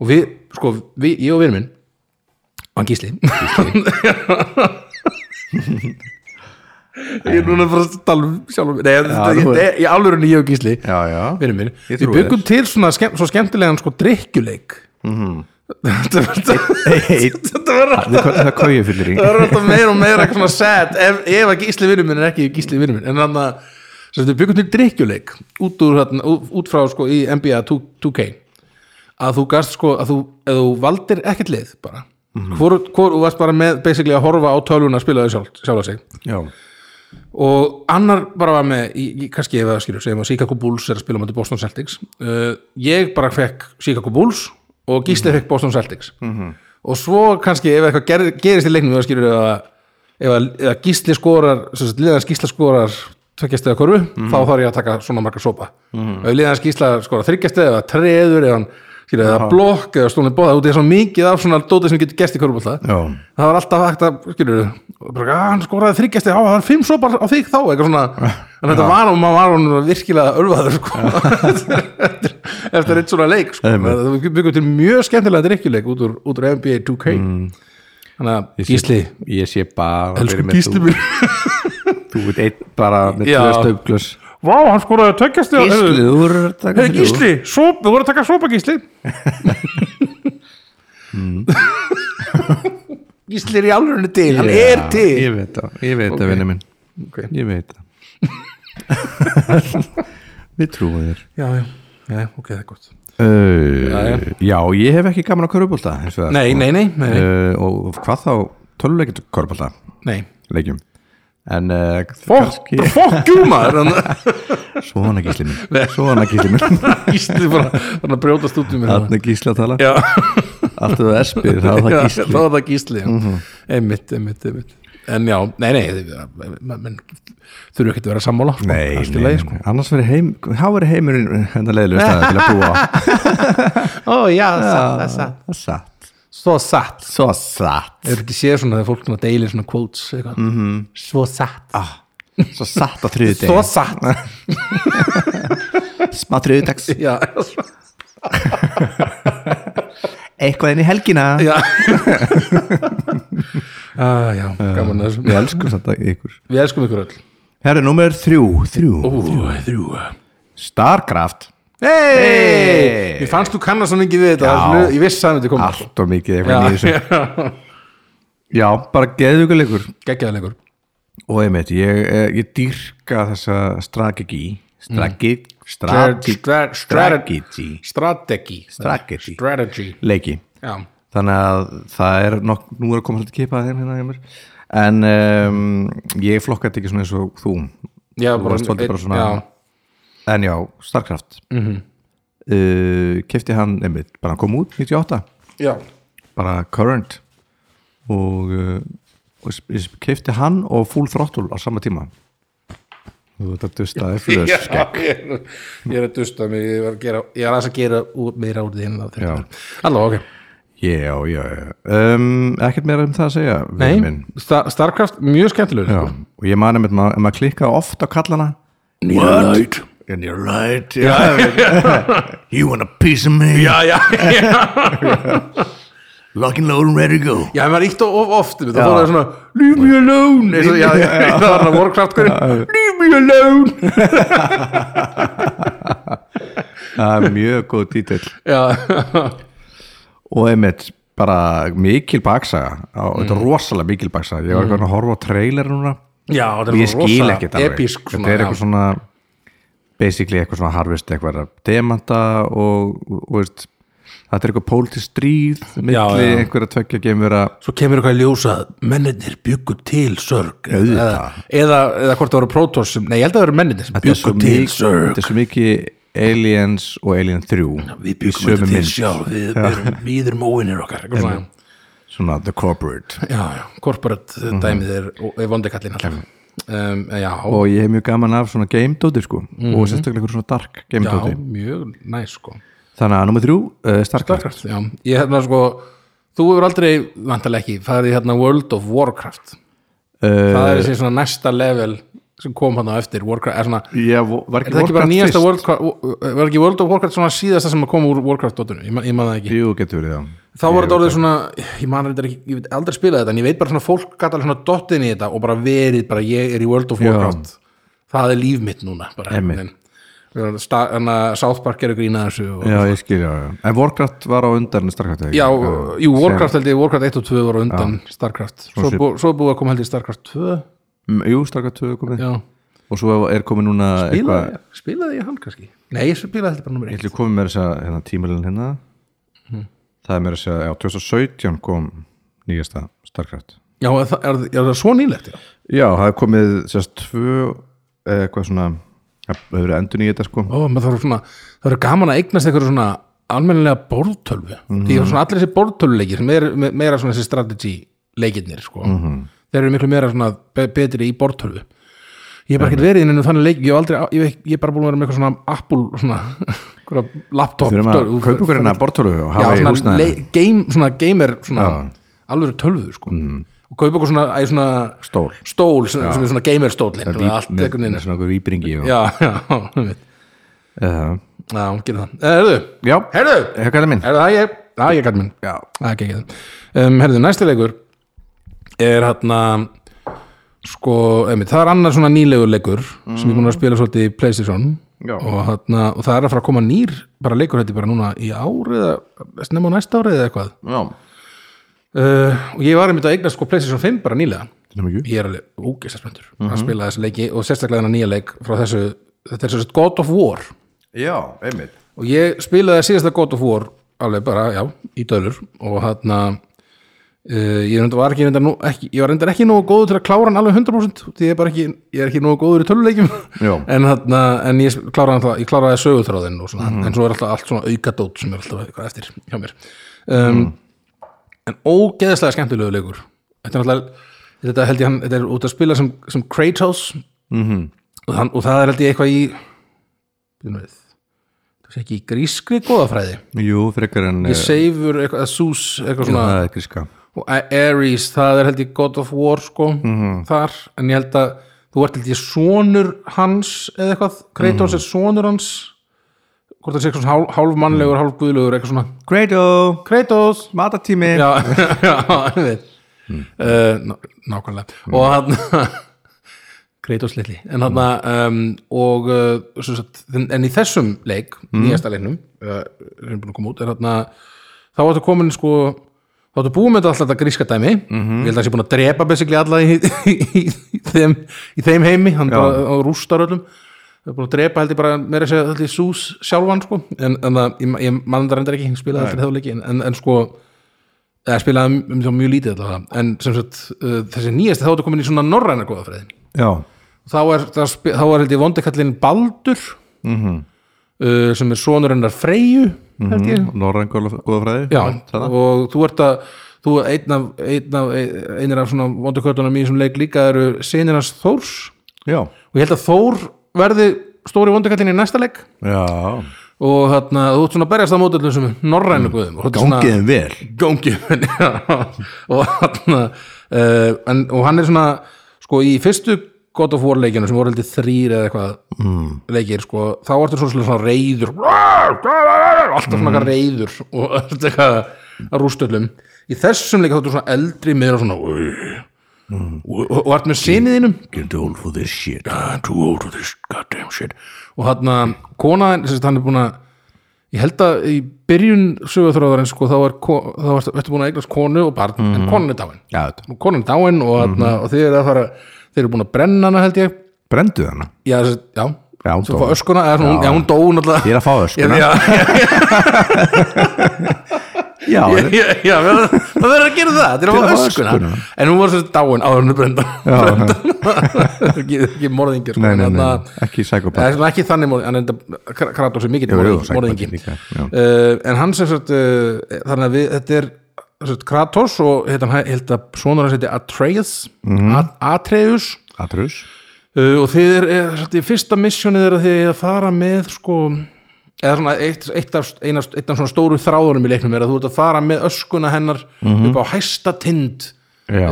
Speaker 1: og við, sko, við, ég og vinur minn og hann gísli ég er núna bara að tala um sjálfum nei, þetta-
Speaker 2: þú-
Speaker 1: þetta er- í alvörunni ég og gísli
Speaker 2: Já, já
Speaker 1: vinur minn,
Speaker 2: Ég
Speaker 1: við
Speaker 2: trúi
Speaker 1: byggum til svona skemm, svo skemmtilegan sko drikkjuleik
Speaker 2: Mhm.
Speaker 1: þetta var þetta var
Speaker 2: Það er- það er kóið fyllir í
Speaker 1: það er alltaf meira og meira eitthvað svona sad ef, ef að gísli vinnum minn er ekki gísli vinnum minn en þannig að sem þetta byggum til drikkjuleik út, úr, þarna, ú- út frá sko í NBA 2, 2K að þú gast sko að þú, að þú valdir ekkert lið bara hvor, hvor þú varst bara með basically að horfa á tölvuna að spila þau sjálf, sjálfa sig
Speaker 2: Já,
Speaker 1: og annar bara var með í, í, kannski ef það skilur, segjum að Chicago Bulls er að spila á mæti Boston Celtics uh, ég bara fekk Chicago Bulls og Gísli fekk Boston Celtics og svo kannski ef eitthvað ger, gerist í leiknum ef það skilur ef að, ef að, ef að Gísli skorar sem sagt, liðans Gísla skorar tveggjastega korfu, þá þarf ég að taka svona margar sopa og ef liðans Gísla skorar þryggjastega eða treður eða, hann, skilur, eða blokk eða stónið bóða út í svona mikið af svona dótið sem getur gest í korfbólta
Speaker 2: já
Speaker 1: það var alltaf hægt að, skilur bara, "Ah, hann skoraði þryggjasti, á, það var fimm sopar á þig þá, eitthvað svona en þetta var hún, maður var hún virkilega örfaður sko. eftir, eftir eitt svona leik sko.
Speaker 2: Einmitt.
Speaker 1: það við byggum til mjög skemmtilega drikkjuleik út úr, út úr NBA 2K
Speaker 2: Mm.
Speaker 1: þannig að Gísli
Speaker 2: Ég sé bara fyrir
Speaker 1: elsku
Speaker 2: mér,
Speaker 1: Gísli
Speaker 2: þú-
Speaker 1: minn
Speaker 2: Þú veit eitt bara með
Speaker 1: Já.
Speaker 2: tvö stöfglöss
Speaker 1: Vá, hann skoraði tveggjasti
Speaker 2: Gísli, þú voru að taka
Speaker 1: Hey,
Speaker 2: þrjú.
Speaker 1: Gísli, sop, þú voru að taka sopa Gísli
Speaker 2: Mm.
Speaker 1: Gísli er í alvörinu til, hann
Speaker 2: Já,
Speaker 1: er til
Speaker 2: Ég veit það, ég veit það, vinnu minn
Speaker 1: Ok.
Speaker 2: Ég veit það Við trúum þér
Speaker 1: já, já, já, ok, það er gott
Speaker 2: uh, Já, ég hef ekki gaman á körubólta
Speaker 1: Nei, nei, nei, nei, nei.
Speaker 2: uh, Og hvað þá töluleikir körubólta
Speaker 1: nei.
Speaker 2: leikjum En uh,
Speaker 1: Fokk,
Speaker 2: kannski
Speaker 1: fokk jú maður
Speaker 2: Svona gísli minn Svona gísli minn
Speaker 1: Gísli bara, bara að brjótast út um mér
Speaker 2: Þarna er gísli að tala
Speaker 1: Já,
Speaker 2: Allt eða espið, það er það
Speaker 1: Já,
Speaker 2: gísli Mhm.
Speaker 1: þá er það gísli já. Einmitt, einmitt, einmitt En já, nei, nei, þið- menn- menn þurfu ekki að vera sammála sko.
Speaker 2: Nei,
Speaker 1: Allt í
Speaker 2: nei,
Speaker 1: lagi,
Speaker 2: nei,
Speaker 1: sko.
Speaker 2: annars verið heim Há verið heimurinn hennar leiðilega staði til að búa á.
Speaker 1: Ó, já, satt,
Speaker 2: Já,
Speaker 1: það er satt
Speaker 2: Það er satt
Speaker 1: Svo satt
Speaker 2: Svo satt
Speaker 1: Ef ekki séð svona þegar fólk svona deilir svona quotes eitthvað mm -hmm. Svo satt
Speaker 2: Mhm. ah, Svo satt á þriðu
Speaker 1: Svo satt
Speaker 2: Smá þriðdags
Speaker 1: Já, svo
Speaker 2: Eitthvað inn í helgina
Speaker 1: Já ah, Já, gaman að þessu
Speaker 2: Við elskum þetta ykkur
Speaker 1: Við elskum ykkur öll
Speaker 2: Herri, númer þrjú, þrjú.
Speaker 1: Ó, þrjú
Speaker 2: Starcraft
Speaker 1: Hei Mér fannst þú kannast svo mikið við þetta
Speaker 2: Já.
Speaker 1: alveg- Ég vissi að þetta kom
Speaker 2: Allt og mikið eitthvað nýðis
Speaker 1: Já,
Speaker 2: Já, bara geðugur leikur
Speaker 1: geggjaðan ykkur
Speaker 2: Og einmitt, ég, eh, ég dýrka þessa strategi Stragi
Speaker 1: Mm.
Speaker 2: Stragi
Speaker 1: Stra- stra-
Speaker 2: Stragi
Speaker 1: Strategi
Speaker 2: Strategy.
Speaker 1: Strategy
Speaker 2: Leiki
Speaker 1: Já,
Speaker 2: þannig að það er nokk, nú er að koma svolítið kipað þeim hérna hjá mér en um, ég flokka þetta ekki svona eins og þú
Speaker 1: já
Speaker 2: Þú varst svolítið bara svona-
Speaker 1: Já, Mhm.
Speaker 2: en já, Starcraft mm -hmm. kefti hann einmitt, bara hann kom út 98
Speaker 1: já
Speaker 2: bara current og, uh, og kefti hann og full throttle á sama tíma þú veit að dustaði fyrir þess
Speaker 1: Já, ég er- ég er að dusta mig ég var að gera, ég er aðeins að gera úr meira úr því en það
Speaker 2: Já.
Speaker 1: Allá, ok
Speaker 2: já, já, já um, ekkert meira um það að segja vinur minn.
Speaker 1: Nei, Sta Starcraft, mjög skemmtilegur
Speaker 2: já, og ég man einmitt, ma- ef maður klikkaði oft á kallana
Speaker 1: What?
Speaker 2: And you're right You want a piece of me
Speaker 1: Já, já, já
Speaker 2: Lock and load and ready to go
Speaker 1: Já, ef maður ítt of oft um þetta, þá er það svona Leave me alone Eins og- Já, já, já, það var hann að vorkraft Leave me alone
Speaker 2: Það er mjög góð dítill
Speaker 1: Já,
Speaker 2: Og einmitt bara mikil baksaga á, Þetta
Speaker 1: Mm.
Speaker 2: er rosalega mikil baksaga Ég var eitthvað að horfa á trailer núna
Speaker 1: já þetta
Speaker 2: Ég
Speaker 1: svona
Speaker 2: skil
Speaker 1: rosa
Speaker 2: ekkert alveg
Speaker 1: Episk
Speaker 2: Þetta er eitthvað svona Basically eitthvað svona harvest eitthvað af demanta og, og, og veist Þetta er eitthvað pólitist stríð milli
Speaker 1: já.
Speaker 2: einhverja tvekja geimvera
Speaker 1: Svo kemur eitthvað í ljósa að mennirnir byggu til sörg
Speaker 2: Auðvitað.
Speaker 1: eða, eða hvort það voru prótors sem, nei ég held að það voru mennirnir sem
Speaker 2: Þetta er
Speaker 1: byggu
Speaker 2: svo
Speaker 1: til
Speaker 2: mikið-
Speaker 1: sörg
Speaker 2: þetta er svo mikið Aliens og Alien 3
Speaker 1: Við
Speaker 2: Í
Speaker 1: byggum
Speaker 2: sömu
Speaker 1: þetta til
Speaker 2: mynd.
Speaker 1: sjálf Við erum víður móinir okkar eitthvað svona.
Speaker 2: svona The Corporate
Speaker 1: Já, já, corporate eh,
Speaker 2: Mhm.
Speaker 1: dæmið er, er vondikallin alltaf um, Já,
Speaker 2: og ég hef mjög gaman af svona game dóti sko og sérstaklega einhver svona dark game
Speaker 1: Mhm. já,
Speaker 2: dóti
Speaker 1: mjög næs sko
Speaker 2: þannig að nummer þrjú, uh, Starcraft
Speaker 1: Starcraft, já, ég hérna sko Þú hefur aldrei, vantarlega ekki, farið í hérna World of Warcraft
Speaker 2: uh,
Speaker 1: Það er þessi svona næsta level sem kom hann á eftir Warcraft, er svona
Speaker 2: ég vo- var
Speaker 1: Er
Speaker 2: ekki
Speaker 1: það ekki bara
Speaker 2: Warcraft
Speaker 1: nýjasta
Speaker 2: fyrst?
Speaker 1: World, var ekki World of Warcraft svona síðasta sem kom úr Warcraft.nu, ég, ma- ég maður það ekki
Speaker 2: Jú, getur verið það
Speaker 1: þá var þetta orðið svona, ég man reyndar ekki ég veit aldrei spila þetta, en ég veit bara svona fólk gæti alveg svona dottin í þetta og bara verið bara ég er í World of Warcraft það er líf mitt núna bara,
Speaker 2: Einmitt.
Speaker 1: en, sta, en South Park er að grína þessu og,
Speaker 2: Já, ég skilja, já. en Warcraft var á undan en Starcraft eða ekki?
Speaker 1: já, jú, Warcraft held ég Warcraft 1 og 2 var á undan Starcraft svo,
Speaker 2: svip.
Speaker 1: bú, svo búið að koma held ég Starcraft 2
Speaker 2: Mm, Jú, Starcraft 2 er komið
Speaker 1: já,
Speaker 2: og svo er komið núna eitthvað,
Speaker 1: spilaði, spilaði ég hann kannski nei, ég spilaði þetta bara nummer
Speaker 2: ég
Speaker 1: 1
Speaker 2: ætli komið með þess að hérna, tímalinn hérna
Speaker 1: Mhm.
Speaker 2: það er með þess að, já, 2017 kom nýjasta Starcraft
Speaker 1: já, er, það- er, er það svo nýlegt já?
Speaker 2: Já, það er komið sérst tvö eh, eitthvað svona, það hefur verið endur nýja þetta sko
Speaker 1: Ó, maður þarf svona, það eru gaman að eignast einhverju svona almennilega borðtölvu
Speaker 2: Mhm.
Speaker 1: því að svona allir þessi borðtölvuleikir sem er me- meira svona þessi strategy leikirnir sko.
Speaker 2: Mhm.
Speaker 1: þeir eru miklu meira svona be betri í borðtölvu ég hef bara ekkert verið inn en þannig leik ég hef aldrei, ég, hef- ég hef bara búin að vera með eitthvað svona Apple svona, einhverja laptop
Speaker 2: Við erum að
Speaker 1: tölvu-
Speaker 2: kaupa ykkur hérna bortölu og
Speaker 1: já,
Speaker 2: hafa í
Speaker 1: svona,
Speaker 2: húsnaði
Speaker 1: le- game, svona gamer svona,
Speaker 2: Já. Mhm.
Speaker 1: alveg tölvu sko. og kaupa eitthvað svona, æ, svona
Speaker 2: Stól.
Speaker 1: stól sem, sem er svona gamer stólin
Speaker 2: Víp-
Speaker 1: allt
Speaker 2: með-
Speaker 1: einhvern veginn
Speaker 2: með svona okkur íbringi og,
Speaker 1: já, já, já,
Speaker 2: Eh,
Speaker 1: já, gerir það Erðu,
Speaker 2: Já,
Speaker 1: herðu,
Speaker 2: hefðu minn
Speaker 1: Herðu, það ég, það ég gæti minn
Speaker 2: Já,
Speaker 1: Það er ekki um, Herðu, næsti leikur er hérna sko, einmitt, það er annar svona nýlegur leikur sem ég búin að spila svolítið í Playstation
Speaker 2: Já.
Speaker 1: og, hérna, og það er að fara að koma nýr bara leikur hætti bara núna í ár eða snemma á næsta ári eða eitthvað
Speaker 2: já,
Speaker 1: uh, og ég var einmitt að eigna sko Playstation 5 bara nýlega
Speaker 2: til það mikið
Speaker 1: ég er alveg ógeist að spöndur
Speaker 2: Mhm.
Speaker 1: að spila þessi leiki og sérstaklega þennan nýja leik frá þessu, þetta er svo sett God of War
Speaker 2: Já, einmitt
Speaker 1: og ég spilaði síðasta God of War alveg bara, já, í dölur og þarna uh, ég reyndar var ekki, reyndar nú, ekki ég var reyndar ekki nógu góður til að klára hann alveg 100% því ég er bara ekki, ég er ekki nógu góður í töluleikjum
Speaker 2: Já.
Speaker 1: en þarna, en ég kláraði hann það, ég kláraði sögutráðin og svona en svo er alltaf allt svona aukadót sem er alltaf eitthvað eftir hjá mér um, en ógeðslega skemmtilegu leikur þetta er alltaf, þetta held ég hann þetta er út að spila sem, sem Kratos og, hann, og það er held ég eitthvað í byrjum við það sé ekki í grískri góðafræði
Speaker 2: Jú, frekar en eh,
Speaker 1: ég seifur eitthvað, Zeus eitthvað svona
Speaker 2: Það er Hérna, gríska
Speaker 1: og A- Ares, það er held ég God of War sko,
Speaker 2: Mhm.
Speaker 1: þar en ég held að þú ert held ég sonur hans eða eitthvað,
Speaker 2: Mhm.
Speaker 1: Kratos er sonur hans hvort það sé eitthvað svona hálf, hálf mannlegur, hálf guðlegur, eitthvað svona
Speaker 2: Gredo,
Speaker 1: Kratos
Speaker 2: matatími
Speaker 1: já, já, ég veit Uh, ná- nákvæmlega og hann Kratos litli en hann um, og uh, sem sagt, en en í þessum leik nýjasta leiknum uh, sem er búin að koma út er hann þá áttu komin sko þá áttu búið með þetta alltaf þetta gríska dæmi ég held að það sé búin að drepa basically alla í, í, í, í, þeim, í þeim heimi hann bara og rústar öllum það er búin að drepa held ég bara meira að segja allir sús sjálfan sko en, en það, ég, ég mann það reyndar ekki ég spilaði allir þá leiki en, en, en sko eða spilaði um þá mjög lítið allavega en sem sagt uh, þessi nýjasti þá ertu komin í svona norræna góðafræðin
Speaker 2: Já,
Speaker 1: þá er, það spi- þá er held ég vondikallin Baldur uh, sem er sonur hennar Freyju held ég
Speaker 2: norræn góða góða fræði
Speaker 1: Já,
Speaker 2: það.
Speaker 1: og þú ert að þú einn af, einn af, einir af svona vondikötunum í þessum leik líka eru sinirans Þórs
Speaker 2: Já.
Speaker 1: og ég held að Þór verði stóri vondikallin í næsta leik
Speaker 2: Já.
Speaker 1: og þarna, þú ert svona að berjast á mótallum sem norrænu guðum og þú ert svona-
Speaker 2: Gangiðum vel
Speaker 1: gangi og, hann, uh, en, og hann er svona sko í fyrstu God of War leikinu sem voru heldur þrýr eða eitthvað mm. leikir sko, þá ertu svona, svona reyður alltaf svona mm. reyður og allt eitthvað að rústöllum í þessum leik þá ertu svona eldri meður og svona mm. og, og, og ert með sinniðinum
Speaker 2: Get old for this shit
Speaker 1: I'm too old for this goddamn shit og hann eh, að kona sérst, hann er búin að ég held að í byrjun sögurþráðarinn sko, þá er ko- þá ertu ertu búin að eignast konu og barn en konan er dáin
Speaker 2: Mhm. Já, Mhm. þetta
Speaker 1: og konan er dáin og, mm og þeir eru að fara þeir eru búin að brenna hana held ég
Speaker 2: Brendu hana
Speaker 1: já, sérst, já,
Speaker 2: Já, hún
Speaker 1: svo
Speaker 2: dó.
Speaker 1: fá öskuna eða, já. Hún,
Speaker 2: Já.
Speaker 1: já, hún dó náttúrulega
Speaker 2: Ég er að fá öskuna
Speaker 1: já, já,
Speaker 2: Já,
Speaker 1: já, já, já það það verður að gera það til að fá
Speaker 2: að fá
Speaker 1: öskuna
Speaker 2: öskuna.
Speaker 1: en hún var svo dáin áður henni brenda
Speaker 2: Já.
Speaker 1: það er ekki, ekki morðingir sko,
Speaker 2: Nei, nei,
Speaker 1: en
Speaker 2: nei,
Speaker 1: þarna-
Speaker 2: ekki
Speaker 1: Það
Speaker 2: sækopat
Speaker 1: er svona ekki þannig morðingi, en enda Kra- Kratos er mikill
Speaker 2: Jú, jú,
Speaker 1: morðingi,
Speaker 2: sækpati
Speaker 1: morðingi.
Speaker 2: líka, já.
Speaker 1: Uh, en hann sem sagt uh, þannig að við, þetta er sem sagt, Kratos og hérna, hann held að sonur hans heiti Atreus
Speaker 2: Mhm.
Speaker 1: At- Atreus
Speaker 2: Atrus
Speaker 1: uh, og þið er, er sagt, í fyrsta missjónið er að þið er að fara með sko eða svona eitt, eitt af, einast, eitt af svona stóru þráðunum í leiknum er að þú ert að fara með öskuna hennar upp á hæsta tind
Speaker 2: Mhm. Já,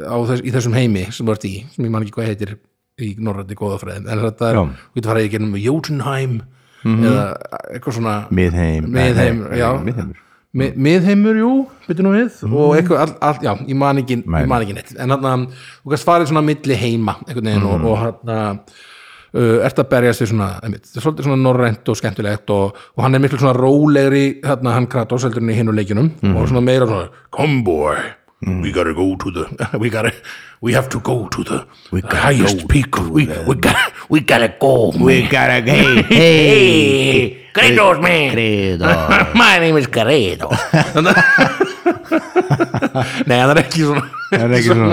Speaker 1: uh, á þess, í þessum heimi sem þú ert í, sem ég man ekki hvað heitir í norrætti góðafræðin en þetta er,
Speaker 2: Já. Mhm.
Speaker 1: þú getur farið í gennum Jotunheim eða eitthvað svona
Speaker 2: miðheim
Speaker 1: miðheim,
Speaker 2: Nei,
Speaker 1: já
Speaker 2: miðheimur. Mhm.
Speaker 1: Mi, miðheimur, jú, byrju nú við og eitthvað, all, all, já, ég man ekki,
Speaker 2: Nei.
Speaker 1: ég man ekki neitt, en hann þú kannast farið svona milli heima, einhvern veginn og, og hann Uh, ert að berjast við svona, einmitt, þetta er svolítið svona norrænt og skemmtilegt og, og hann er miklu svona rólegri, þarna hann Kratos heldur en í hinu leikinum og svona meira svona come boy, we gotta go to the we gotta, we have to go to the highest peak we, we, gotta, we gotta go we
Speaker 3: Cara, hey,
Speaker 1: Hey, Kratos man
Speaker 3: credo.
Speaker 1: My name is Garrido Nei, hann er ekki svona
Speaker 2: Það er ekki svona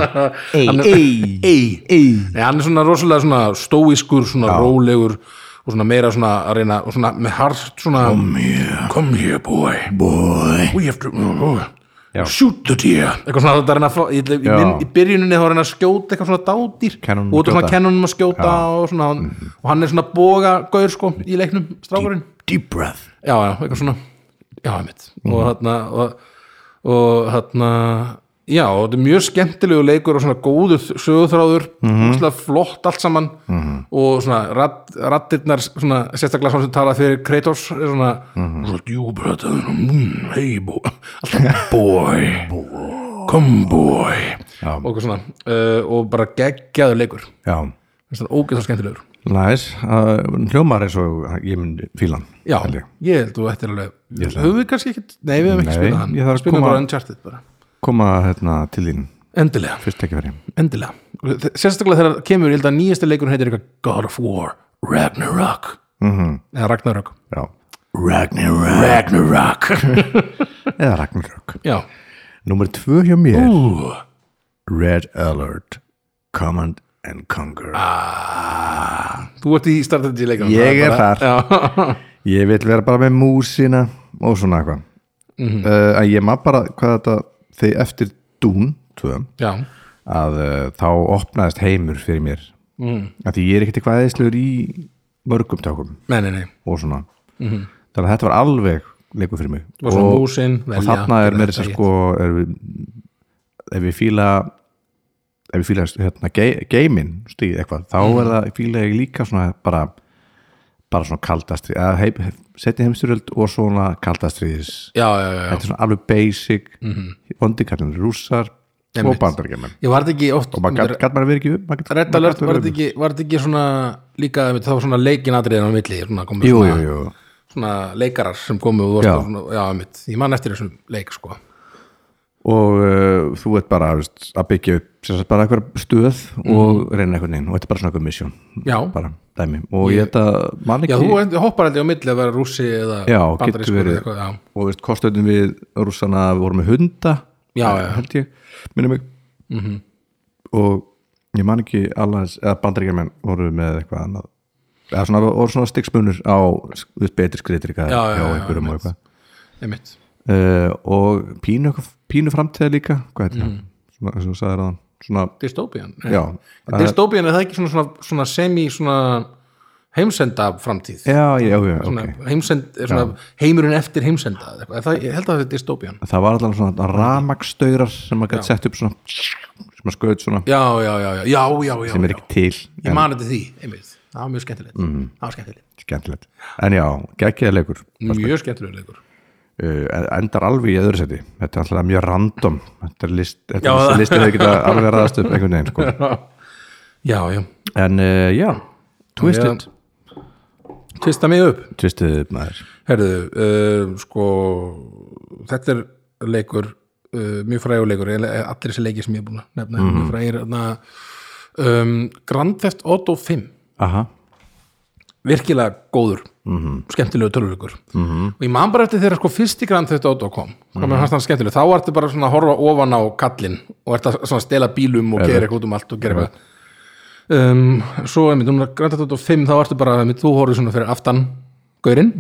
Speaker 3: Ey,
Speaker 1: Hann er-
Speaker 3: ey,
Speaker 1: Ey.
Speaker 3: ey.
Speaker 1: Nei, hann er svona rosalega svona stóískur svona rólegur og svona meira svona að reyna og svona með hart svona Come here, boy
Speaker 3: Boy.
Speaker 1: We have to oh,
Speaker 2: Já.
Speaker 1: Shoot the deer Eitthvað svona þetta er að reyna að fá- í, í,
Speaker 2: Já.
Speaker 1: minn- í byrjuninni þá er hann að skjóta eitthvað svona dádýr
Speaker 2: Kenónum
Speaker 1: og út af
Speaker 2: skjóta.
Speaker 1: svona kennunum að skjóta og, svona, og hann er svona boga gaur sko í leiknum strákurinn
Speaker 3: Mhm. Deep breath. Mhm.
Speaker 1: já, já, eitthvað svona já, einmitt og þarna og, og þarna já, og þetta er mjög skemmtilegu leikur og svona góður sögurþráður
Speaker 3: Mhm.
Speaker 1: mm -hmm. flott allt saman og svona radd, raddirnar svona, sérstaklega svona sem tala fyrir Kratos er svona,
Speaker 3: Mhm.
Speaker 1: svona djúbröð mm, hey boy alltaf boy come boy
Speaker 2: Já.
Speaker 1: og, eitthvað svona, uh, og bara geggjaður leikur
Speaker 2: Já,
Speaker 1: Svona ógeðslega skemmtilegur
Speaker 2: næs uh, Hljómar eins og ég myndi fílan
Speaker 1: Já,
Speaker 2: held ég.
Speaker 1: ég held þú ættir alveg
Speaker 2: Ég held að-
Speaker 1: höfum við kannski ekkit, nei við höfum ekki
Speaker 2: Nei,
Speaker 1: spilað hann
Speaker 2: ég þarf að
Speaker 1: spilum
Speaker 2: koma-
Speaker 1: bara Uncharted bara
Speaker 2: Koma hérna til þín
Speaker 1: Endilega,
Speaker 2: Fyrst ekki verið
Speaker 1: endilega Og þe- Sérstaklega þegar kemur, ég held að nýjasta leikur heitir eitthvað God of War, Ragnarok
Speaker 2: Mhm.
Speaker 1: -hmm. eða Ragnarök
Speaker 2: Já
Speaker 3: Ragnarok.
Speaker 1: Ragnarök
Speaker 2: Eða Ragnarök
Speaker 1: Já,
Speaker 2: Númer tvö hjá mér
Speaker 1: ú,
Speaker 2: Red Alert Command and Conquer
Speaker 1: þú ert í startandi leikum
Speaker 2: Ég er þar
Speaker 1: Já,
Speaker 2: Ég vil vera bara með músina og svona eitthvað mm
Speaker 1: Mhm.
Speaker 2: að ég maður bara hvað þetta þegar eftir Dún 2
Speaker 1: já,
Speaker 2: að uh, þá opnaðist heimur fyrir mér
Speaker 1: Mhm.
Speaker 2: mm. að því ég er ekkert eitthvað eðislegur í mörgum tökum
Speaker 1: nei, nei, nei
Speaker 2: og svona þannig að þetta var alveg leikur fyrir mig
Speaker 1: Mhm. Og svona músin,
Speaker 2: og
Speaker 1: velja
Speaker 2: þarna er mér
Speaker 1: þetta
Speaker 2: þess að
Speaker 1: ég.
Speaker 2: sko er við, ef við fíla ef við fíla hérna, ge- geimin stíð eitthvað, þá
Speaker 1: Mm.
Speaker 2: er það fíla ég líka svona bara bara svona kaldastri eða heim, setni heimstyröld og svona kaldastriðis
Speaker 1: Já, já, já, já
Speaker 2: þetta er svona alveg basic mm -hmm. vondikallin rússar og
Speaker 1: Mhm. Einmitt.
Speaker 2: bandarækjumenn
Speaker 1: Ég var þetta ekki oft
Speaker 2: og maður gat- gat maður verið ekki maður gat-
Speaker 1: Red
Speaker 2: maður
Speaker 1: Alert,
Speaker 2: gat verið
Speaker 1: var þetta
Speaker 2: um.
Speaker 1: ekki, var þetta ekki svona líka, einmitt, það var svona leikin atriðin á milli, svona komið
Speaker 2: jú,
Speaker 1: svona
Speaker 2: jú, jú
Speaker 1: svona leikarar sem komu og þú
Speaker 2: Já.
Speaker 1: varst svona, já, mitt, ég man eftir þessum leik sko,
Speaker 2: og uh, þú ert bara þú veist, að byggja upp sem sagt, bara eitthvað stöð
Speaker 1: Mm.
Speaker 2: og reyna eitthvað neinn og þetta er bara svona eitthvað misjón
Speaker 1: já,
Speaker 2: bara dæmi og ég held að mann
Speaker 1: já
Speaker 2: ekki
Speaker 1: þú end- hoppar aldrei á milli að vera rússi eða
Speaker 2: Já, getur
Speaker 1: bandarískur
Speaker 2: verið.
Speaker 1: eða eitthvað, já,
Speaker 2: og veist kostöðum við rússana voru með hunda eh,
Speaker 1: Já, já. Mhm.
Speaker 2: held ég, minni mig og ég man ekki allans, eða bandaríkjarmenn voru með eitthvað annað eða svona, voru svona stikkspunur á þú veist, betri skriðtrika
Speaker 1: Já, já, já,
Speaker 2: einhverjum og
Speaker 1: einmitt.
Speaker 2: eitthvað
Speaker 1: einmitt
Speaker 2: uh, og pínu, eitthvað- pínu framtíða líka hvað heitir
Speaker 1: Mhm.
Speaker 2: það, svona, sem þú sagðir aðan svona,
Speaker 1: dystopian,
Speaker 2: já,
Speaker 1: En dystopian er það ekki svona, svona, svona semi svona heimsenda framtíð
Speaker 2: já, já, já, ok
Speaker 1: svona, heimsend, er svona heimurinn eftir heimsenda eða eitthvað, Er það, ég held að það er dystopian
Speaker 2: það var allan svona ramakstaurar sem maður gætt sett upp svona sem maður skauð svona,
Speaker 1: já, já, já, já, já, já, já,
Speaker 2: sem er
Speaker 1: já.
Speaker 2: ekki Mhm. til
Speaker 1: ég man þetta því, einmitt það var mjög skemmtilegt, það var skemmtilegt
Speaker 2: skemmtilegt, en já, geggjaði leikur
Speaker 1: mjög skemmtilegur leikur
Speaker 2: uh, en endar alveg í öðru seti þetta er alltaf mjög random þetta er list, þetta
Speaker 1: Já,
Speaker 2: er
Speaker 1: það-
Speaker 2: listir að geta alveg raðast upp einhvern veginn sko.
Speaker 1: já, já,
Speaker 2: en uh, já, twisted
Speaker 1: tvista mig upp
Speaker 2: twisted maður
Speaker 1: Herðu, uh, sko þetta er leikur uh, mjög frægur leikur, eiginlega allir þessi leiki sem ég er búin að nefna, mjög frægir þarna, um, Grand Theft Auto 5
Speaker 2: aha,
Speaker 1: virkilega góður skemmtilegu tölvuleikur og ég man bara eftir þegar sko fyrst í grann þetta auto kom hvað mér fannst hann skemmtilegu, þá ertu bara svona að horfa ofan á kallinn og ertu að svona stela bílum og gera eitthvað út um allt og gera eitthvað um, svo einmitt, núna grann þetta auto 5 þá ertu bara, einmitt, þú horfir svona fyrir aftan gaurinn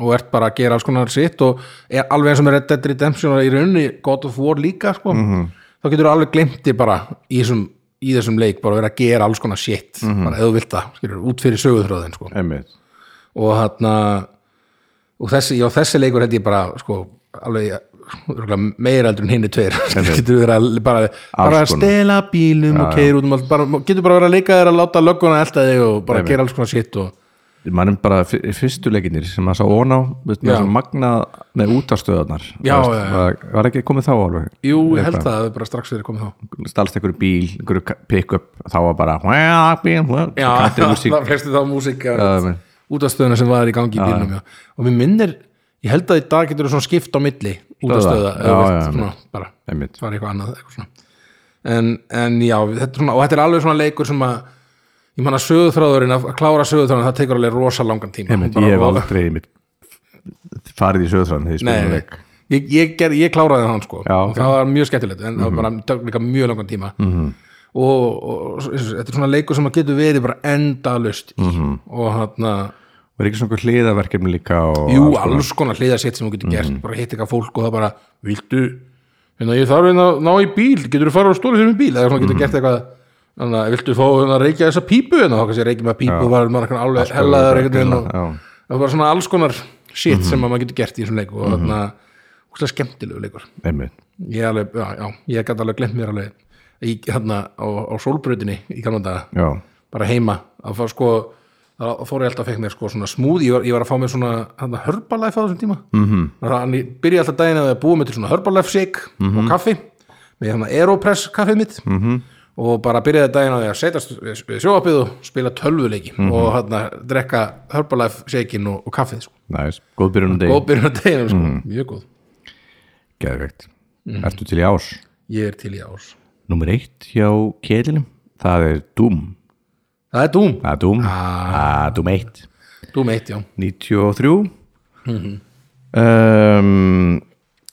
Speaker 1: og ert bara að gera alls konar sitt og er alveg eins og með Red Dead Redemption og í rauninni God of War líka sko, þá getur þú alveg glemti bara í þessum, í þessum leik bara að vera að gera alls konar sitt bara ef þú vilt það, skilur, út fyrir söguþröðin sko
Speaker 2: einmitt
Speaker 1: og þarna og þessi, já, þessi leikur held ég bara sko, alveg örugglega meira heldur en hinni tveir getur verið að bara, bara
Speaker 2: konar.
Speaker 1: stela bílum og keir út um allt bara, getur bara verið að leika þér að láta lögguna elta þig og bara
Speaker 2: Einmitt.
Speaker 1: gera alls konar sitt og
Speaker 2: mannum bara fyr- fyrstu leikinir sem maður sá ón á veist, með
Speaker 1: Já.
Speaker 2: þessum magna með útastöðarnar
Speaker 1: Já,
Speaker 2: Þú
Speaker 1: já, já.
Speaker 2: var, var ekki komið þá alveg
Speaker 1: jú, ég held það, það er bara strax fyrir komið þá
Speaker 2: stalst einhverju bíl, einhverju ka- pick-up þá var bara kattir músík
Speaker 1: það flestu þá músík
Speaker 2: Já, já.
Speaker 1: út af stöðuna sem var í gangi í bílnum já. og mér minnir, ég held að í dag getur þú svona skipt á milli út af stöða
Speaker 2: Stöða.
Speaker 1: ef
Speaker 2: Já,
Speaker 1: þú vilt,
Speaker 2: já,
Speaker 1: svona, bara
Speaker 2: Einmitt.
Speaker 1: það var eitthvað annað eitthvað svona. en, en já, þetta er svona, og þetta er alveg svona leikur sem að ég manna sögutráðurinn að að klára sögutráðurinn það tekur alveg rosa langan tíma
Speaker 2: Einmitt,
Speaker 1: Bara-
Speaker 2: ég hef aldrei einmitt, farið í söðran þegar ég
Speaker 1: Nei,
Speaker 2: spilum
Speaker 1: nei.
Speaker 2: leik
Speaker 1: ég, ég, ger, ég kláraði hann sko
Speaker 2: Já,
Speaker 1: og
Speaker 2: ok. Mhm.
Speaker 1: það var mjög skemmtilegt en það var bara tök líka mjög langan tíma -hmm. og, og svo- þetta er svona leikur sem að getur verið bara endalust mm -hmm.
Speaker 2: Mhm.
Speaker 1: og hann
Speaker 2: var ekki svona einhver hliðaverkefni líka og
Speaker 1: jú,
Speaker 2: alls konar? Mm.
Speaker 1: alls konar hliðarsett sem þú getur gert bara hitt eitthvað fólk og það bara viltu, hérna ég þarf hérna að ná í bíl getur þú farið á stóri fyrir bíl eða svona
Speaker 2: Mm.
Speaker 1: getur gert eitthvað Þannig að viltu fá hérna að reykja þessa pípu hérna þá kannski reykja með pípu og var maður alveg hellaður
Speaker 2: bara
Speaker 1: einhvern veginn
Speaker 2: grilla,
Speaker 1: og-
Speaker 2: já. Mhm.
Speaker 1: það var bara svona alls konar shit sem að maður getur gert í þessum leiku og þarna mm skemmtilegu leikur
Speaker 2: einmitt,
Speaker 1: ég alveg, já, já, ég gæti alveg glemt mér alveg í, hérna, á, á sólbrötinni í gamla daga,
Speaker 2: já,
Speaker 1: bara heima að fá sko, þá fór ég alltaf að fekk mér sko svona smúði, ég, var- ég var að fá mér svona hérna, hörbalæf á þessum tíma mm -hmm. ég byrja alltaf daginn að búa mér til svona hörbalæf shake og kaffi, með hérna aeropress kaffið mitt mm -hmm. og bara byrjaði daginn að ég að setjast við- við sjóapið og spila tölvuleiki og hérna drekka hörbalæf shakein og, og kaffið, sko,
Speaker 2: næs, góð byrjun um
Speaker 1: góð
Speaker 2: deg
Speaker 1: byrjun á deginum sko, mjög góð,
Speaker 2: geðvegt,
Speaker 1: Mhm.
Speaker 2: ertu til í ás
Speaker 1: ég er til í ás
Speaker 2: nummer eitt hjá keðlinum það er Doom
Speaker 1: það er Doom,
Speaker 2: það er Doom, ah. Doom 1
Speaker 1: Doom 1, já
Speaker 2: 93 um,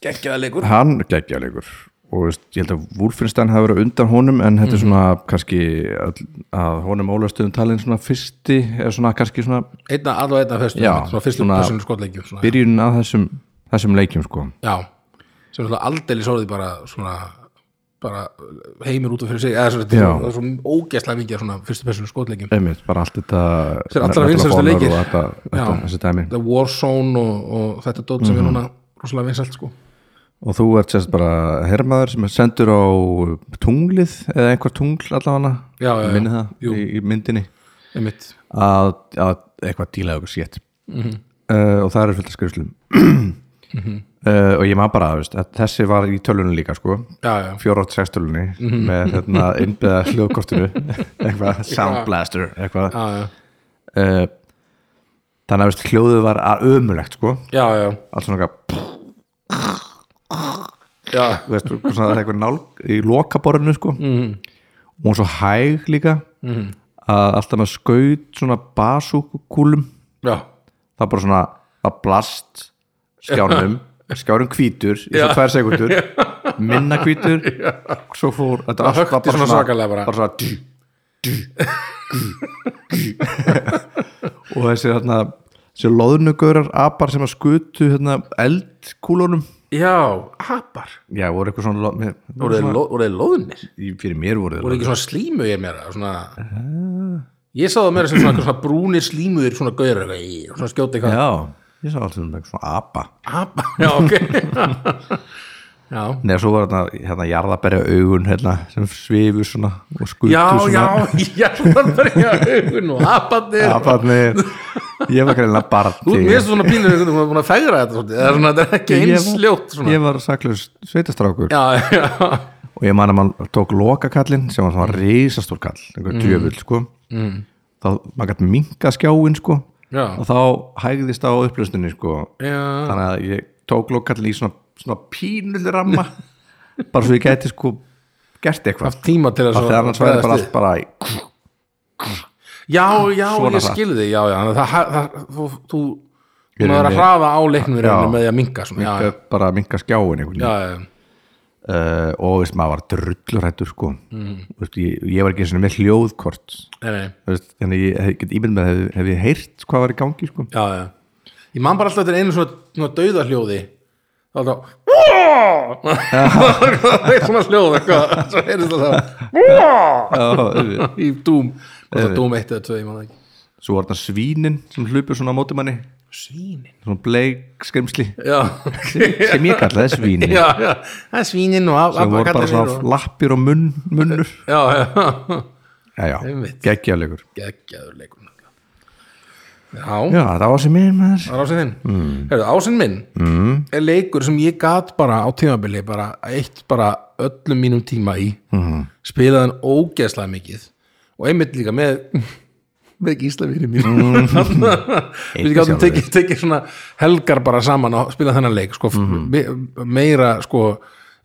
Speaker 1: geggjaða leikur
Speaker 2: hann geggjalegur og veist, ég held að Wolfenstein hafi verið undan honum en þetta er svona kannski að, að honum ólastuðum talin svona fyrsti eða svona kannski svona
Speaker 1: einna, allavega einna fyrstu,
Speaker 2: Já,
Speaker 1: svona fyrstu
Speaker 2: svona-
Speaker 1: svona, personu skotleikjum svona.
Speaker 2: byrjun að þessum, þessum leikjum sko
Speaker 1: já, sem svona aldeilis orðið bara svona bara heimir út af fyrir sig eða svona,
Speaker 2: Já.
Speaker 1: það er svona ógeðslega mikið af svona fyrstu personu skotleikjum
Speaker 2: einmitt, bara allt þetta
Speaker 1: Þeir allra
Speaker 2: Medal of
Speaker 1: vinsælustu
Speaker 2: Honor
Speaker 1: leikir.
Speaker 2: og þetta, þetta,
Speaker 1: Já.
Speaker 2: þessi dæmi
Speaker 1: The Warzone og, og þetta dót sem er núna rosalega vinsælt sko
Speaker 2: og þú ert sérst bara hermaður sem er sendur á tunglið eða einhver tungl allavega
Speaker 1: Já, já, já.
Speaker 2: minni það
Speaker 1: Jú.
Speaker 2: í, í myndinni
Speaker 1: einmitt,
Speaker 2: að, að eitthvað díla eitthvað sétt
Speaker 1: Mhm.
Speaker 2: uh, og það eru fullt af skrifslum uh, og ég maður bara veist, að þessi var í tölunum líka sko
Speaker 1: já, já,
Speaker 2: 486 tölunni
Speaker 1: Mhm.
Speaker 2: með hérna innbyða hljóðkortinu eitthvað sound blaster eitthvað
Speaker 1: já, já,
Speaker 2: uh, þannig að veist, hljóðu var að ömulegt sko
Speaker 1: já, já,
Speaker 2: allt svona eitthvað
Speaker 1: já.
Speaker 2: þú veist, svona, það er eitthvað nálg í lokaborinu sko mm.
Speaker 1: Mhm.
Speaker 2: og hún er svo hæg líka mm. að alltaf með skaut svona basúkúlum
Speaker 1: já.
Speaker 2: það er bara svona að blast skjánum skjánum hvítur í svo
Speaker 1: Já.
Speaker 2: tvær sekundur minna hvítur svo fór þetta allt
Speaker 1: hökti
Speaker 2: var bara
Speaker 1: svona
Speaker 2: svona
Speaker 1: svakalega bara.
Speaker 2: bara svona dú, dú, dú, dú. og þessi þarna þessi loðnugörar apar sem að skutu hérna, eldkúlunum
Speaker 1: já apar,
Speaker 2: já, voru eitthvað svona, lo- mér,
Speaker 1: voru þeir lo- voru þeir loðnir
Speaker 2: í- fyrir mér voru
Speaker 1: voru
Speaker 2: þeir
Speaker 1: ekki svona slímu ég meira svona ég sá það meira sem svona, einhver svona brúnir slímuðir svona gauður eitthvað í, og svona skjóta eitthvað
Speaker 2: já, ég sá alltaf um eitthvað svona apa
Speaker 1: Apa, já ok Já,
Speaker 2: neða svo var þarna hérna, jarðaberja augun hérna, sem svifur svona og skutu
Speaker 1: já,
Speaker 2: svona
Speaker 1: já, já Jarðarberja augun og apandir
Speaker 2: Aparnir Ég var greinlega barn
Speaker 1: Þú mér finnst svona pínur einhvern veginn búin að fegra þetta svolítið Það er svona, þetta er ekki
Speaker 2: Ég
Speaker 1: eins
Speaker 2: var-
Speaker 1: ljótt svona
Speaker 2: Ég var saklaus sveitastrákur
Speaker 1: Já, já,
Speaker 2: Og ég man að mann tók lokakallin sem var svona risastór kall einhver djöfull sko mm. þá maður gætt minka skjáin sko
Speaker 1: já
Speaker 2: og þá hægðist á upplöstunni sko
Speaker 1: Já,
Speaker 2: þannig að ég tók lokakallin í svona, svona pínulli ramma bara svo ég gæti sko gert eitthvað
Speaker 1: tíma til að
Speaker 2: af því annars væri bara allt bara í-
Speaker 1: já, já,
Speaker 2: Svona
Speaker 1: ég
Speaker 2: hratt.
Speaker 1: skilði já, já, þannig að það, það, þú, þú
Speaker 2: Í
Speaker 1: þú maður að
Speaker 2: rauninni-
Speaker 1: hraða á leiknum í rauninni
Speaker 2: Já.
Speaker 1: með því að minka svona, já,
Speaker 2: Minka- bara að minka skjáin einhvern
Speaker 1: já,
Speaker 2: veginn
Speaker 1: já,
Speaker 2: uh, og veist, maður var drullurættur sko. mm. veist, ég, ég var ekki einu sinni með hljóðkort
Speaker 1: nei, nei,
Speaker 2: veist, þannig ég hef, get ímynd með hef, hef ég heyrt hvað var í gangi sko.
Speaker 1: já, já. ég man bara alltaf þetta einu svona, svona dauðahljóði þá er það það er svona hljóð eitthvað, svo heyrðist það
Speaker 2: Já,
Speaker 1: í Doom, hvort það Doom 1 eða 2 ég man það ekki,
Speaker 2: svo var þarna svínin sem hlupur svona á móti manni
Speaker 1: svínin
Speaker 2: svona bleik skrimsli
Speaker 1: já,
Speaker 2: sem ég kallaði svínin
Speaker 1: já, já, það er svínin og
Speaker 2: sem voru bara
Speaker 1: abakadabir
Speaker 2: svona lappir og munn, munnur
Speaker 1: já, já,
Speaker 2: já, já,
Speaker 1: Einmitt.
Speaker 2: geggjafleikur
Speaker 1: geggjaður leikur nefnilega. já,
Speaker 2: já, það var sem ég maður
Speaker 1: það er ásinn þinn mm. Heru, ásinn minn mm. er leikur sem ég gat bara á tímabili bara eitt bara öllum mínum tíma í mm. spilaði hann ógeðslega mikið og einmitt líka með með gíslavinni mín mm. við gáttum
Speaker 2: sjálfur.
Speaker 1: tekið, tekið svona helgar bara saman og spilað þennan leik sko, me- meira sko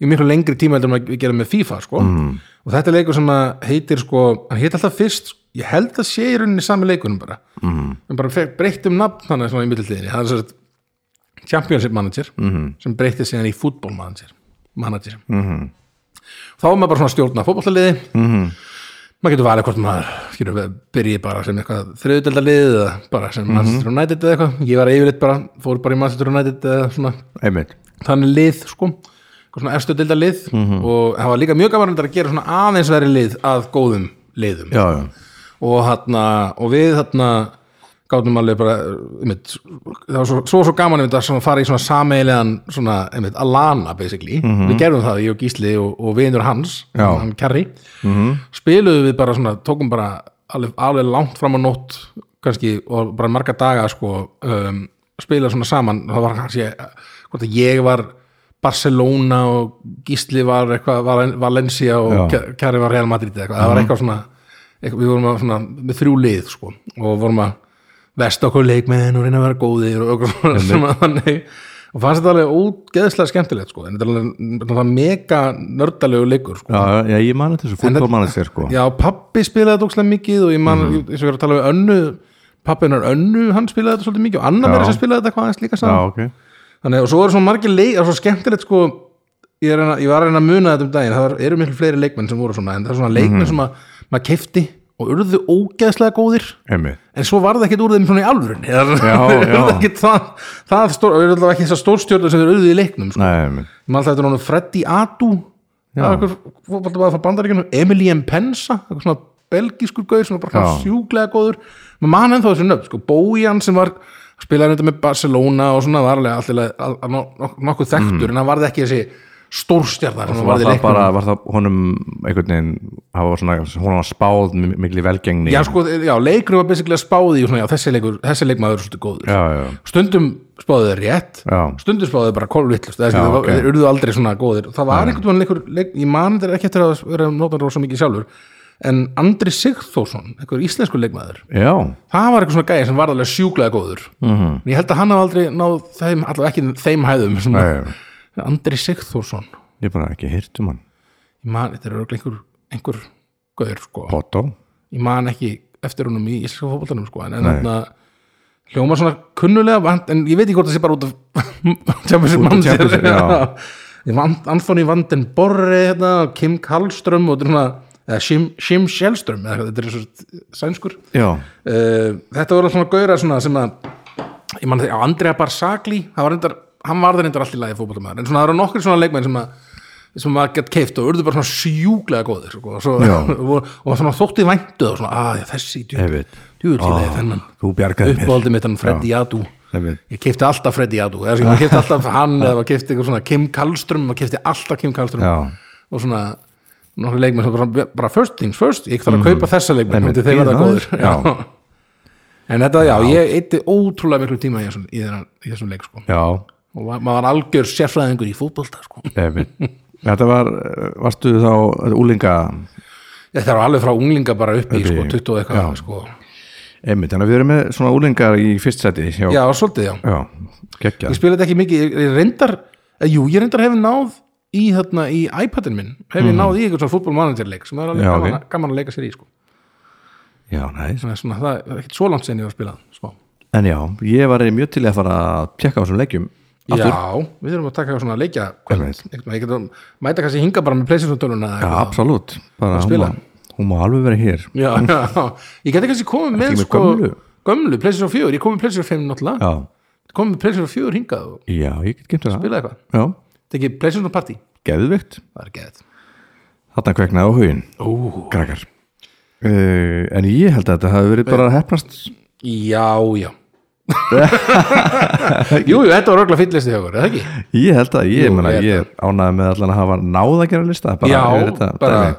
Speaker 1: í miklu lengri tíma heldur en við gerum með FIFA sko. og þetta er leikur sem að heitir sko, hann heit alltaf fyrst ég held að sé í rauninni sami leikunum bara mm. en bara fe- breyttum nafn þannig svona í mittiltíðinni, það er svo að Championship Manager sem breytti síðan í Football Manager, manager. þá er maður bara svona að stjórna fótballaliði maður getur valið hvort maður skilur, við, byrji bara sem eitthvað þriðudeldalið eða bara sem Manchester United eða eitthvað ég var yfirleitt bara, fór bara í Manchester United eða svona,
Speaker 2: einmitt,
Speaker 1: þannig lið sko, eitthvað svona efstu deildalið og það var líka mjög gaman reyndar að gera svona aðeins veri lið að góðum liðum
Speaker 2: já, já
Speaker 1: og, hana, og við hana, gátum alveg bara einmitt, það var svo svo, svo gaman einmitt, að svona fara í svona sameigilegan svona, einmitt, Alana basically, við gerðum það ég og Gísli og, og vinur hans
Speaker 2: Mhm. Já. Mhm.
Speaker 1: hann Kerry, spiluðum við bara svona, tókum bara alveg, alveg langt fram á nótt kannski og bara marga daga sko um, spila svona saman, það var kannski hvort að ég var Barcelona og Gísli var eitthvað Val- Valencia og
Speaker 2: Já.
Speaker 1: Ke- Kerry var Real Madrid eða eitthvað, það var
Speaker 2: Mhm.
Speaker 1: eitthvað svona eitthvað, við vorum að svona, með þrjú lið sko, og vorum að vesta okkur leikmenn og reyna að vera góðir og okkur svona, svona þannig og fannst þetta alveg ógeðslega skemmtilegt sko, en þetta er alveg þetta var mega nördalegu leikur sko.
Speaker 2: Já, já, ég mani þessu fútbólmannistir sko
Speaker 1: Já, pappi spilaði þetta ókslega mikið og ég man,
Speaker 2: Mhm.
Speaker 1: mm. eins og ég er að tala við önnu pappinar önnu, hann spilaði þetta svolítið mikið og annar
Speaker 2: Já.
Speaker 1: verið sem spilaði þetta hvað aðeins líka
Speaker 2: já
Speaker 1: saman
Speaker 2: ok
Speaker 1: Þannig, og svo eru svo margir leik, það er svo skemmtilegt sko, ég, er að, reyna- ég var að reyna að muna þetta um daginn, það var- eru miklu fleiri leikmenn sem voru svona, en það er
Speaker 2: Mhm.
Speaker 1: svona leikmenn sem að, maður keifti og urðu ógeðslega góðir
Speaker 2: einmitt,
Speaker 1: en svo var það ekkit úr þeim svona í alvörun já,
Speaker 2: já.
Speaker 1: Ekkit, það, það stór, við erum alltaf ekki þessar stórstjörnur sem eru urðu í leiknum sko.
Speaker 2: nei, einmitt
Speaker 1: Ég man alltaf þetta er honum Freddy Adu það var einhver fótboltabæði frá bandaríkjunum Emilien Pensa, eitthvað svona belgískur gaur sem var bara
Speaker 2: Já.
Speaker 1: sjúklega góður maður mann ennþá þessu nöfn, sko, Bójan sem var spilaði þetta með Barcelona og svona var alveg alltaf al- al- nok- nokkuð þekktur en hann varði ekki þessi stórstjarnar sem hann
Speaker 2: Mm. var
Speaker 1: varði
Speaker 2: það
Speaker 1: leiknum
Speaker 2: bara, var það honum einhvern veginn, það var svona hún var spáð mi- mikli velgengni
Speaker 1: já, sko, já, leikur var basically að spáði svona, já, þessi, leikur, þessi leikmaður er svolítið góður
Speaker 2: já, já,
Speaker 1: stundum spáðu þeir rétt
Speaker 2: Já.
Speaker 1: stundum spáðu þeir bara kolvittlust þeir
Speaker 2: Já, ok.
Speaker 1: okay. urðu aldrei svona góðir það var einhvern veginn leikur, leik, ég man þetta ekki eftir að vera notan rosa mikið sjálfur en Andri Sigþórsson, einhver íslensku leikmaður
Speaker 2: já,
Speaker 1: það var eitthvað svona gæði sem var alveg sjúklega góður
Speaker 2: Mhm.
Speaker 1: -hmm. en ég held að hann hafði aldrei náð þeim, allavega ekki þeim hæðum sem-
Speaker 2: Nei.
Speaker 1: Andri Sigþórsson
Speaker 2: ég bara ekki hýrt um hann
Speaker 1: ég man, þetta er örugglega einhver, einhver gaur sko
Speaker 2: Otto,
Speaker 1: ég man ekki eftir húnum í íslenska fótboltanum sko, en þannig að hljóma svona kunnulega vant, en ég veit ekki hvort það sé bara út af Championship
Speaker 2: Champions League, já.
Speaker 1: mann Anthony Van den Borre hérna, og Kim Kallström og þetta er svona, eða Shim, Shim Shellström eða, eitthvað, þetta er svo sænskur uh,
Speaker 2: já,
Speaker 1: þetta voru svona gauðra svona sem að ég man þetta, Andrea Barsagli það var reyndar, hann var það reyndar allt í lagi fótboltamæður en svona það eru nokkri svona leikmenn sem að sem maður gett keift og urðu bara svona sjúklega góðir sko, og, svo, og, og svona þótti væntu og svona, að þessi djú-
Speaker 2: Einmitt.
Speaker 1: djúvillilega oh, þennan
Speaker 2: þú bjargaði mér
Speaker 1: uppbóldi mitt hann Freddy Adu
Speaker 2: Einmitt.
Speaker 1: ég keipti alltaf Freddy Adu eða sem ég keipti alltaf hann eða maður keipti eitthvað svona Kim Kallström, maður keipti alltaf Kim Kallström
Speaker 2: Já.
Speaker 1: og svona nokkur leikmenn sem bara, bara first things first, ég þarf að kaupa þessa leikmenn
Speaker 2: Mhm. Einmitt,
Speaker 1: myndi þeir verða
Speaker 2: bíða
Speaker 1: góðir
Speaker 2: aðeins. Já.
Speaker 1: Já. en þetta, já, ég eitti ótrúlega miklu tíma í þessum, í þessum, í þessum leik sko.
Speaker 2: já,
Speaker 1: og ma- maður var algjör sérfræðingur í fótbolta sko.
Speaker 2: einmitt þetta var, eh, varstu þá þetta úlinga,
Speaker 1: Þetta var alveg frá unglinga bara upp í
Speaker 2: Upp í-
Speaker 1: sko, 20 og eitthvað
Speaker 2: já.
Speaker 1: sko.
Speaker 2: einmitt, þannig að við erum með svona úlingar í fyrst seti hjá,
Speaker 1: Já, svolítið já
Speaker 2: já geggjað
Speaker 1: Ég spilaði þetta ekki mikið, ég- ég reyndar eh, Jú, ég reyndar hefði náð í, þarna, í iPadin minn Hefði náð í eitthvað svona fútbolmanagerleik sem það er alveg
Speaker 2: Mhm. Já,
Speaker 1: gaman,
Speaker 2: ok.
Speaker 1: gaman að leika sér í sko.
Speaker 2: já, næs
Speaker 1: Þannig að svona, það er ekkert svo langt sen ég var að spila smá.
Speaker 2: en já, ég var reyði mjög til í að fara að tjekka á þessum leikjum aftur,
Speaker 1: Já, við erum að taka svona leikja
Speaker 2: Einmitt.
Speaker 1: Ég getum mæta kannski hinga bara með pleysinsvöldununa
Speaker 2: já, absolutt bara
Speaker 1: Að
Speaker 2: hún
Speaker 1: spila.
Speaker 2: má, hún má alveg vera hér
Speaker 1: já, já, ég geti kannski komið með,
Speaker 2: með
Speaker 1: sko,
Speaker 2: gömlu?
Speaker 1: gömlu pleysinsvöld fjögur, ég komið með pleysinsvöld fimm náttúrulega
Speaker 2: já,
Speaker 1: komið með pleysinsvöld fjögur hingað og
Speaker 2: já, ég get gemt það
Speaker 1: spila eitthvað,
Speaker 2: já,
Speaker 1: tekið pleysinsvöld partí
Speaker 2: geðvikt
Speaker 1: það er geðið
Speaker 2: þarna kveknaði á hugin
Speaker 1: Ó,
Speaker 2: krakkar uh, en ég held að þetta hafi verið bara að hefnast
Speaker 1: já, já Jú, jú, þetta var örgulega fyllistið hjá okkur, eða ekki?
Speaker 2: ég held að ég,
Speaker 1: Jú,
Speaker 2: meina,
Speaker 1: ég
Speaker 2: ég ánaði með allan að hafa náð að gera lista bara,
Speaker 1: já,
Speaker 2: yfir þetta,
Speaker 1: bara
Speaker 2: dæmi.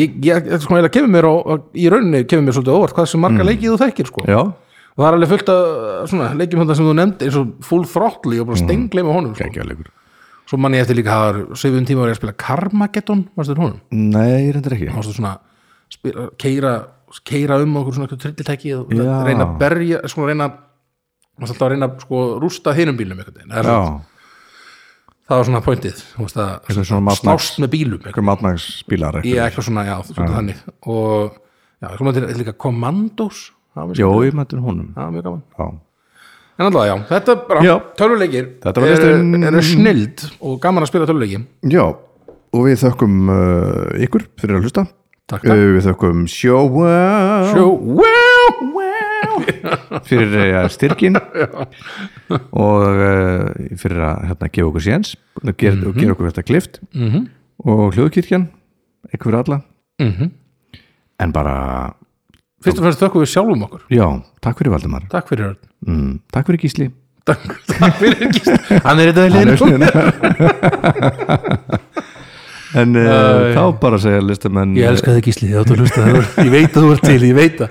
Speaker 1: ég, ég, ég, sko, ég kemur mér á, í rauninni kemur mér svolítið á óvart hvað sem marga mm. leikið þú þekkir sko.
Speaker 2: já,
Speaker 1: og það er alveg fullt að svona, leikjum þetta sem þú nefndi eins og full throttle
Speaker 2: Mhm.
Speaker 1: og bara stengleima honum sko.
Speaker 2: geðleikur
Speaker 1: svo mann ég eftir líka að sögum tíma var ég að spila Carmageddon, varstu þér honum
Speaker 2: nei, ég reyndir ekki
Speaker 1: þá varstu svona spila, keira, keira um okkur svona trillitæki og
Speaker 2: Já.
Speaker 1: reyna að berja sko, reyna, varstu alltaf að reyna sko, rústa hinum bílum einhvern veginn það,
Speaker 2: já,
Speaker 1: er svona- það var svona pointið þú veist að
Speaker 2: Eitthvað svona Mad Max.
Speaker 1: snást með bílum einhvern
Speaker 2: eitthvað matnagsbílar
Speaker 1: Ég eitthvað svona, já, svona þannig og já, við komum til til líka Commandos það var mjög
Speaker 2: Jó,
Speaker 1: skemmtilegt.
Speaker 2: ég mætti honum
Speaker 1: það var mjög gaman
Speaker 2: já.
Speaker 1: en alltaf, já, þetta er
Speaker 2: Já.
Speaker 1: bara tölvuleikir
Speaker 2: Þetta var
Speaker 1: er,
Speaker 2: listinn.
Speaker 1: er snild og gaman að spila tölvuleiki
Speaker 2: já, og við þökkum uh, ykkur fyrir að hlusta
Speaker 1: Takk,
Speaker 2: uh,
Speaker 1: takk.
Speaker 2: við þökkum sjóa
Speaker 1: Sjó, wow,
Speaker 2: fyrir uh, styrkin og uh, fyrir að hérna, gefa okkur séns og gera, og
Speaker 1: Mhm.
Speaker 2: gera okkur þetta klift -hmm. og hljóðkirkjan eitthvað fyrir alla
Speaker 1: Mhm.
Speaker 2: en bara,
Speaker 1: fyrst og fremst þökkum við sjálfum okkur
Speaker 2: já, takk fyrir Valdemar
Speaker 1: takk fyrir Örn.
Speaker 2: mm, takk fyrir Gísli
Speaker 1: takk, takk fyrir Gísli. hann er þetta
Speaker 2: Hann er
Speaker 1: hliðin
Speaker 2: en uh, þá bara segja listamenn
Speaker 1: ég elska þig Gísli, ég, hlusta, ég veit að þú ert til, ég veit að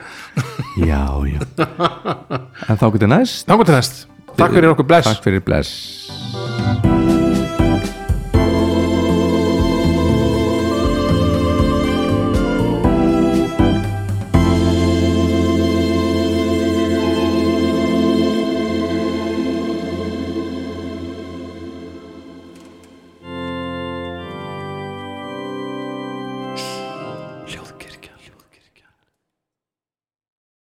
Speaker 2: já, já en þá getur næst
Speaker 1: þannig til næst, takk fyrir okkur bless
Speaker 2: takk fyrir bless